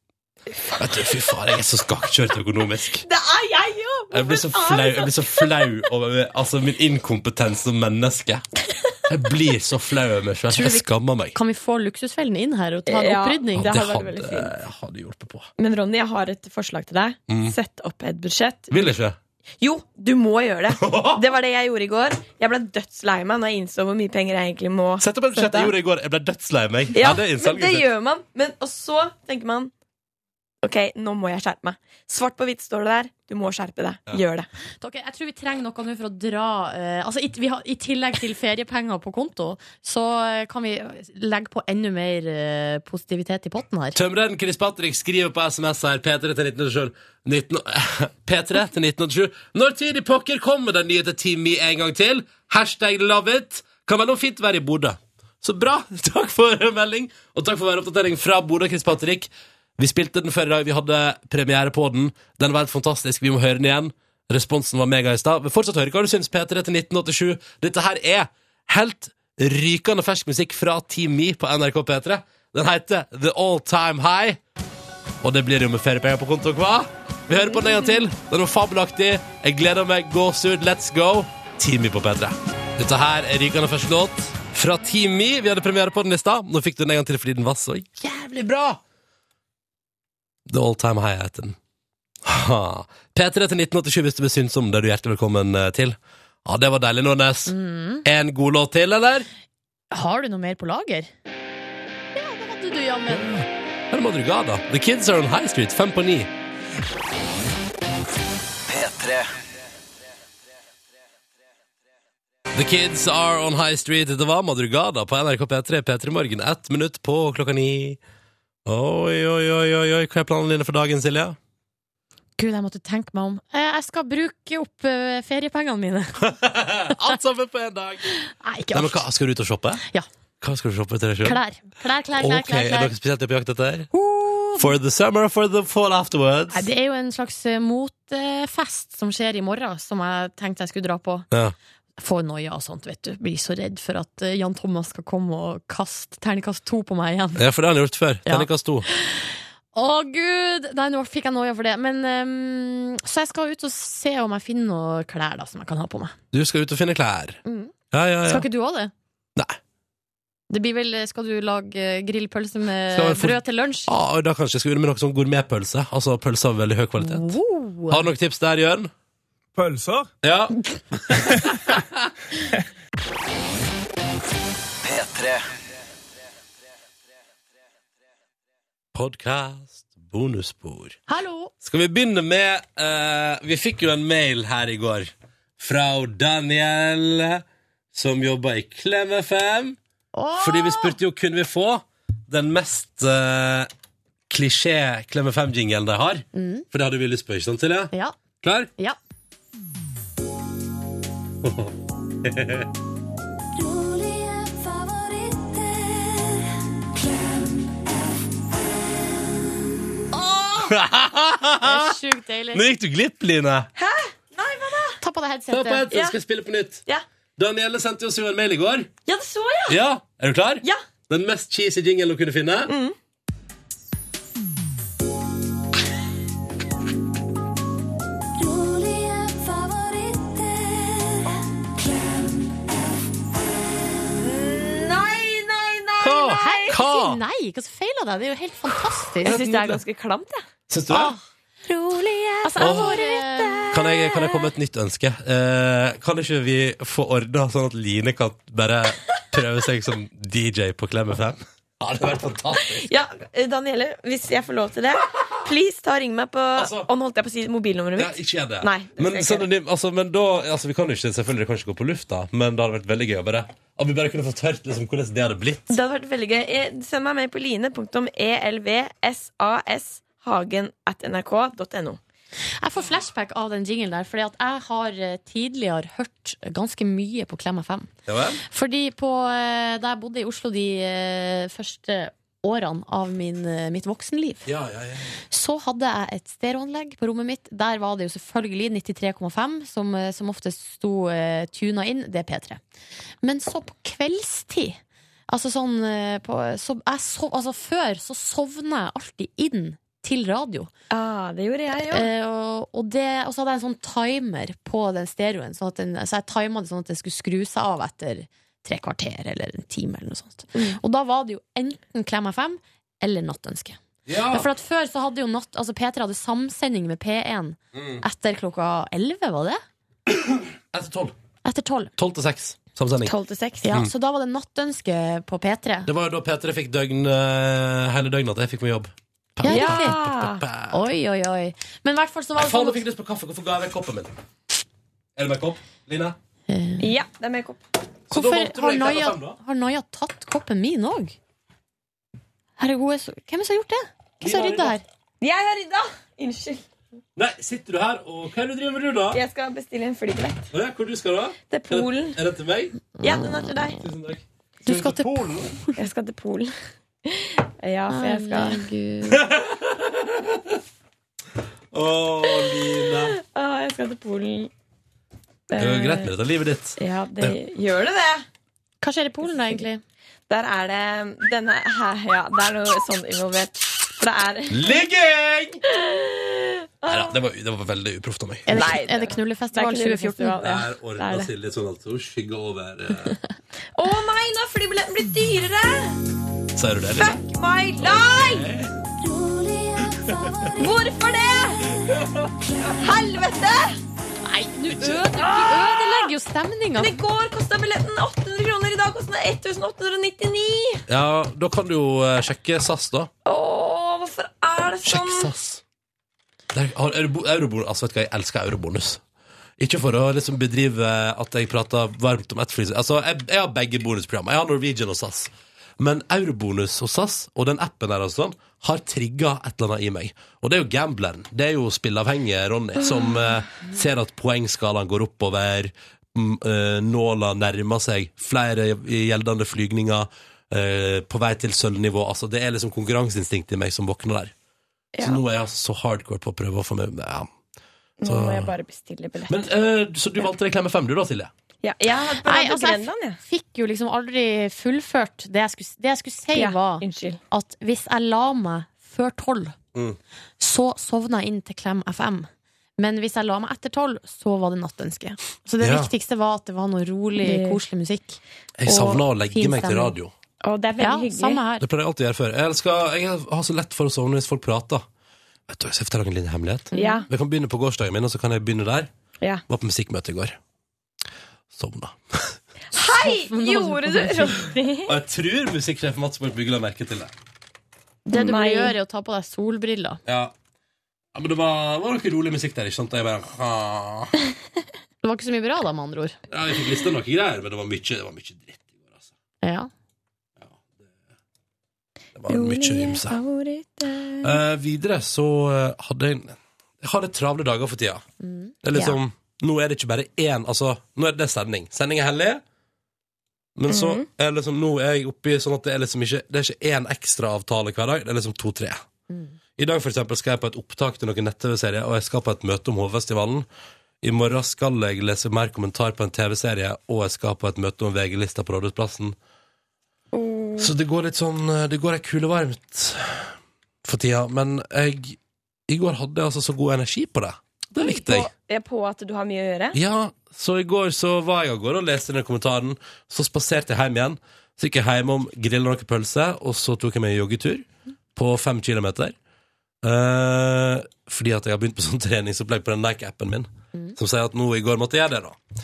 Speaker 2: Vet du, fy faen, jeg er så skakkjørt økonomisk.
Speaker 5: Det er jeg jo!
Speaker 2: Jeg blir så flau, jeg blir så flau over altså, min inkompetanse som menneske. Jeg blir så flau over meg sjøl.
Speaker 6: Tror du
Speaker 2: Jeg
Speaker 6: vi-
Speaker 2: skammer meg.
Speaker 6: Kan vi få luksusfellen inn her og ta en
Speaker 5: Ja.
Speaker 2: Ja,
Speaker 6: opprydning?
Speaker 5: det
Speaker 2: det
Speaker 5: har vært
Speaker 2: hadde,
Speaker 5: veldig fint.
Speaker 2: jeg hadde hjulpet på.
Speaker 5: Men Ronny, jeg har et forslag til deg.
Speaker 2: Mm.
Speaker 5: Sett opp et budsjett.
Speaker 2: Vil ikke?
Speaker 5: Jo, du må gjøre det! Det var det jeg gjorde i går. Jeg ble dødslei meg når jeg innså hvor mye penger jeg egentlig må
Speaker 2: Sett opp et budsjett. Jeg gjorde det i går. Jeg ble dødslei meg. Nei, det er
Speaker 5: Ja, men det
Speaker 2: innsalget sitt.
Speaker 5: gjør man. Men, og så tenker man Ok, nå må jeg skjerpe meg. Svart på hvitt står det der. Du må skjerpe deg. Gjør det.
Speaker 6: Dere, jeg tror vi trenger noe nå for å dra eh, altså, i, vi har, I tillegg til feriepenger på konto, så eh, kan vi legge på enda mer eh, positivitet i potten her.
Speaker 2: Tømreren Chris Patrick skriver på SMS her P3 til 1987 19, P3 til 1987 Når tid i pokker kommer den nye til Timmy en gang til Hashtag love it Kan være noe fint å være i Bodø Så bra, takk for melding Og takk for hver oppdatering fra Bodø, Chris Patrick Vi spilte den før i dag, vi hadde premiere på den Den var helt fantastisk, vi må høre den igjen Responsen var mega i stad Men fortsatt høre hva du synes P3 til 1987 Dette her er helt rykende fersk musikk fra Team Me på NRK P3. Den heter The All Time High. Og det blir jo med feriepenger på konto, hva? Vi hører på den en gang til. Den var fabelaktig. Jeg gleder meg. Gåsehud, let's go. Team Me på P3. Dette her er rykende fersk låt fra Team Me. Vi hadde premiere på den i stad. Nå fikk du den en gang til fordi den var så jævlig bra. The All Time High heter den. Ha. P3 til 1987 hvis du blir synsom, det er du hjertelig velkommen eh, til. Ja, det var deilig, Nordnes. En god låt til, eller?
Speaker 6: Har du noe mer på lager? Ja, det hadde du, jammen.
Speaker 2: Her må du ga, da. The Kids Are On High Street, fem på ni.
Speaker 1: P3.
Speaker 2: The Kids Are On High Street. Det var Madrugada på NRK P3, P3 Morgen. Ett minutt på klokka ni. Oi, oi, oi, oi, oi. hva er planene dine for dagen, Silje?
Speaker 6: Gud, jeg måtte tenke meg om. Eh, Jeg skal bruke opp eh, feriepengene mine.
Speaker 2: Alt sammen på én dag!
Speaker 6: Nei, ikke
Speaker 2: Nei, men
Speaker 6: alt.
Speaker 2: hva, skal du ut og shoppe?
Speaker 6: Ja.
Speaker 2: Hva skal du shoppe til deg sjøl?
Speaker 6: Klær. Klær, klær, klær. klær,
Speaker 2: Ok, er
Speaker 6: klær.
Speaker 2: dere spesielt på jakt etter? For the summer, for the fall afterwards.
Speaker 6: Nei, det er jo en slags eh, motefest som skjer i morgen, som jeg tenkte jeg skulle dra på.
Speaker 2: Ja.
Speaker 6: Får noia og sånt, vet du. Blir så redd for at eh, Jan Thomas skal komme og kaste terningkast to på meg igjen.
Speaker 2: ja, for det har han gjort før.
Speaker 6: Ja.
Speaker 2: Terningkast to.
Speaker 6: Å, gud! Nei, nå fikk jeg noia for det. Men, ehm, så jeg skal ut og se om jeg finner noen klær da, som jeg kan ha på meg.
Speaker 2: Du skal ut og finne klær.
Speaker 6: Mm.
Speaker 2: Ja, ja, ja.
Speaker 6: Skal ikke du òg det?
Speaker 2: Nei.
Speaker 6: Det blir vel, Skal du lage eh, grillpølse med
Speaker 2: Skal jeg få-
Speaker 6: brød til lunsj?
Speaker 2: Ja, og Ah, da kanskje jeg skal begynne med noe sånn gourmetpølse. Altså pølse av veldig høy kvalitet.
Speaker 6: Wow.
Speaker 2: Har du noen tips der, Jørn?
Speaker 11: Pølser?
Speaker 2: Ja.
Speaker 1: P3.
Speaker 2: Podkast bonusspor.
Speaker 6: Hallo!
Speaker 2: Skal vi begynne med eh, Vi fikk jo en mail her i går fra Daniel, som jobber i Klem FM. Fordi vi spurte jo kunne vi få den mest eh, klisjé Klem FM-jingelen de har.
Speaker 6: Mm.
Speaker 2: For det hadde vi lyst på, ikke sant, Silje?
Speaker 6: Ja.
Speaker 2: Klar?
Speaker 6: ja. Det er sjukt deilig.
Speaker 2: Nå gikk du glipp, Line.
Speaker 6: Hæ? Nei, hva da? Ta på
Speaker 2: Ta på
Speaker 6: deg headsetet.
Speaker 2: headset, skal jeg spille på nytt.
Speaker 5: Ja.
Speaker 2: Danielle sendte oss jo en mail i går.
Speaker 5: Ja, det så jeg!
Speaker 2: Ja, Er du klar?
Speaker 5: Ja.
Speaker 2: Den mest cheesy jingelen hun kunne finne.
Speaker 6: Mm.
Speaker 5: Nei, nei, nei!
Speaker 6: Hva?
Speaker 5: nei.
Speaker 6: Hva? Hva? Si nei, hva som feiler deg? Det er jo helt fantastisk.
Speaker 5: Jeg syns det er ganske klamt, jeg.
Speaker 2: Syns du det?
Speaker 6: Altså,
Speaker 2: Åh.
Speaker 6: jeg har eh,
Speaker 2: Kan jeg, kan jeg komme med et nytt ønske? Eh, kan ikke vi få ordna sånn at Line kan bare prøve seg som DJ på Klemme 5? Ja, det hadde vært fantastisk.
Speaker 5: Ja, eh, Daniele, hvis jeg får lov til det, please ta og ring meg på Og nå holdt jeg på å si mobilnummeret
Speaker 2: Altså. Ja,
Speaker 5: mitt.
Speaker 2: ikke gjør det.
Speaker 5: Nei, det
Speaker 2: men,
Speaker 5: skal jeg
Speaker 2: synonym, altså, men da altså, Vi kan jo ikke selvfølgelig kan ikke gå på lufta, men det hadde vært veldig gøy å bare At vi bare kunne fått hørt liksom, hvordan det hadde blitt.
Speaker 5: Det hadde vært veldig gøy. Eh, Send meg mail på line.elvsashagen.nrk.no.
Speaker 6: Jeg får flashback av den jingelen der, fordi at jeg har eh, tidligere hørt ganske mye på Klem FM.
Speaker 2: Ja vel?
Speaker 6: Fordi på, eh, da jeg bodde i Oslo de eh, første årene av min, eh, mitt voksenliv,
Speaker 2: Ja, ja, ja.
Speaker 6: så hadde jeg et stereoanlegg på rommet mitt. Der var det jo selvfølgelig 93,5, som, eh, som ofte sto eh, tuna inn. Det er P3. Men så på kveldstid Altså sånn eh, på, så, jeg sov, altså Før så sovna jeg alltid inn til radio.
Speaker 5: Ah, det gjorde jeg jo.
Speaker 6: Eh, og, og, det, og så hadde jeg en sånn timer på den stereoen, sånn at den, så jeg timet det sånn at det skulle skru seg av etter tre kvarter eller en time. Eller noe sånt.
Speaker 2: Mm.
Speaker 6: Og da var det jo enten Klem FM eller Nattønske.
Speaker 2: Ja.
Speaker 6: For at før så hadde jo natt, altså P3 hadde samsending med P1
Speaker 2: Mm.
Speaker 6: etter klokka 11, var det?
Speaker 2: Etter tolv.
Speaker 6: Etter 12.
Speaker 2: Tolv til seks. Samsending.
Speaker 5: 12 til 6.
Speaker 6: Ja,
Speaker 2: Mm.
Speaker 6: Så da var det Nattønske på P3.
Speaker 2: Det var jo da P3 fikk døgn eh, hele døgnet at jeg fikk meg jobb.
Speaker 6: Ja, riktig.
Speaker 5: Ja.
Speaker 6: Oi, oi, oi. Men i hvert fall så var
Speaker 2: Nei,
Speaker 6: det
Speaker 2: faen,
Speaker 6: sånn
Speaker 2: nå fikk jeg lyst på kaffe. Hvorfor ga jeg vekk koppen min? Er det med kopp, Line?
Speaker 5: ja, det er makeup.
Speaker 2: Så da valgte du
Speaker 6: Hvorfor har
Speaker 2: deg
Speaker 6: Naja,
Speaker 2: klem av fem, da?
Speaker 6: har Naja tatt koppen min òg? Herregud, jeg så- hvem er det som har gjort det? Hvem er det som har rydda her?
Speaker 5: Jeg har rydda! Unnskyld.
Speaker 2: Nei, sitter du her, og hva er det du driver med, du, da?
Speaker 5: Jeg skal bestille en flybillett
Speaker 2: Å, ja, Hvor du skal da?
Speaker 5: til Polen.
Speaker 2: Er det til meg?
Speaker 5: Ja, den er til deg.
Speaker 2: Tusen takk.
Speaker 6: Du skal til
Speaker 2: Polen?
Speaker 5: Jeg skal til Polen. Ja, for jeg skal
Speaker 6: Herregud.
Speaker 2: Å, Line.
Speaker 6: Eh.
Speaker 5: Å, jeg skal til Polen. Eh,
Speaker 2: Det er jo greit med dette livet ditt.
Speaker 5: Ja, det gjør det, det.
Speaker 6: Hva skjer i Polen da, egentlig?
Speaker 5: Der er det denne her, ja. Det er noe sånn involvert. For det er
Speaker 2: Ligging! Neida, det, var, det var veldig uproft av meg.
Speaker 6: Er det, er det knullefestival
Speaker 5: Det er knullefestival,
Speaker 6: 2014?
Speaker 2: Der ordna
Speaker 5: det.
Speaker 2: Silje sånn at hun skygger over eh,
Speaker 5: Å nei, nå har flybilletten blitt dyrere!
Speaker 2: Sier du det, eller?
Speaker 5: Fuck my life! Hvorfor det? Helvete!
Speaker 6: Nei, du øde- du ødelegger jo stemninga.
Speaker 5: Men i går kosta billetten 800 kroner, i dag koster den 1899.
Speaker 2: Ja, da kan du jo eh, sjekke SAS, da.
Speaker 5: Å, hvorfor er det sånn?
Speaker 2: Sjekk SAS. Der, har Eurobo- Eurobonus Altså, vet du hva, jeg elsker eurobonus. Ikke for å liksom bedrive at jeg prater varmt om ett fly. Altså, jeg, jeg har begge bonusprogram. Jeg har Norwegian og SAS. Men eurobonus hos SAS og den appen der og sånn, har trigga et eller annet i meg. Og det er jo gambleren. Det er jo spilleavhengige Ronny, som eh, ser at poengskalaen går oppover, mm, eh, nåla nærmer seg, flere gjeldende flygninger, eh, på vei til sølvnivå. Altså, det er liksom konkurranseinstinktet i meg som våkner der. Så nå er jeg altså så hardcore på å prøve å få med meg ja.
Speaker 5: Nå må jeg bare bestille billett.
Speaker 2: Men, eh, Så du valgte reklame fem, du da, Silje?
Speaker 5: Ja, jeg har vært på
Speaker 6: Nei,
Speaker 5: Radio
Speaker 6: altså, jeg
Speaker 5: Grenland, jeg.
Speaker 6: f- fikk jo liksom aldri fullført det jeg skulle, det jeg skulle si, var
Speaker 5: Unnskyld.
Speaker 6: at hvis jeg la meg før tolv,
Speaker 2: Mm.
Speaker 6: så sovna jeg inn til Klem FM. Men hvis jeg la meg etter tolv, så var det nattønske. Så det
Speaker 2: Ja.
Speaker 6: viktigste var at det var noe rolig,
Speaker 5: Det-
Speaker 6: koselig musikk.
Speaker 2: Jeg
Speaker 6: Og
Speaker 2: savna å legge
Speaker 6: fin
Speaker 2: meg til
Speaker 6: stemning.
Speaker 2: radio.
Speaker 5: Å, det er veldig
Speaker 6: Ja,
Speaker 5: hyggelig.
Speaker 6: samme her.
Speaker 2: Det pleier jeg alltid å gjøre før. Jeg, elsker, jeg har så lett for å sovne hvis folk prater. Vet du, Skal jeg fortelle dere en liten hemmelighet?
Speaker 5: Ja,
Speaker 2: Vi kan begynne på gårsdagen min, og så kan jeg begynne der.
Speaker 5: ja.
Speaker 2: Var på musikkmøte i går. Sovna.
Speaker 5: Hei, gjorde du Ronny?
Speaker 2: Og jeg tror musikksjef Mats Borg Bygge la merke til det.
Speaker 6: Det du må
Speaker 5: Nei.
Speaker 6: gjøre, er å ta på deg solbriller.
Speaker 2: Ja. ja men det var, var noe rolig musikk der, ikke sant? Og jeg bare ah.
Speaker 6: Det var ikke så mye bra, da, med andre ord.
Speaker 2: Ja, jeg fikk lista noen greier, men det var mye, det var mye dritt i går, altså.
Speaker 6: Ja.
Speaker 2: Det var mye ymse. Eh, videre så eh, hadde jeg Jeg har litt travle dager for tida. Det er liksom Nå er det ikke bare én Altså, nå er det sending. Sending er hellig. Men så er det liksom Nå er jeg oppi sånn at det er liksom ikke Det er ikke én ekstra avtale hver dag. Det er liksom to-tre. I dag for eksempel skal jeg på et opptak til noen nett-TV-serier, og jeg skal på et møte om Hovfestivalen. I morgen skal jeg lese mer kommentar på en TV-serie, og jeg skal på et møte om VG-lista på Rådhusplassen. Så det går litt sånn eh, Det går ei kule varmt for tida, men jeg I går hadde jeg altså så god energi på det. Det likte jeg.
Speaker 5: På, på at du har mye å gjøre?
Speaker 2: Ja, så i går så var jeg av gårde og leste den kommentaren. Så spaserte jeg hjem igjen. Så gikk jeg hjem om grilla noen pølser, og så tok jeg meg en joggetur på fem kilometer. Eh, fordi at jeg har begynt på sånn treningsopplegg på den Nike-appen min, som sier at nå i går måtte jeg gjøre det, da.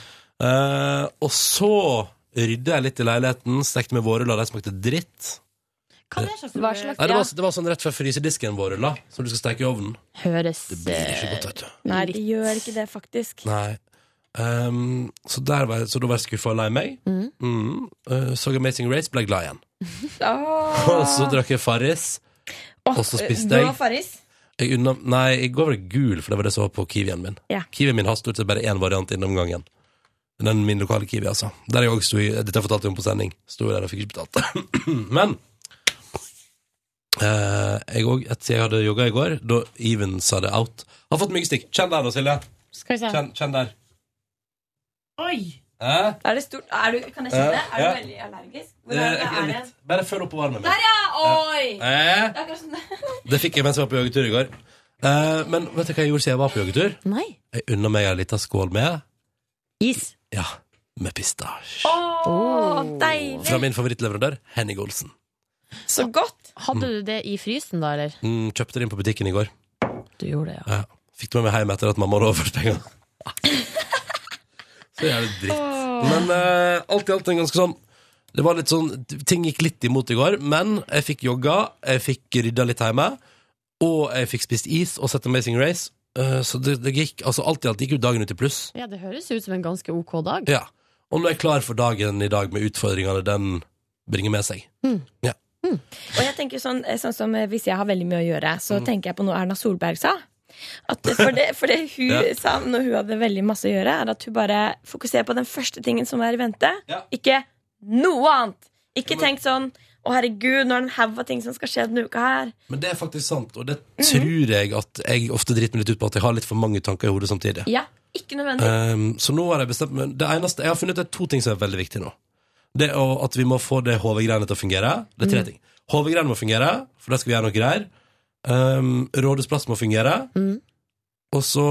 Speaker 2: Eh, og så rydda jeg litt i leiligheten, stekte med vårruller, de smakte dritt.
Speaker 6: Hva er det slags,
Speaker 5: Hva slags-
Speaker 2: Nei, det var, det var sånn rett før frysedisken vårruller, som du skal steke i ovnen.
Speaker 6: Høres eh,
Speaker 2: Det blir ikke godt, vet du.
Speaker 5: Nei, de gjør ikke det, faktisk.
Speaker 2: Nei. Ehm, så, der var jeg, så da var jeg skuffa og lei meg.
Speaker 6: Mhm.
Speaker 2: Mhm. Eh, så Amazing Race, ble glad igjen.
Speaker 5: Åh.
Speaker 2: Og så drakk jeg Farris. og så spiste jeg.
Speaker 5: Blå Farris.
Speaker 2: Jeg unna, nei, i går var det gul, for det var det som var på Kiwien min.
Speaker 5: Ja.
Speaker 2: Kiwien min har stort sett bare én variant innom gangen. Den min lokale Kiwi, altså. Der jeg også sto i, Dette fortalte jeg om på sending. Sto jeg der og fikk ikke betalt. Men eh, jeg òg, etter jeg hadde jogga i går, da Even sa det out Har fått myggstikk. Kjenn der, da, Silje.
Speaker 6: Skal vi se.
Speaker 2: Kjenn, kjenn der. Oi! Eh?
Speaker 5: Er det stort? Er du, kan jeg kjenne?
Speaker 2: Ja,
Speaker 5: det? Er
Speaker 2: ja.
Speaker 5: du veldig allergisk?
Speaker 2: Det
Speaker 5: Hvor er, det, er det?
Speaker 2: litt. Bare følg opp på varmen.
Speaker 5: Der, ja! Oi! Det
Speaker 2: Eh,
Speaker 5: er akkurat sånn. som det.
Speaker 2: det fikk jeg mens jeg var på joggetur i går. Eh, men vet du hva jeg gjorde siden jeg var på joggetur?
Speaker 6: Nei.
Speaker 2: Jeg unna meg en liten skål med
Speaker 6: Is.
Speaker 2: Ja, med pistasje.
Speaker 5: Åh, deilig!
Speaker 2: Fra min favorittleverandør, Henning Olsen.
Speaker 5: Så godt!
Speaker 6: Hadde du det i frysen da, eller?
Speaker 2: Mm, kjøpte det inn på butikken i går.
Speaker 6: Du gjorde det, ja.
Speaker 2: Ja. Fikk det med meg hjem etter at mamma hadde overført penger. Så jævlig dritt. Men eh, alt i alt en ganske sånn Det var litt sånn Ting gikk litt imot i går, men jeg fikk jogga, jeg fikk rydda litt hjemme, og jeg fikk spist is og sett Amazing Race. Eh, så det, det gikk altså alt i alt gikk jo dagen ut i pluss.
Speaker 6: Ja, Det høres ut som en ganske ok dag.
Speaker 2: Ja. Og nå er jeg klar for dagen i dag med utfordringene den bringer med seg.
Speaker 5: Og jeg tenker sånn, eh, sånn som eh, Hvis jeg har veldig mye å gjøre,
Speaker 2: Mm.
Speaker 5: så tenker jeg på noe Erna Solberg sa. At eh, for, det, for det hun
Speaker 2: Ja.
Speaker 5: sa når hun hadde veldig masse å gjøre, er at hun bare fokuserer på den første tingen som er i vente.
Speaker 2: Ja.
Speaker 5: Ikke noe annet! Ikke tenk sånn å, herregud, nå er det en haug av ting som skal skje denne uka her.
Speaker 2: Men det er faktisk sant, og det tror jeg at jeg ofte driter meg litt ut på at jeg har litt for mange tanker i hodet samtidig. Ehm,
Speaker 5: Ja, ikke nødvendig.
Speaker 2: Um, så nå har jeg bestemt meg Det eneste, jeg har funnet ut er to ting som er veldig viktige nå. det og at vi må få det HV-greiene til å fungere. Det er tre
Speaker 11: Mm.
Speaker 2: ting. HV-greiene må fungere, for der skal vi gjøre noe greier. Um, Rådhusplass må fungere. Og så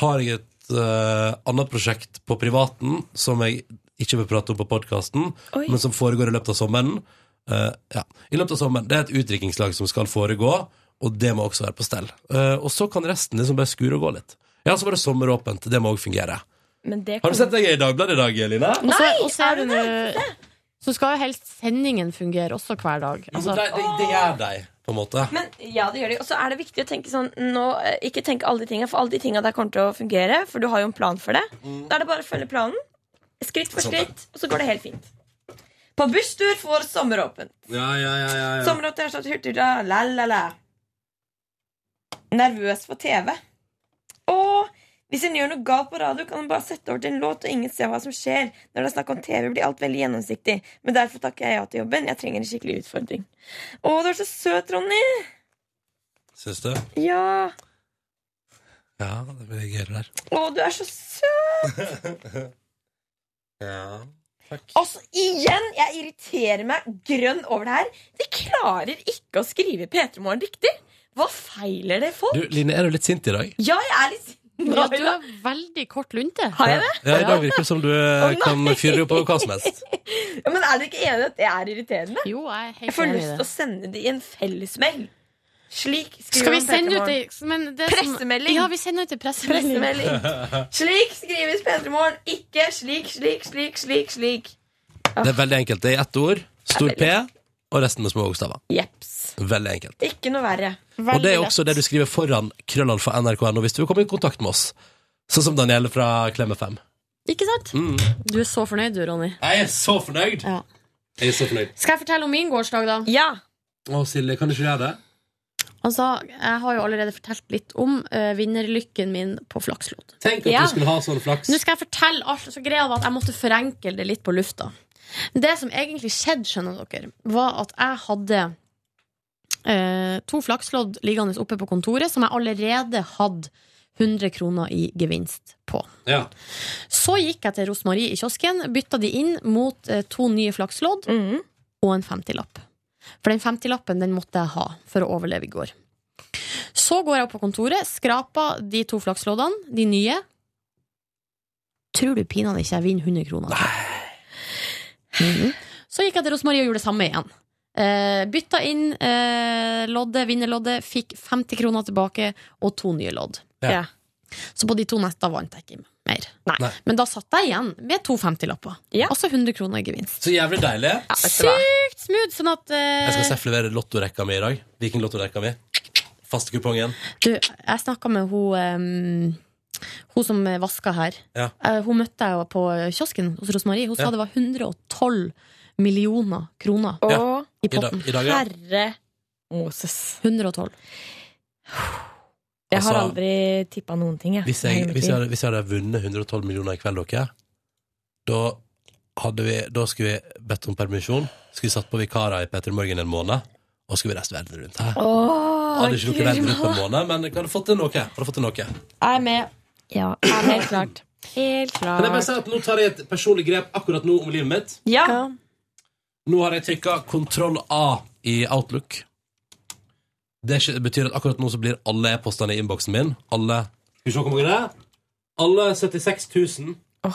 Speaker 2: har jeg et eh, annet prosjekt på privaten som jeg ikke vil prate om på podkasten,
Speaker 12: Oi.
Speaker 2: men som foregår i løpet av sommeren. Eh, ja. I løpet av sommeren. Det er et utdrikkingslag som skal foregå, og det må også være på stell. Eh, og så kan resten liksom bare skure og gå litt. Ja, så var det sommeråpent. Det må òg fungere.
Speaker 5: Men det
Speaker 2: Har du sett deg i Dagbladet i dag, Line?
Speaker 6: Og så- og så er det nå- Så skal jo helst sendingen fungere også hver dag. Altså-
Speaker 5: Altså-
Speaker 2: Jo, men det, det, det gjør de, på en måte.
Speaker 5: Men ja, det gjør de. Og så er det viktig å tenke sånn nå, eh, Ikke tenke alle de tinga, for alle de tinga der kommer til å fungere. For du har jo en plan for det. Da er det bare å følge planen. Skritt for
Speaker 2: Mm. Sånn, ja.
Speaker 5: skritt, og så går det helt fint. På busstur får sommeråpent.
Speaker 2: Ja, ja, ja, ja, ja.
Speaker 5: Sommeråpent er sånn hurtigruta, la, la, la. Nervøs for TV. Og hvis en gjør noe galt på radio, kan en bare sette over til en låt, og ingen ser hva som skjer. Når det er snakk om TV, blir alt veldig gjennomsiktig. Men derfor takker jeg ja til jobben. Jeg trenger en skikkelig utfordring. Å, du er så søt, Ronny!
Speaker 2: Syns du?
Speaker 5: Ja.
Speaker 2: Ja, det blir gøy det der.
Speaker 5: Å, du er så søt!
Speaker 2: Ja.
Speaker 5: Altså, igjen! Jeg irriterer meg grønn over det her. De klarer ikke å skrive P3 Morgen riktig! Hva feiler det folk?
Speaker 2: Du, Line, er du litt sint i dag?
Speaker 5: Ja, jeg er litt
Speaker 6: Ja, du har veldig kort lunte.
Speaker 5: Har jeg det?
Speaker 2: Ja, I dag virker det som du eh,
Speaker 5: Å,
Speaker 2: kan
Speaker 5: nei.
Speaker 2: fyre opp over hva som helst.
Speaker 5: Ja, men er dere ikke enige at det er irriterende?
Speaker 6: Jo, Jeg er helt
Speaker 5: får
Speaker 6: enig i
Speaker 5: lyst
Speaker 6: det.
Speaker 5: til å sende de en fellesmail. Slik
Speaker 6: Skal vi
Speaker 5: skriver
Speaker 6: sende ut ei
Speaker 5: Pressemelding!
Speaker 6: Ja, vi sender ut ei pressemelding.
Speaker 5: Pressemelding. Slik skrives P3 Morgen, ikke slik, slik, slik, slik, slik.
Speaker 2: Det er veldig enkelt. Det er ett ord, stor P, og resten med små bokstaver. Veldig enkelt.
Speaker 5: Ikke noe verre.
Speaker 2: Og det er også det du skriver foran krøllalfa nrk.no hvis du vil komme i kontakt med oss. Sånn som Danielle fra Klemme 5.
Speaker 6: Ikke sant?
Speaker 2: Mm.
Speaker 6: Du er så fornøyd du, Ronny.
Speaker 2: Jeg er så fornøyd!
Speaker 6: Ja.
Speaker 2: Jeg er så fornøyd.
Speaker 6: Skal jeg fortelle om min gårsdag, da?
Speaker 5: Ja.
Speaker 2: Å, Silje, kan du ikke gjøre det?
Speaker 6: Altså, Jeg har jo allerede fortalt litt om eh, vinnerlykken min på flakslodd.
Speaker 2: Tenk at du skulle ha sånn flaks.
Speaker 6: Nå skal jeg fortelle alt, så greia var at jeg måtte forenkle det litt på lufta. Det som egentlig skjedde, skjønner dere, var at jeg hadde eh, to flakslodd liggende oppe på kontoret som jeg allerede hadde 100 kroner i gevinst på.
Speaker 2: Ja.
Speaker 6: Så gikk jeg til Rosmarie i kiosken, bytta de inn mot eh, to nye flakslodd og en 50-lapp. For den 50-lappen den måtte jeg ha for å overleve i går. Så går jeg opp på kontoret, skraper de to flaksloddene, de nye. Tror du pinadø ikke jeg vinner 100 kroner? Mhm. Så gikk jeg til Rosmarie og gjorde det samme igjen. Eh, bytta inn eh, loddet, vinnerloddet, fikk 50 kroner tilbake og to nye lodd.
Speaker 5: Ja. Ja.
Speaker 6: Så på de to neste vant jeg ikke mer. Men da satt jeg igjen med to 50-lapper. Altså 100 kroner i gevinst.
Speaker 2: Så jævlig deilig.
Speaker 6: Sykt smooth! Sånn at eh,
Speaker 2: Jeg skal selv levere lottorekka mi i dag. Vikinglottorekka mi. Faste kupongen.
Speaker 6: Du, jeg snakka med hun um, Hun som vaska her.
Speaker 2: Ja.
Speaker 6: Eh, Hun møtte jeg jo på kiosken hos Rosmarie. Hun
Speaker 2: Ja.
Speaker 6: sa det var 112 millioner kroner
Speaker 2: Ja.
Speaker 6: i potten.
Speaker 2: I dag- i dag, ja.
Speaker 5: Herre Moses.
Speaker 6: 112.
Speaker 5: Jeg har
Speaker 2: Altså,
Speaker 5: aldri tippa noen ting, jeg.
Speaker 2: Hvis jeg, hvis jeg, hadde, hvis jeg hadde vunnet 112 millioner i kveld, dere, da, hadde vi, da skulle vi bedt om permisjon, skulle vi satt på vikarer i Petter Morgen en måned, og skulle vi reist verden rundt her.
Speaker 5: Åh,
Speaker 2: hadde ikke
Speaker 5: jeg
Speaker 2: dere verden
Speaker 5: gruer
Speaker 2: rundt på en måned, men jeg hadde fått til noe. Hadde fått til noe.
Speaker 5: Jeg er med. Ja, jeg er helt klart. Helt klart.
Speaker 2: Kan jeg bare si at nå tar jeg et personlig grep akkurat nå om livet mitt.
Speaker 5: Ja.
Speaker 2: Nå har jeg trykka kontroll A i Outlook. Det skj- betyr at akkurat nå så blir alle e-postene i innboksen min. Alle Skal vi se hvor mange det er? Alle 76 000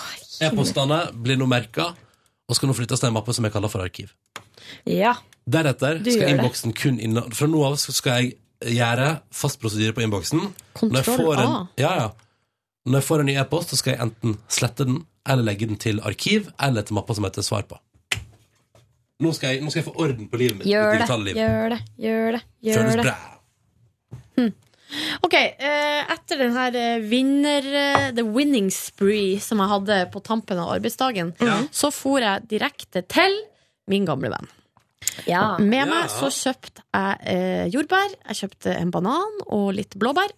Speaker 2: e-postene blir nå merka og skal nå flyttes til en mappe som jeg kaller for arkiv.
Speaker 5: Ja.
Speaker 2: Deretter
Speaker 5: Du
Speaker 2: skal
Speaker 5: gjør det.
Speaker 2: innboksen kun inna... Fra nå av så skal jeg gjøre fast prosedyre på innboksen. Når jeg
Speaker 6: Kontroll
Speaker 2: får en-
Speaker 6: A.
Speaker 2: Ja, ja. Når jeg får en ny e-post, så skal jeg enten slette den, eller legge den til arkiv, eller til mappa som heter svar på. Nå skal jeg, nå skal jeg få orden på livet mitt.
Speaker 6: Gjør
Speaker 2: mitt
Speaker 6: det,
Speaker 2: digitale liv.
Speaker 6: gjør det, gjør det. Gjør
Speaker 2: Føles
Speaker 6: det.
Speaker 2: bra.
Speaker 6: Ok, eh, etter den her eh, vinner eh, The winning spree som jeg hadde på tampen av arbeidsdagen, så for jeg direkte til min gamle venn. Med meg så kjøpte jeg eh, jordbær, jeg kjøpte en banan og litt blåbær,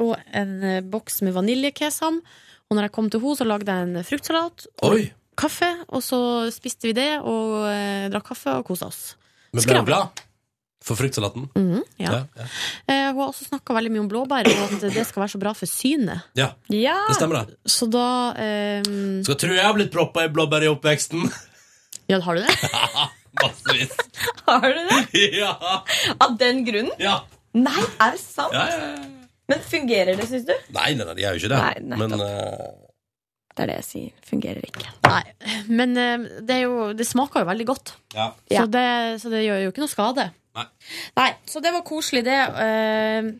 Speaker 6: og en eh, boks med vaniljekesam. Og når jeg kom til henne, så lagde jeg en fruktsalat og
Speaker 2: Oi.
Speaker 6: kaffe, og så spiste vi det og eh, drakk kaffe og kosa oss.
Speaker 2: Men ble
Speaker 6: Skravla.
Speaker 2: du glad for fruktsalaten?
Speaker 6: Mhm, ja.
Speaker 2: Ja, ja.
Speaker 6: Eh, hun har også snakka veldig mye om blåbær, og at det skal være så bra for synet.
Speaker 2: Ja, det stemmer det.
Speaker 6: Så da eh,
Speaker 2: Skal tro jeg har blitt proppa i blåbær i oppveksten.
Speaker 6: Ja, har du det?
Speaker 2: Massevis.
Speaker 5: Har du det?
Speaker 2: ja.
Speaker 5: Av den grunnen?
Speaker 2: Ja.
Speaker 5: Nei, er det sant?
Speaker 2: Ja, ja, ja.
Speaker 5: Men fungerer det, syns du?
Speaker 2: Nei, nei, nei, de er jo ikke det.
Speaker 5: Nei, nettopp.
Speaker 2: Men eh,
Speaker 5: Det er det jeg sier. Fungerer ikke.
Speaker 6: Nei. Men eh, det, er jo, det smaker jo veldig godt,
Speaker 2: ja.
Speaker 5: Ja.
Speaker 6: så, det, så det gjør jo ikke noe skade.
Speaker 2: Nei.
Speaker 6: Nei, så det var koselig, det. Eh,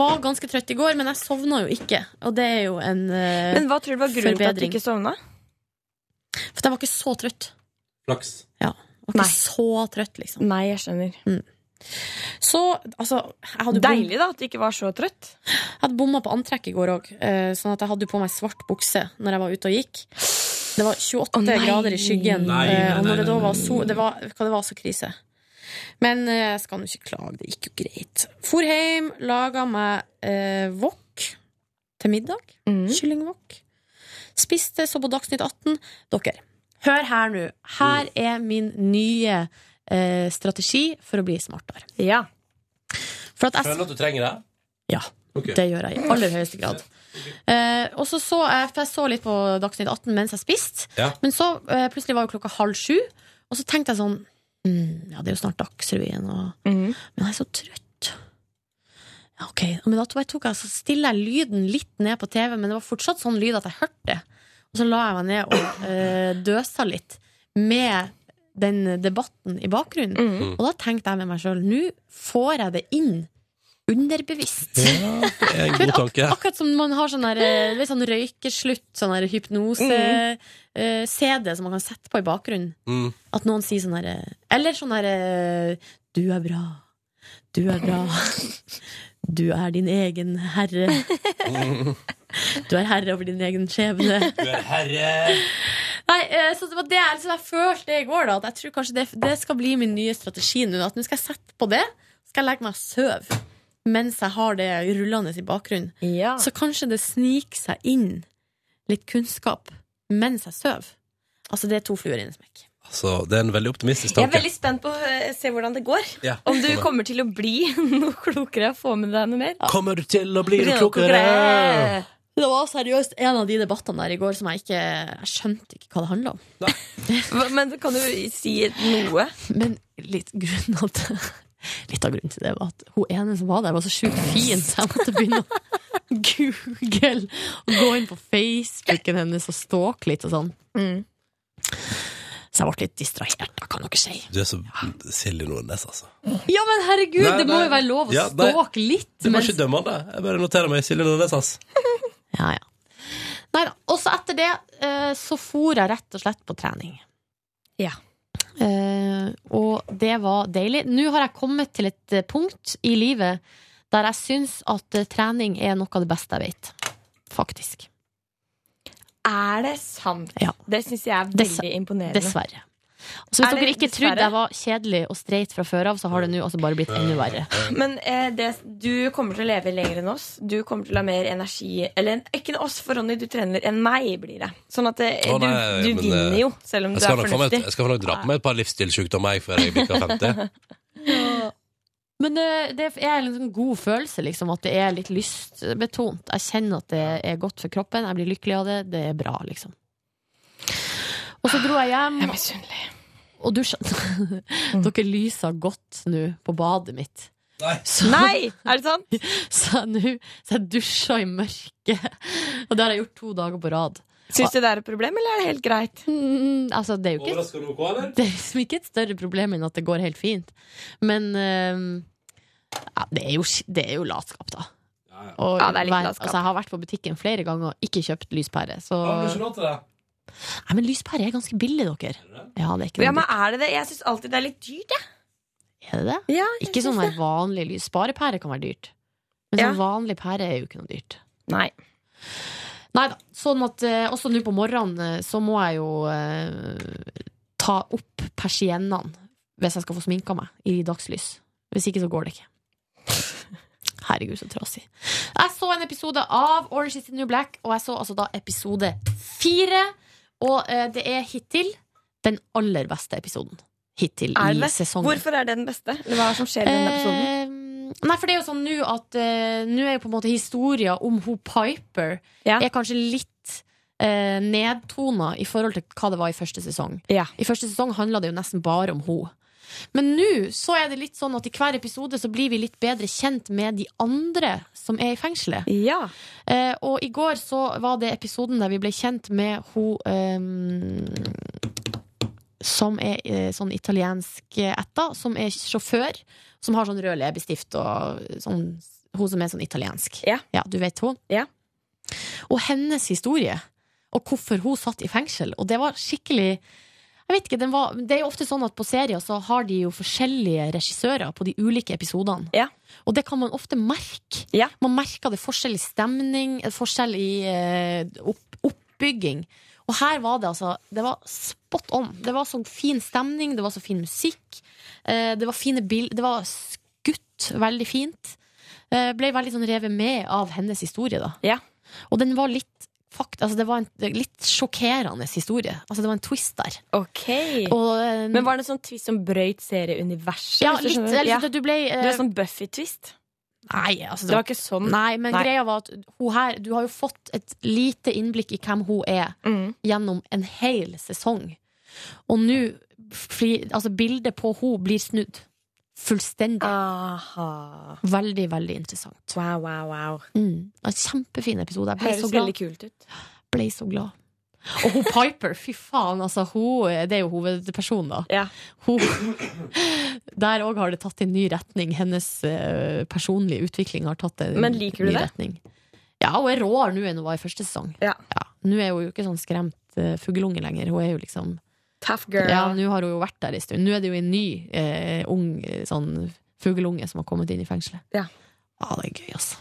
Speaker 6: var ganske trøtt i går, men jeg sovna jo ikke. Og det er jo en eh,
Speaker 5: Men hva tror du var grunnen til at du
Speaker 6: Forbedring.
Speaker 5: ikke sovna?
Speaker 6: For jeg var ikke så trøtt.
Speaker 2: Flaks.
Speaker 6: Jeg var ikke
Speaker 5: Nei.
Speaker 6: så trøtt, liksom.
Speaker 5: Nei, jeg skjønner.
Speaker 6: Så, altså Jeg hadde bom-
Speaker 5: Deilig da at du ikke var så trøtt.
Speaker 6: Jeg hadde bomma på antrekk i går òg, sånn at jeg hadde jo på meg svart bukse når jeg var ute og gikk. Det var 28
Speaker 5: Å, nei.
Speaker 6: grader i skyggen,
Speaker 2: Nei, nei,
Speaker 6: eh, og
Speaker 2: nei,
Speaker 6: når det da
Speaker 2: nei,
Speaker 6: var
Speaker 2: nei,
Speaker 6: so det var, hva det var så krise. Men eh, jeg skal nå ikke klage, det gikk jo greit. For hjem, laga meg eh, wok til middag.
Speaker 5: Mm.
Speaker 6: Kyllingwok. Spiste, så på Dagsnytt 18. Dere, hør her nå.
Speaker 2: Mm.
Speaker 6: Her er min nye eh, strategi for å bli smartere.
Speaker 5: Ja.
Speaker 6: For at jeg
Speaker 2: Føler du at du trenger det?
Speaker 6: Ja.
Speaker 2: Ok.
Speaker 6: Det gjør jeg i aller høyeste grad. Eh, og så så jeg, for jeg så litt på Dagsnytt 18 mens jeg spiste,
Speaker 2: Ja.
Speaker 6: men så eh, plutselig var jo klokka halv sju, og så tenkte jeg sånn mm, Ja, det er jo snart Dagsrevyen, og
Speaker 5: Mhm.
Speaker 6: Men jeg er så trøtt. Ja, ok. Men da bare tok jeg, så stiller jeg lyden litt ned på TV, men det var fortsatt sånn lyd at jeg hørte det. Og så la jeg meg ned og eh, døsa litt med den debatten i bakgrunnen.
Speaker 5: Mhm.
Speaker 6: Og da tenkte jeg med meg sjøl nå får jeg det inn underbevisst.
Speaker 2: Ja, det er en god tanke.
Speaker 6: Akkurat som man har sånn, der, eh, litt sånn røykeslutt, sånn hypnose-CD som man kan sette på i bakgrunnen.
Speaker 2: Mm.
Speaker 6: At noen sier sånn her eh, Eller sånn her eh, Du er bra. Du er bra. Du er din egen herre. Du er herre over din egen skjebne.
Speaker 2: Du er herre.
Speaker 6: Nei, eh, så det var det jeg, så jeg følte i går, da. At jeg tror kanskje det, det skal bli min nye strategi nå. At nå skal jeg sette på det. Skal jeg legge meg og sove mens jeg har det rullende i bakgrunnen.
Speaker 5: ja.
Speaker 6: Så kanskje det sniker seg inn litt kunnskap mens jeg sover. Altså, det er to fluer i en smekk.
Speaker 2: Altså, det er en veldig optimistisk
Speaker 5: Jeg er
Speaker 2: tanke.
Speaker 5: veldig spent på å eh, se hvordan det går.
Speaker 2: Ja.
Speaker 5: Om du kommer til å bli noe klokere og få med deg noe mer.
Speaker 2: Kommer du til å bli
Speaker 5: Bli
Speaker 2: noe
Speaker 5: noe
Speaker 2: klokere?
Speaker 5: klokere.
Speaker 6: Det var seriøst en av de debattene der i går som jeg ikke Jeg skjønte ikke hva det handla om.
Speaker 5: Hva- Men kan du si noe?
Speaker 6: Men litt, grunnen at, litt av grunnen til det var at hun ene som var der, var så sjukt fin, så jeg måtte begynne å google og gå inn på Facebooken hennes og stalke litt og sånn.
Speaker 5: Mm.
Speaker 6: Så jeg ble litt distrahert, da, kan dere si.
Speaker 2: Du er så Silje Nordnes, altså.
Speaker 6: Ja, men herregud,
Speaker 2: Nei,
Speaker 6: det må
Speaker 2: nei.
Speaker 6: jo være lov å
Speaker 2: Ja, nei.
Speaker 6: stalke litt.
Speaker 2: Det var
Speaker 6: mens-
Speaker 2: ikke dømmende. Jeg bare noterer meg Silje Nordnes, ass.
Speaker 6: Ja, ja. Neida. Og så etter det eh, så for jeg rett og slett på trening.
Speaker 5: Ja.
Speaker 6: Eh, og det var deilig. Nå har jeg kommet til et eh, punkt i livet der jeg syns at eh, trening er noe av det beste jeg vet. Faktisk.
Speaker 5: Er det sant?
Speaker 6: Ja.
Speaker 5: Det syns jeg er
Speaker 6: Dess-
Speaker 5: veldig imponerende.
Speaker 6: Dessverre. Så hvis
Speaker 5: Er det
Speaker 6: dere ikke
Speaker 5: dessverre?
Speaker 6: trodde jeg var kjedelig og streit fra før av, så har det nå altså bare blitt enda verre.
Speaker 5: Men eh, det, du kommer til å leve lenger enn oss. Du kommer til å ha mer energi Eller en- ikke enn oss, for Ronny, du trener enn meg, blir det. Sånn at eh,
Speaker 2: Å, nei,
Speaker 5: du, du
Speaker 2: men,
Speaker 5: vinner
Speaker 2: eh,
Speaker 5: jo, selv om
Speaker 2: Jeg
Speaker 5: du er
Speaker 2: skal nok få meg
Speaker 5: fornuftig.
Speaker 2: et- jeg skal nok dra på meg et par livsstilssykdommer jeg, før jeg bikker 50.
Speaker 6: Men eh, det er en sånn god følelse, liksom, at det er litt lystbetont. Jeg kjenner at det er godt for kroppen, jeg blir lykkelig av det, det er bra, liksom. Og så dro jeg hjem,
Speaker 5: Jeg er misunnelig.
Speaker 6: og dusja.
Speaker 5: Mm.
Speaker 6: Dere lyser godt nå på badet mitt.
Speaker 2: Nei.
Speaker 6: Så,
Speaker 5: Nei! Er det sant?
Speaker 6: så jeg nå- så jeg dusja i mørket. Og det har jeg gjort to dager på rad.
Speaker 5: Syns du det er et problem, eller er det helt greit?
Speaker 6: Mm, altså, det er jo ikke
Speaker 2: Overrasker du noe, eller?
Speaker 6: det er liksom ikke et større problem enn at det går helt fint. Men eh, ja, det, er jo, sk- det er jo latskap, da.
Speaker 2: Ja, ja.
Speaker 6: Og
Speaker 5: Ja, det er litt
Speaker 6: hver-
Speaker 5: latskap.
Speaker 6: Altså, jeg har vært på butikken flere ganger og ikke kjøpt lyspære. Så...
Speaker 2: lov til det?
Speaker 6: Nei, men lyspære er ganske billig, dere. Ja, det er ikke
Speaker 5: Ja,
Speaker 6: noe
Speaker 5: men er det det? Jeg syns alltid det er litt dyrt, jeg.
Speaker 6: dyrt. Er det det?
Speaker 5: Ja, jeg
Speaker 6: Ikke
Speaker 5: synes
Speaker 6: sånn
Speaker 5: det.
Speaker 6: der vanlig lys. Sparepære kan være dyrt. Men
Speaker 5: Ja.
Speaker 6: sånn vanlig pære er jo ikke noe dyrt.
Speaker 5: Nei.
Speaker 6: Nei da. Sånn at eh, også nå på morgenen eh, så må jeg jo eh, ta opp persiennene hvis jeg skal få sminka meg i dagslys. Hvis ikke så går det ikke. Herregud, så trasig. Jeg så en episode av Orange is the New Black, og jeg så altså da episode fire. Og eh, det er hittil den aller beste episoden. Hittil
Speaker 5: Er
Speaker 6: i
Speaker 5: det det?
Speaker 6: sesongen.
Speaker 5: Hvorfor er det den beste? Eller hva er det som skjer i den episoden?
Speaker 6: Eh, nei, for det er jo sånn nå at eh, Nå er jo på en måte historien om hun Piper
Speaker 5: Ja.
Speaker 6: Er kanskje litt eh, nedtona i forhold til hva det var i første sesong. I første sesong handla det jo nesten bare om henne. Men nå så er det litt sånn at i hver episode så blir vi litt bedre kjent med de andre som er i fengselet. Eh, og i går så var det episoden der vi ble kjent med hun eh, som er eh, sånn italiensk eh, etta, som er sjåfør, som har sånn rød leppestift og sånn Hun som er sånn italiensk. Ja, du vet hun? Og hennes historie, og hvorfor hun satt i fengsel. Og det var skikkelig jeg vet ikke, den var, Det er jo ofte sånn at på serier så har de jo forskjellige regissører på de ulike episodene. Og det kan man ofte merke. Man merker det forskjell i stemning, forskjell i eh, opp, oppbygging. Og her var det altså Det var spot on. Det var så fin stemning, det var så fin musikk. eh, det var fine bilder. Det var skutt veldig fint. Eh, ble veldig sånn revet med av hennes historie, da. Og den var litt fakt, altså det var en det- litt sjokkerende historie. Altså Det var en twist der. eh,
Speaker 5: Men var det en sånn twist som brøyt serieuniverset?
Speaker 6: Ja,
Speaker 5: hvis du
Speaker 6: litt.
Speaker 5: skjønner?
Speaker 6: eller
Speaker 5: Ja.
Speaker 6: sånn at Du ble eh,
Speaker 5: Du er sånn Buffy-twist?
Speaker 6: Nei, altså,
Speaker 5: Det var ikke sånn.
Speaker 6: Nei, men
Speaker 5: Nei.
Speaker 6: greia var at hun her Du har jo fått et lite innblikk i hvem hun er
Speaker 5: Mm.
Speaker 6: gjennom en hel sesong. Og nå fli- Altså, bildet på hun blir snudd. Fullstendig. Veldig, veldig interessant.
Speaker 5: Wow, wow, wow.
Speaker 6: Mm. Det var En kjempefin episode. Jeg ble
Speaker 5: Høres sånn
Speaker 6: så glad.
Speaker 5: veldig kult ut.
Speaker 6: Ble så glad. Og hun Piper, fy faen, altså, hun, det er jo hovedpersonen, da. Hun, der òg har det tatt en ny retning. Hennes eh, personlige utvikling har tatt en
Speaker 5: Men liker du
Speaker 6: ny
Speaker 5: det?
Speaker 6: retning. Ja, hun er råere nå enn hun var i første sesong. Ja. Nå er hun jo ikke sånn skremt uh, fugleunge lenger. Hun er jo liksom
Speaker 5: Tough girl.
Speaker 6: Ja, nå har hun jo vært der en stund. Nå er det jo en ny eh, ung eh, sånn fugleunge som har kommet inn i fengselet.
Speaker 5: Ja.
Speaker 6: Ah, det er gøy, altså.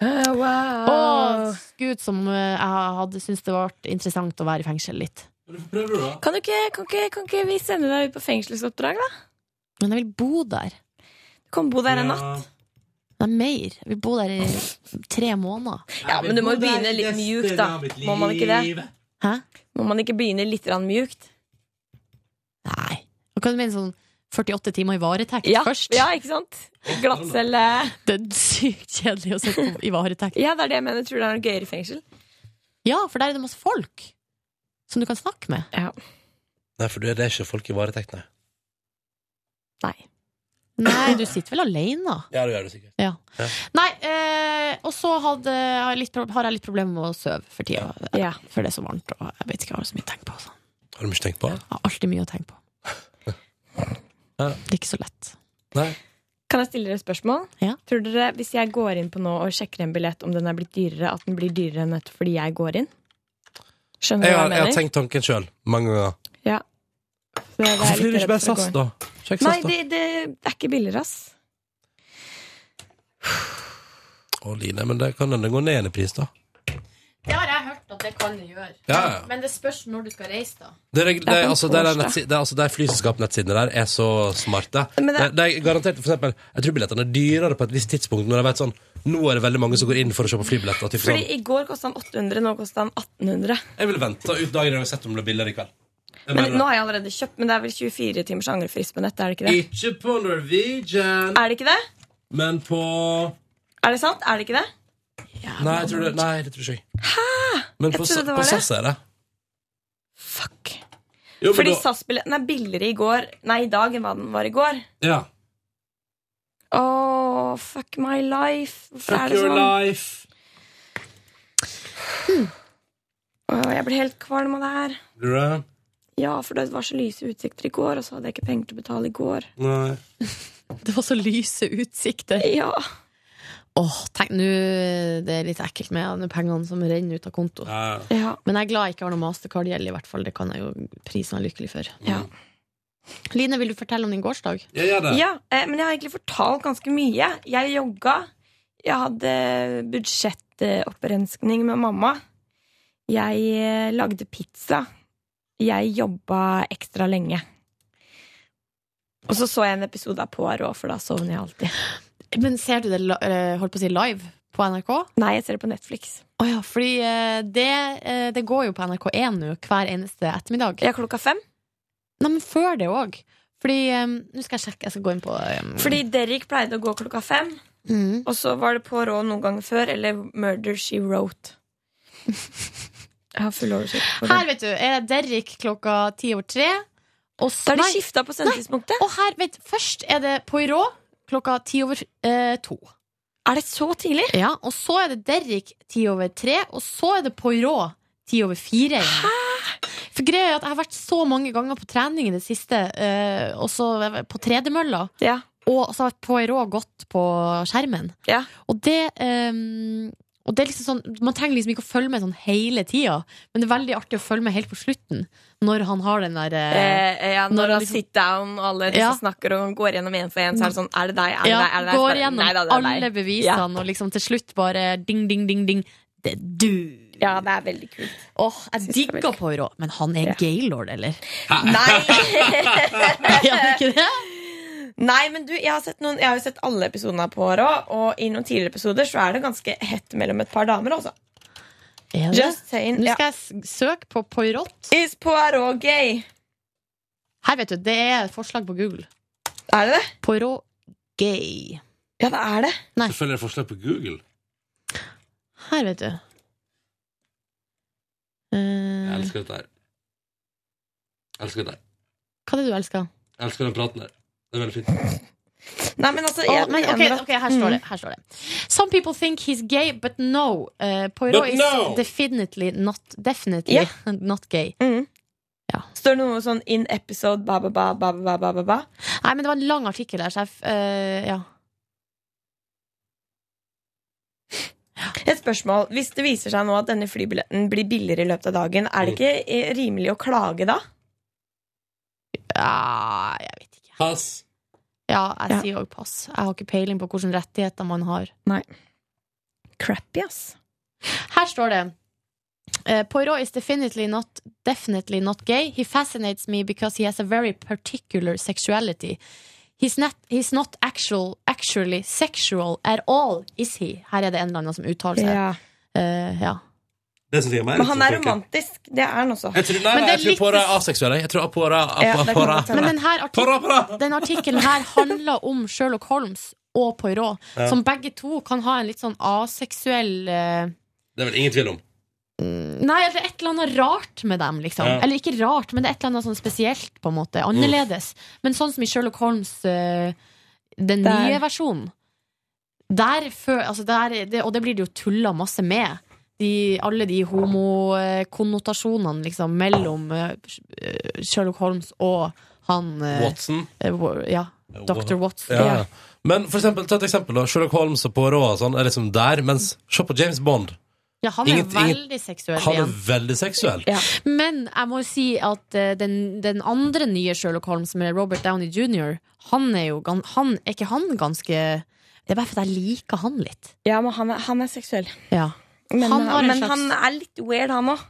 Speaker 5: Oh, wow.
Speaker 6: Å, gud, som eh, jeg hadde syntes det var interessant å være i fengsel litt.
Speaker 5: Kan, du ikke, kan, ikke, kan ikke vi sende deg ut på fengselsoppdrag, da?
Speaker 6: Men jeg vil bo der.
Speaker 5: Du kan bo der en natt.
Speaker 6: Det er mer. Jeg vil bo der i tre måneder.
Speaker 5: Ja, men du må jo begynne litt mjukt, da. Må man ikke det?
Speaker 6: Hæ?
Speaker 5: Må man ikke begynne litt grann mjukt?
Speaker 6: Og Hva du mener sånn 48 timer i varetekt
Speaker 5: Ja,
Speaker 6: først?
Speaker 5: ja ikke sant? Glattcelle
Speaker 6: Det er sykt kjedelig å sitte på- i varetekt.
Speaker 5: Ja, det er det jeg mener. Tror du det er noe gøyere i fengsel?
Speaker 6: Ja, for der er det masse folk som du kan snakke med.
Speaker 2: Nei, for det er ikke folk i varetekt, nei.
Speaker 6: Nei, du sitter vel alene.
Speaker 2: Ja, det gjør du sikkert.
Speaker 6: Ja.
Speaker 2: Ja.
Speaker 6: Nei, eh, og så hadde, har jeg litt pro- har jeg litt problemer med å sove for tida. For det er så varmt, og jeg vet ikke, jeg har så mye å tenke på. Så.
Speaker 2: Har du mye tenkt på det?
Speaker 6: Jeg har alltid mye å tenke på.
Speaker 2: Ja.
Speaker 6: Det er ikke så lett.
Speaker 2: Nei.
Speaker 5: Kan jeg stille dere et spørsmål? Tror dere, Hvis jeg går inn på nå og sjekker en billett om den er blitt dyrere, at den blir dyrere nettopp fordi jeg går inn? Skjønner du
Speaker 2: Jeg
Speaker 5: hva
Speaker 2: har,
Speaker 5: jeg
Speaker 2: jeg har
Speaker 5: mener?
Speaker 2: tenkt tanken sjøl, mange ganger.
Speaker 5: Ja. Så jeg er
Speaker 2: Hvorfor blir
Speaker 5: litt
Speaker 2: det ikke bare
Speaker 5: redd for å
Speaker 2: SAS,
Speaker 5: gå inn.
Speaker 2: da? Sjekk
Speaker 5: Nei,
Speaker 2: SAS, da.
Speaker 5: det, det er ikke billigere, ass.
Speaker 2: Å, Line, men det kan hende gå ned igjen i pris, da.
Speaker 6: Det har jeg hørt at det kan det gjøre.
Speaker 2: Ja, ja.
Speaker 6: Men det spørs når du skal reise, da.
Speaker 2: Det, er- det,
Speaker 6: Ja,
Speaker 2: er-
Speaker 6: på
Speaker 2: altså, det, er
Speaker 6: torsdag.
Speaker 2: nettsi- det, er- altså, det er flyselskap-nettsidene der er så smarte.
Speaker 5: Men
Speaker 2: Det,
Speaker 5: det-
Speaker 2: det er garantert, for eksempel, Jeg tror billettene er dyrere på et visst tidspunkt når jeg vet sånn Nå er det veldig mange som går inn for å kjøpe flybilletter. Typ,
Speaker 5: Fordi
Speaker 2: sånn,
Speaker 5: i går kosta den 800, nå kosta den 1800.
Speaker 2: jeg vil vente ut dagen og sett om det blir billigere i kveld. Jeg
Speaker 5: Men
Speaker 2: mener
Speaker 5: nå har jeg allerede kjøpt, men det er vel 24 timers angrefrist på nett, er det ikke
Speaker 2: det.
Speaker 5: det?
Speaker 2: Ikke på Norwegian,
Speaker 5: Er det ikke det?
Speaker 2: men på
Speaker 5: Er det sant? Er det ikke det?
Speaker 2: Nei, jeg tror det, nei, det tror ikke jeg. Men
Speaker 5: Jeg
Speaker 2: på,
Speaker 5: trodde
Speaker 2: sa-
Speaker 5: det var
Speaker 2: på
Speaker 5: det.
Speaker 2: SAS er det.
Speaker 5: Fuck.
Speaker 2: Jo, men
Speaker 5: Fordi
Speaker 2: da-
Speaker 5: SAS-billetten er billigere i går Nei, i dag enn hva den var i går.
Speaker 2: Ja.
Speaker 5: Åh, fuck my life. Hvorfor er
Speaker 2: Fuck
Speaker 5: det
Speaker 2: your
Speaker 5: sånn?
Speaker 2: life.
Speaker 5: Åh, jeg blir helt kvalm av det her.
Speaker 2: Blir du det?
Speaker 5: Ja, for det var så lyse utsikter i går, og så hadde jeg ikke penger til å betale i går.
Speaker 2: Nei.
Speaker 6: Det var så lyse utsikter.
Speaker 5: Ja.
Speaker 6: Åh, tenk nå Det er litt ekkelt med alle pengene som renner ut av konto.
Speaker 5: Ja.
Speaker 6: Men jeg er glad jeg ikke har noe mastercard-gjeld, i hvert fall. Det kan jeg jo prisen meg lykkelig for.
Speaker 5: Ja.
Speaker 6: Line, vil du fortelle om din gårsdag?
Speaker 2: Jeg gjør det.
Speaker 5: Ja, eh, men jeg har egentlig fortalt ganske mye. Jeg jogga. Jeg hadde budsjettopprensning med mamma. Jeg eh, lagde pizza. Jeg jobba ekstra lenge. Og så så jeg en episode av Poirot, for da sovner jeg alltid.
Speaker 6: Men ser du det la- eh, holdt på å si live på NRK?
Speaker 5: Nei, jeg ser det på Netflix.
Speaker 6: Å ja, fordi eh, det, eh, det går jo på NRK1 nå hver eneste ettermiddag.
Speaker 5: Ja, klokka fem.
Speaker 6: Nei, men før det òg. Fordi eh, Nå skal jeg sjekke, jeg skal gå inn på eh,
Speaker 5: Fordi Derrik pleide å gå klokka fem,
Speaker 6: mm.
Speaker 5: og så var det Poirot noen ganger før, eller Murder She Wrote. Jeg har full oversikt.
Speaker 6: Her vet du, er det Derrik klokka ti over tre. Og så,
Speaker 5: Da er de
Speaker 6: nei,
Speaker 5: skifta på sendetidspunktet.
Speaker 6: Og her, vet du, først er det Poirot klokka ti over eh, to.
Speaker 5: Er det så tidlig?
Speaker 6: Ja, og så er det Derrik ti over tre, og så er det Poirot ti over fire. igjen. For greia er at Jeg har vært så mange ganger på trening i det siste, eh, og så på tredemølla.
Speaker 5: Ja.
Speaker 6: Og så har Poirot gått på skjermen.
Speaker 5: Ja.
Speaker 6: Og det eh, og det er liksom sånn, Man trenger liksom ikke å følge med sånn hele tida, men det er veldig artig å følge med helt på slutten. Når han har den der
Speaker 5: Eh,
Speaker 6: eh,
Speaker 5: eh, ja,
Speaker 6: Når
Speaker 5: når han
Speaker 6: liksom-
Speaker 5: sit down, og alle disse
Speaker 6: Ja.
Speaker 5: snakker og går gjennom en for en, så er det sånn Er det deg? Er det
Speaker 6: ja,
Speaker 5: deg? Er det deg? Så
Speaker 6: Går
Speaker 5: bare,
Speaker 6: gjennom
Speaker 5: «Nei da, det er deg».
Speaker 6: alle
Speaker 5: Ja.
Speaker 6: bevisene, og liksom til slutt bare ding, ding, ding, ding. Det er du!
Speaker 5: ja, det er veldig kult.
Speaker 6: Åh, jeg digger Poirot, men han er
Speaker 5: Ja.
Speaker 6: gaylord, eller?
Speaker 5: Ah. Nei!
Speaker 6: Ja, det er ikke det?
Speaker 5: Nei, men du, jeg har, sett noen, jeg har jo sett alle episodene av Poirot, og i noen tidligere episoder så er det ganske hett mellom et par damer, altså.
Speaker 6: Er det?
Speaker 5: Just saying.
Speaker 6: Nå
Speaker 5: Ja.
Speaker 6: skal jeg s- søke på Poirot.
Speaker 5: Is Poirot gay?
Speaker 6: Her, vet du, det er et forslag på Google.
Speaker 5: Er det det?
Speaker 6: Poirot gay.
Speaker 5: Ja, det er det.
Speaker 6: Nei.
Speaker 2: Selvfølgelig er det forslag på Google.
Speaker 6: Her, vet du.
Speaker 5: Mm.
Speaker 2: Jeg
Speaker 6: Eh,
Speaker 2: elsker dette her. Jeg elsker dette her.
Speaker 6: hva er det du elsker?
Speaker 2: Jeg elsker den praten her. Det er veldig fint.
Speaker 5: Nei, men Mm. altså
Speaker 6: Åh,
Speaker 5: jeg
Speaker 6: men, ok,
Speaker 5: mener at-
Speaker 6: ok, her står det. Her står det. Some people think he's gay, but no. Eh, Poirot
Speaker 2: But no!
Speaker 6: is definitely not Definitely
Speaker 5: Ja.
Speaker 6: not gay.
Speaker 5: Mm.
Speaker 6: Ja.
Speaker 5: Står det noe sånn in episode ba, ba, ba, ba, ba, ba, ba, ba?
Speaker 6: Nei, men det var en lang artikkel her, så jeg f- eh, ja.
Speaker 5: Et spørsmål. Hvis det viser seg nå at denne flybilletten blir billigere i løpet av dagen, er
Speaker 2: Mm.
Speaker 5: det ikke eh, rimelig å klage da?
Speaker 6: ja Jeg vet ikke.
Speaker 2: Pass.
Speaker 6: Ja, jeg
Speaker 5: Ja.
Speaker 6: sier òg pass. Jeg har ikke peiling på hvilke rettigheter man har.
Speaker 5: Mm, Crappy, ass.
Speaker 6: Her står det eh, Poirot is definitely not, definitely not gay. He fascinates me because he has a very particular sexuality. He's not, he's not actual, actually sexual at all, is he? Her er det en eller annen som uttaler seg. Eh, ja.
Speaker 2: Det synes jeg er mer
Speaker 5: Men han er
Speaker 2: interessant, tenker jeg.
Speaker 5: romantisk. Det er han også.
Speaker 2: Jeg tror, nei,
Speaker 6: Men
Speaker 2: nei,
Speaker 6: det er
Speaker 2: jeg tror
Speaker 6: litt-
Speaker 2: Poirot er aseksuell. jeg. Jeg tror Poirot
Speaker 5: Ja, det kan
Speaker 2: Poirot-
Speaker 5: godt hende.
Speaker 6: Men den her artik-
Speaker 2: Poirot, Poirot.
Speaker 6: den artikkelen her handler om Sherlock Holmes og Poirot,
Speaker 2: Ja.
Speaker 6: som begge to kan ha en litt sånn aseksuell eh,
Speaker 2: Det er vel ingen tvil om.
Speaker 6: Nei, eller et eller annet rart med dem, liksom.
Speaker 2: Ja.
Speaker 6: Eller ikke rart, men det er et eller annet sånn spesielt, på en måte. Annerledes. Men sånn som i Sherlock Holmes, eh, den
Speaker 5: Der.
Speaker 6: nye versjonen. Der fø- altså der, det, og det blir det jo tulla masse med. De, alle de homokonnotasjonene liksom, mellom eh, eh, Sherlock Holmes og han eh,
Speaker 2: Watson.
Speaker 6: eh, wa- Ja, Dr. Watson.
Speaker 2: Ja. Men for eksempel, ta et eksempel. da Sherlock Holmes og Poirot og sånn er liksom der, mens se på James Bond.
Speaker 6: Ja, han er
Speaker 2: Inget- inget-
Speaker 6: veldig seksuell
Speaker 2: Han er
Speaker 6: igjen.
Speaker 2: veldig seksuell.
Speaker 6: Men jeg må jo si at eh, den, den andre nye Sherlock Holmes med Robert Downey jr., han er jo gan- han, Er ikke han ganske Det er bare fordi jeg liker han litt.
Speaker 5: Ja, men han er, han er seksuell.
Speaker 6: Ja.
Speaker 5: Men,
Speaker 6: Han
Speaker 5: han,
Speaker 6: har en
Speaker 5: men
Speaker 6: slags-
Speaker 5: han er litt weird, han òg.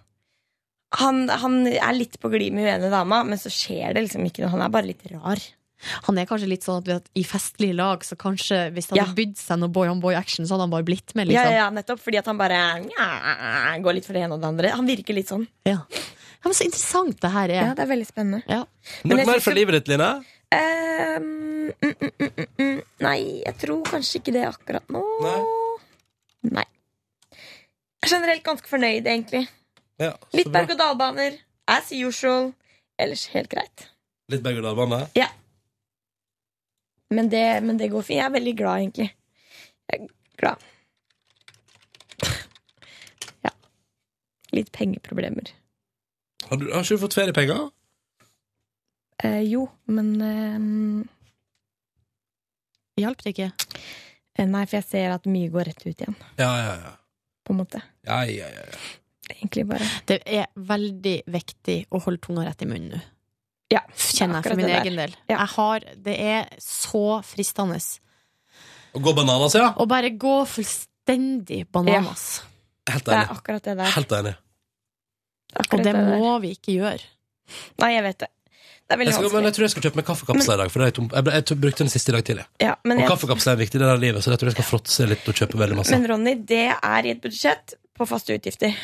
Speaker 5: Han, han er litt på glid med uenige dama, men så skjer det liksom ikke noe. Han er bare litt rar. liksom.
Speaker 6: Han er kanskje litt sånn at, vet, i festlige lag, så kanskje hvis det
Speaker 5: Ja.
Speaker 6: hadde bydd seg noe boy on boy action, så hadde han bare blitt med,
Speaker 5: Ja,
Speaker 6: liksom.
Speaker 5: ja,
Speaker 6: Ja,
Speaker 5: ja, nettopp Fordi at han bare nja, går litt for det ene og det andre. Han virker litt sånn.
Speaker 6: men så interessant det her er.
Speaker 5: Ja, det er veldig spennende.
Speaker 6: Ja.
Speaker 2: Noe
Speaker 5: Men jeg
Speaker 2: mer
Speaker 5: synes
Speaker 2: fra
Speaker 5: det-
Speaker 2: livet ditt, Line?
Speaker 5: Ehm, mm, mm, mm, mm, mm. Nei, jeg tror kanskje ikke det akkurat nå.
Speaker 2: Nei.
Speaker 5: Nei. Jeg er Generelt ganske fornøyd, egentlig.
Speaker 2: Ja, så
Speaker 5: Litt
Speaker 2: bra.
Speaker 5: berg-og-dal-baner. As usual. Ellers helt greit.
Speaker 2: Litt berg-og-dal-bane?
Speaker 5: Men det, men det går fint. Jeg er veldig glad, egentlig. Jeg er glad. Ja. Litt pengeproblemer.
Speaker 2: Har, du- har ikke du fått feriepenger?
Speaker 5: Eh, jo, men eh,
Speaker 6: Hjalp det ikke?
Speaker 5: Eh, Nei, for jeg ser at mye går rett ut igjen,
Speaker 2: Ja, ja, ja.
Speaker 5: på en måte.
Speaker 2: ja, ja, ja, ja.
Speaker 5: Egentlig bare.
Speaker 6: Det er veldig viktig å holde tunga rett i munnen nå.
Speaker 5: Ja,
Speaker 6: Kjenner jeg
Speaker 5: akkurat
Speaker 6: for min
Speaker 5: det der.
Speaker 6: egen del.
Speaker 5: Ja.
Speaker 6: Jeg har, det er så fristende
Speaker 2: Å gå bananas, ja?
Speaker 6: å bare gå fullstendig bananas.
Speaker 2: Helt
Speaker 5: Det er
Speaker 2: enig.
Speaker 5: akkurat det der.
Speaker 2: Helt enig.
Speaker 5: Akkurat
Speaker 6: Og det
Speaker 5: der.
Speaker 6: må vi ikke gjøre.
Speaker 5: Nei, jeg vet det. Det er
Speaker 2: Jeg,
Speaker 5: veldig
Speaker 2: skal, men
Speaker 5: vanskelig.
Speaker 2: jeg tror jeg skal kjøpe meg kaffekapsler i dag. For det er tom, jeg, ble- jeg tok- brukte den siste i dag tidlig.
Speaker 5: Ja, men,
Speaker 2: Og
Speaker 5: jeg,
Speaker 2: kaffekapsler er viktig i det der livet, så jeg tror jeg skal fråtse litt og kjøpe veldig masse.
Speaker 5: men Ronny, det er i et budsjett på faste utgifter.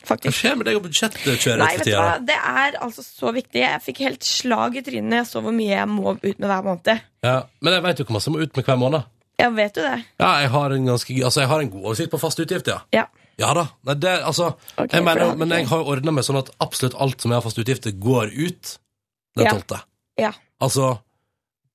Speaker 2: Hva
Speaker 5: Faktisk.
Speaker 2: skjer med deg og budsjettkjøret
Speaker 5: Nei,
Speaker 2: for
Speaker 5: vet du
Speaker 2: tida?
Speaker 5: hva?
Speaker 2: da?
Speaker 5: Det er altså så viktig. Jeg fikk helt slag i trynet når jeg så hvor mye jeg må ut med hver måned.
Speaker 2: Ja, men jeg vet jo hvor masse jeg må ut med hver måned.
Speaker 5: Jeg vet jo det.
Speaker 2: Ja, jeg har en ganske gøy- Altså, jeg har en god oversikt på faste utgifter, ja.
Speaker 5: Ja.
Speaker 2: Ja da. Nei, det, altså, jeg
Speaker 5: bra.
Speaker 2: mener, men jeg har ordna meg sånn at absolutt alt som jeg har faste utgifter, går ut den
Speaker 5: Ja.
Speaker 2: tolvte.
Speaker 5: Ja.
Speaker 2: Altså,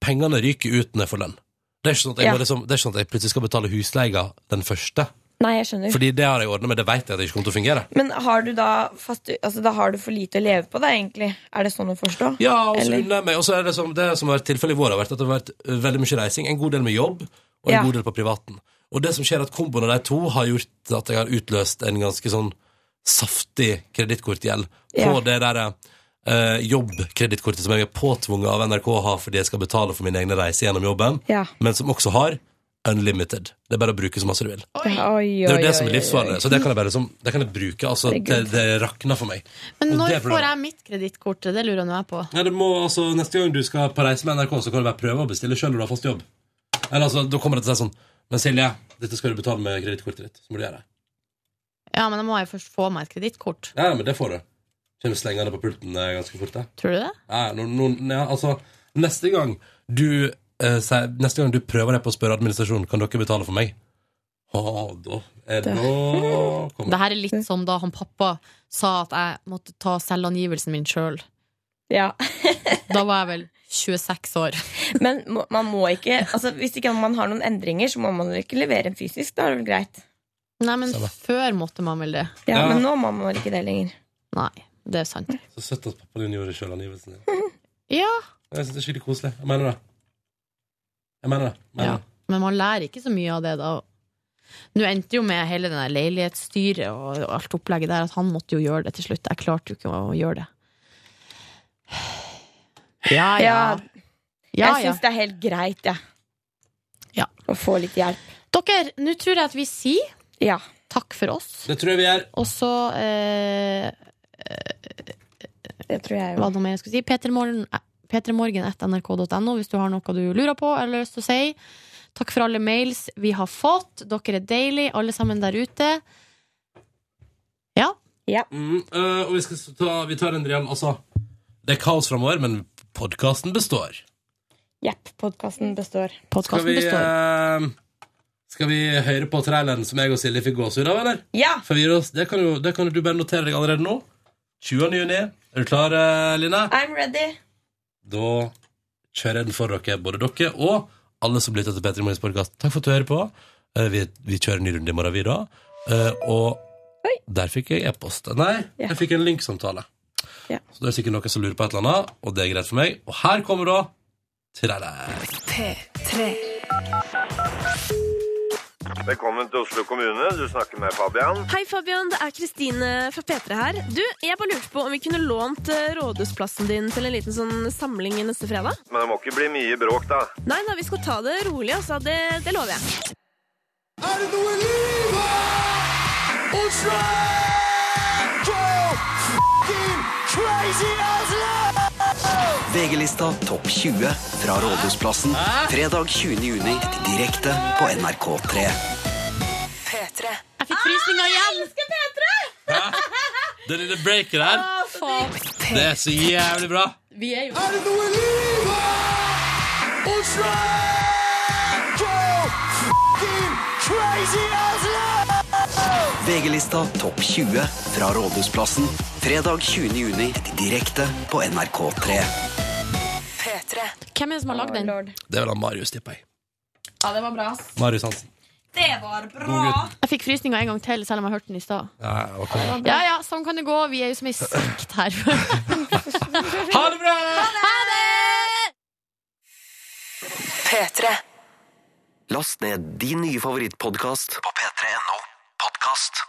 Speaker 2: pengene ryker ut når jeg får lønn. Det er ikke sånn at jeg,
Speaker 5: Ja.
Speaker 2: må liksom, det er ikke sånn at jeg plutselig skal betale husleia den første.
Speaker 5: Nei, jeg skjønner.
Speaker 2: Fordi det har jeg ordna med, det veit jeg at det ikke kommer til å fungere.
Speaker 5: Men har du da fast, altså, Da har du for lite å leve på, da, egentlig? Er det sånn å forstå?
Speaker 2: Ja, og så
Speaker 5: Eller-
Speaker 2: unner jeg meg. Og så er det som, det som har vært tilfellet i vår, har vært at det har vært eh, veldig mye reising. En god del med jobb, og en
Speaker 5: Ja.
Speaker 2: god del på privaten. Og det som skjer, er at komboen av de to har gjort at jeg har utløst en ganske sånn saftig kredittkortgjeld på
Speaker 5: Ja.
Speaker 2: det derre eh, jobbkredittkortet som jeg er påtvunget av NRK å ha fordi jeg skal betale for mine egne reiser gjennom jobben,
Speaker 5: Ja.
Speaker 2: men som også har unlimited. Det er bare å bruke så masse du vil.
Speaker 5: Oi, oi,
Speaker 2: Det er jo det
Speaker 5: oi,
Speaker 2: som
Speaker 5: oi,
Speaker 2: er livsfarlig,
Speaker 5: oi.
Speaker 2: så det kan jeg bare liksom, det kan jeg bruke. Altså,
Speaker 6: Det er
Speaker 2: det,
Speaker 6: good.
Speaker 2: det rakner for meg.
Speaker 6: Men
Speaker 2: Og
Speaker 6: når
Speaker 2: det er problemet.
Speaker 6: får jeg mitt kredittkort? Det lurer nå jeg på.
Speaker 2: Ja, det må, altså, neste gang du skal på reise med NRK, så kan du bare prøve å bestille sjøl når du har fast jobb. Eller altså, Da kommer det til å si sånn Men Silje, dette skal du betale med kredittkortet ditt. Så må du gjøre det.
Speaker 6: Ja, men da må jeg først få meg et kredittkort.
Speaker 2: Ja, men det får du. Kommer slengende på pulten eh, ganske fort. det.
Speaker 6: Tror du det?
Speaker 2: Ja, no, no, ja, altså, neste gang du eh, sier- Neste gang du prøver deg på å spørre administrasjonen Kan dere betale for meg, Å, da er det nå
Speaker 6: Det her er litt
Speaker 5: Mm.
Speaker 6: som da han pappa sa at jeg måtte ta selvangivelsen min sjøl.
Speaker 5: Ja.
Speaker 6: da var jeg vel 26 år.
Speaker 5: Men må- man må ikke altså, Hvis ikke man har noen endringer, så må man vel ikke levere en fysisk. Da er det vel greit.
Speaker 6: Nei, men før måtte man vel det.
Speaker 5: Ja, Men nå må man vel ikke det lenger.
Speaker 6: Nei, det er sant.
Speaker 2: Så søtt at pappaen din gjorde sjølangivelsen din.
Speaker 6: Ja,
Speaker 2: Jeg synes det er skikkelig koselig. Jeg mener det. Jeg mener det. Jeg Mener det.
Speaker 6: Men man lærer ikke så mye av det da. Nå endte jo med hele den der leilighetsstyret og alt opplegget der at han måtte jo gjøre det til slutt. Jeg klarte jo ikke å gjøre det. Ja, ja. Ja,
Speaker 5: jeg
Speaker 6: ja.
Speaker 5: syns det er helt greit, jeg.
Speaker 6: Ja.
Speaker 5: Å få litt hjelp.
Speaker 6: Dere, nå tror jeg at vi sier
Speaker 5: Ja.
Speaker 6: takk for oss.
Speaker 2: Det tror jeg vi er.
Speaker 6: Og så eh,
Speaker 5: Det tror jeg
Speaker 6: Hva det noe mer jeg skulle si? Petermorgen- eh, Petermorgen.nrk.no hvis du har noe du lurer på eller har lyst til å si. Takk for alle mails vi har fått. Dere er deilige, alle sammen der ute. Ja.
Speaker 2: Mm, øh, og vi, skal s- ta, vi tar en real Altså, det er kaos framover, men podkasten består.
Speaker 5: Jepp. Podkasten består.
Speaker 2: Skal vi, øh, skal vi høre på traileren som jeg og Silje fikk gåsehud av, eller?
Speaker 5: Ja!
Speaker 2: For vi gir oss, det, kan jo, det kan jo du bare notere deg allerede nå. 20. juni. Er du klar, øh, Line?
Speaker 5: I'm ready.
Speaker 2: Da kjører jeg den for dere, både dere og alle som lytter til Petter i Morgens podkast. Takk for at du hører på. Eh, Vi, vi kjører en ny runde i morgen, vi, da. Eh, Og der fikk jeg e-post. Nei, jeg fikk en link-samtale.
Speaker 5: Ja.
Speaker 2: Så det er sikkert noen som lurer på et eller annet, og det er greit for meg. Og her kommer da traileren.
Speaker 13: P3.
Speaker 10: Velkommen til Oslo kommune. Du snakker med Fabian.
Speaker 14: Hei, Fabian. Det er Kristine fra P3 her. Du, jeg bare lurte på om vi kunne lånt eh, rådhusplassen din til en liten sånn samling neste fredag?
Speaker 10: Men det må ikke bli mye bråk, da.
Speaker 14: Nei, nei, vi skal ta det rolig, altså. Det, det lover jeg.
Speaker 15: Er det noe i livet? Oslo! Fucking crazy Oslo!
Speaker 16: VG-lista Topp 20 fra Rådhusplassen. Fredag 20. juni direkte på NRK3.
Speaker 13: P3.
Speaker 6: Jeg fikk frysninger igjen! Jeg
Speaker 13: elsker P3!
Speaker 2: Det lille breaket der,
Speaker 6: Ah,
Speaker 2: det er så jævlig bra.
Speaker 6: Vi er jo
Speaker 15: Er det noe i livet? Oslo! Fucking crazy Oslo!
Speaker 16: VG-lista Topp 20 fra Rådhusplassen. Fredag 20. juni direkte på NRK3.
Speaker 6: Hvem er det som har lagd den?
Speaker 2: Det vil ha Marius, tipper jeg.
Speaker 6: Ja, det var bra.
Speaker 2: Marius Hansen.
Speaker 6: Det var
Speaker 2: God gutt.
Speaker 6: Jeg fikk frysninger en gang til, selv om jeg hørte den i stad.
Speaker 2: Ja, ok.
Speaker 6: Ja ja, sånn kan det gå. Vi er jo som ei sekt her.
Speaker 2: ha det bra!
Speaker 6: Ha det!
Speaker 13: P3.
Speaker 16: Last ned din nye favorittpodkast på p3.no podkast.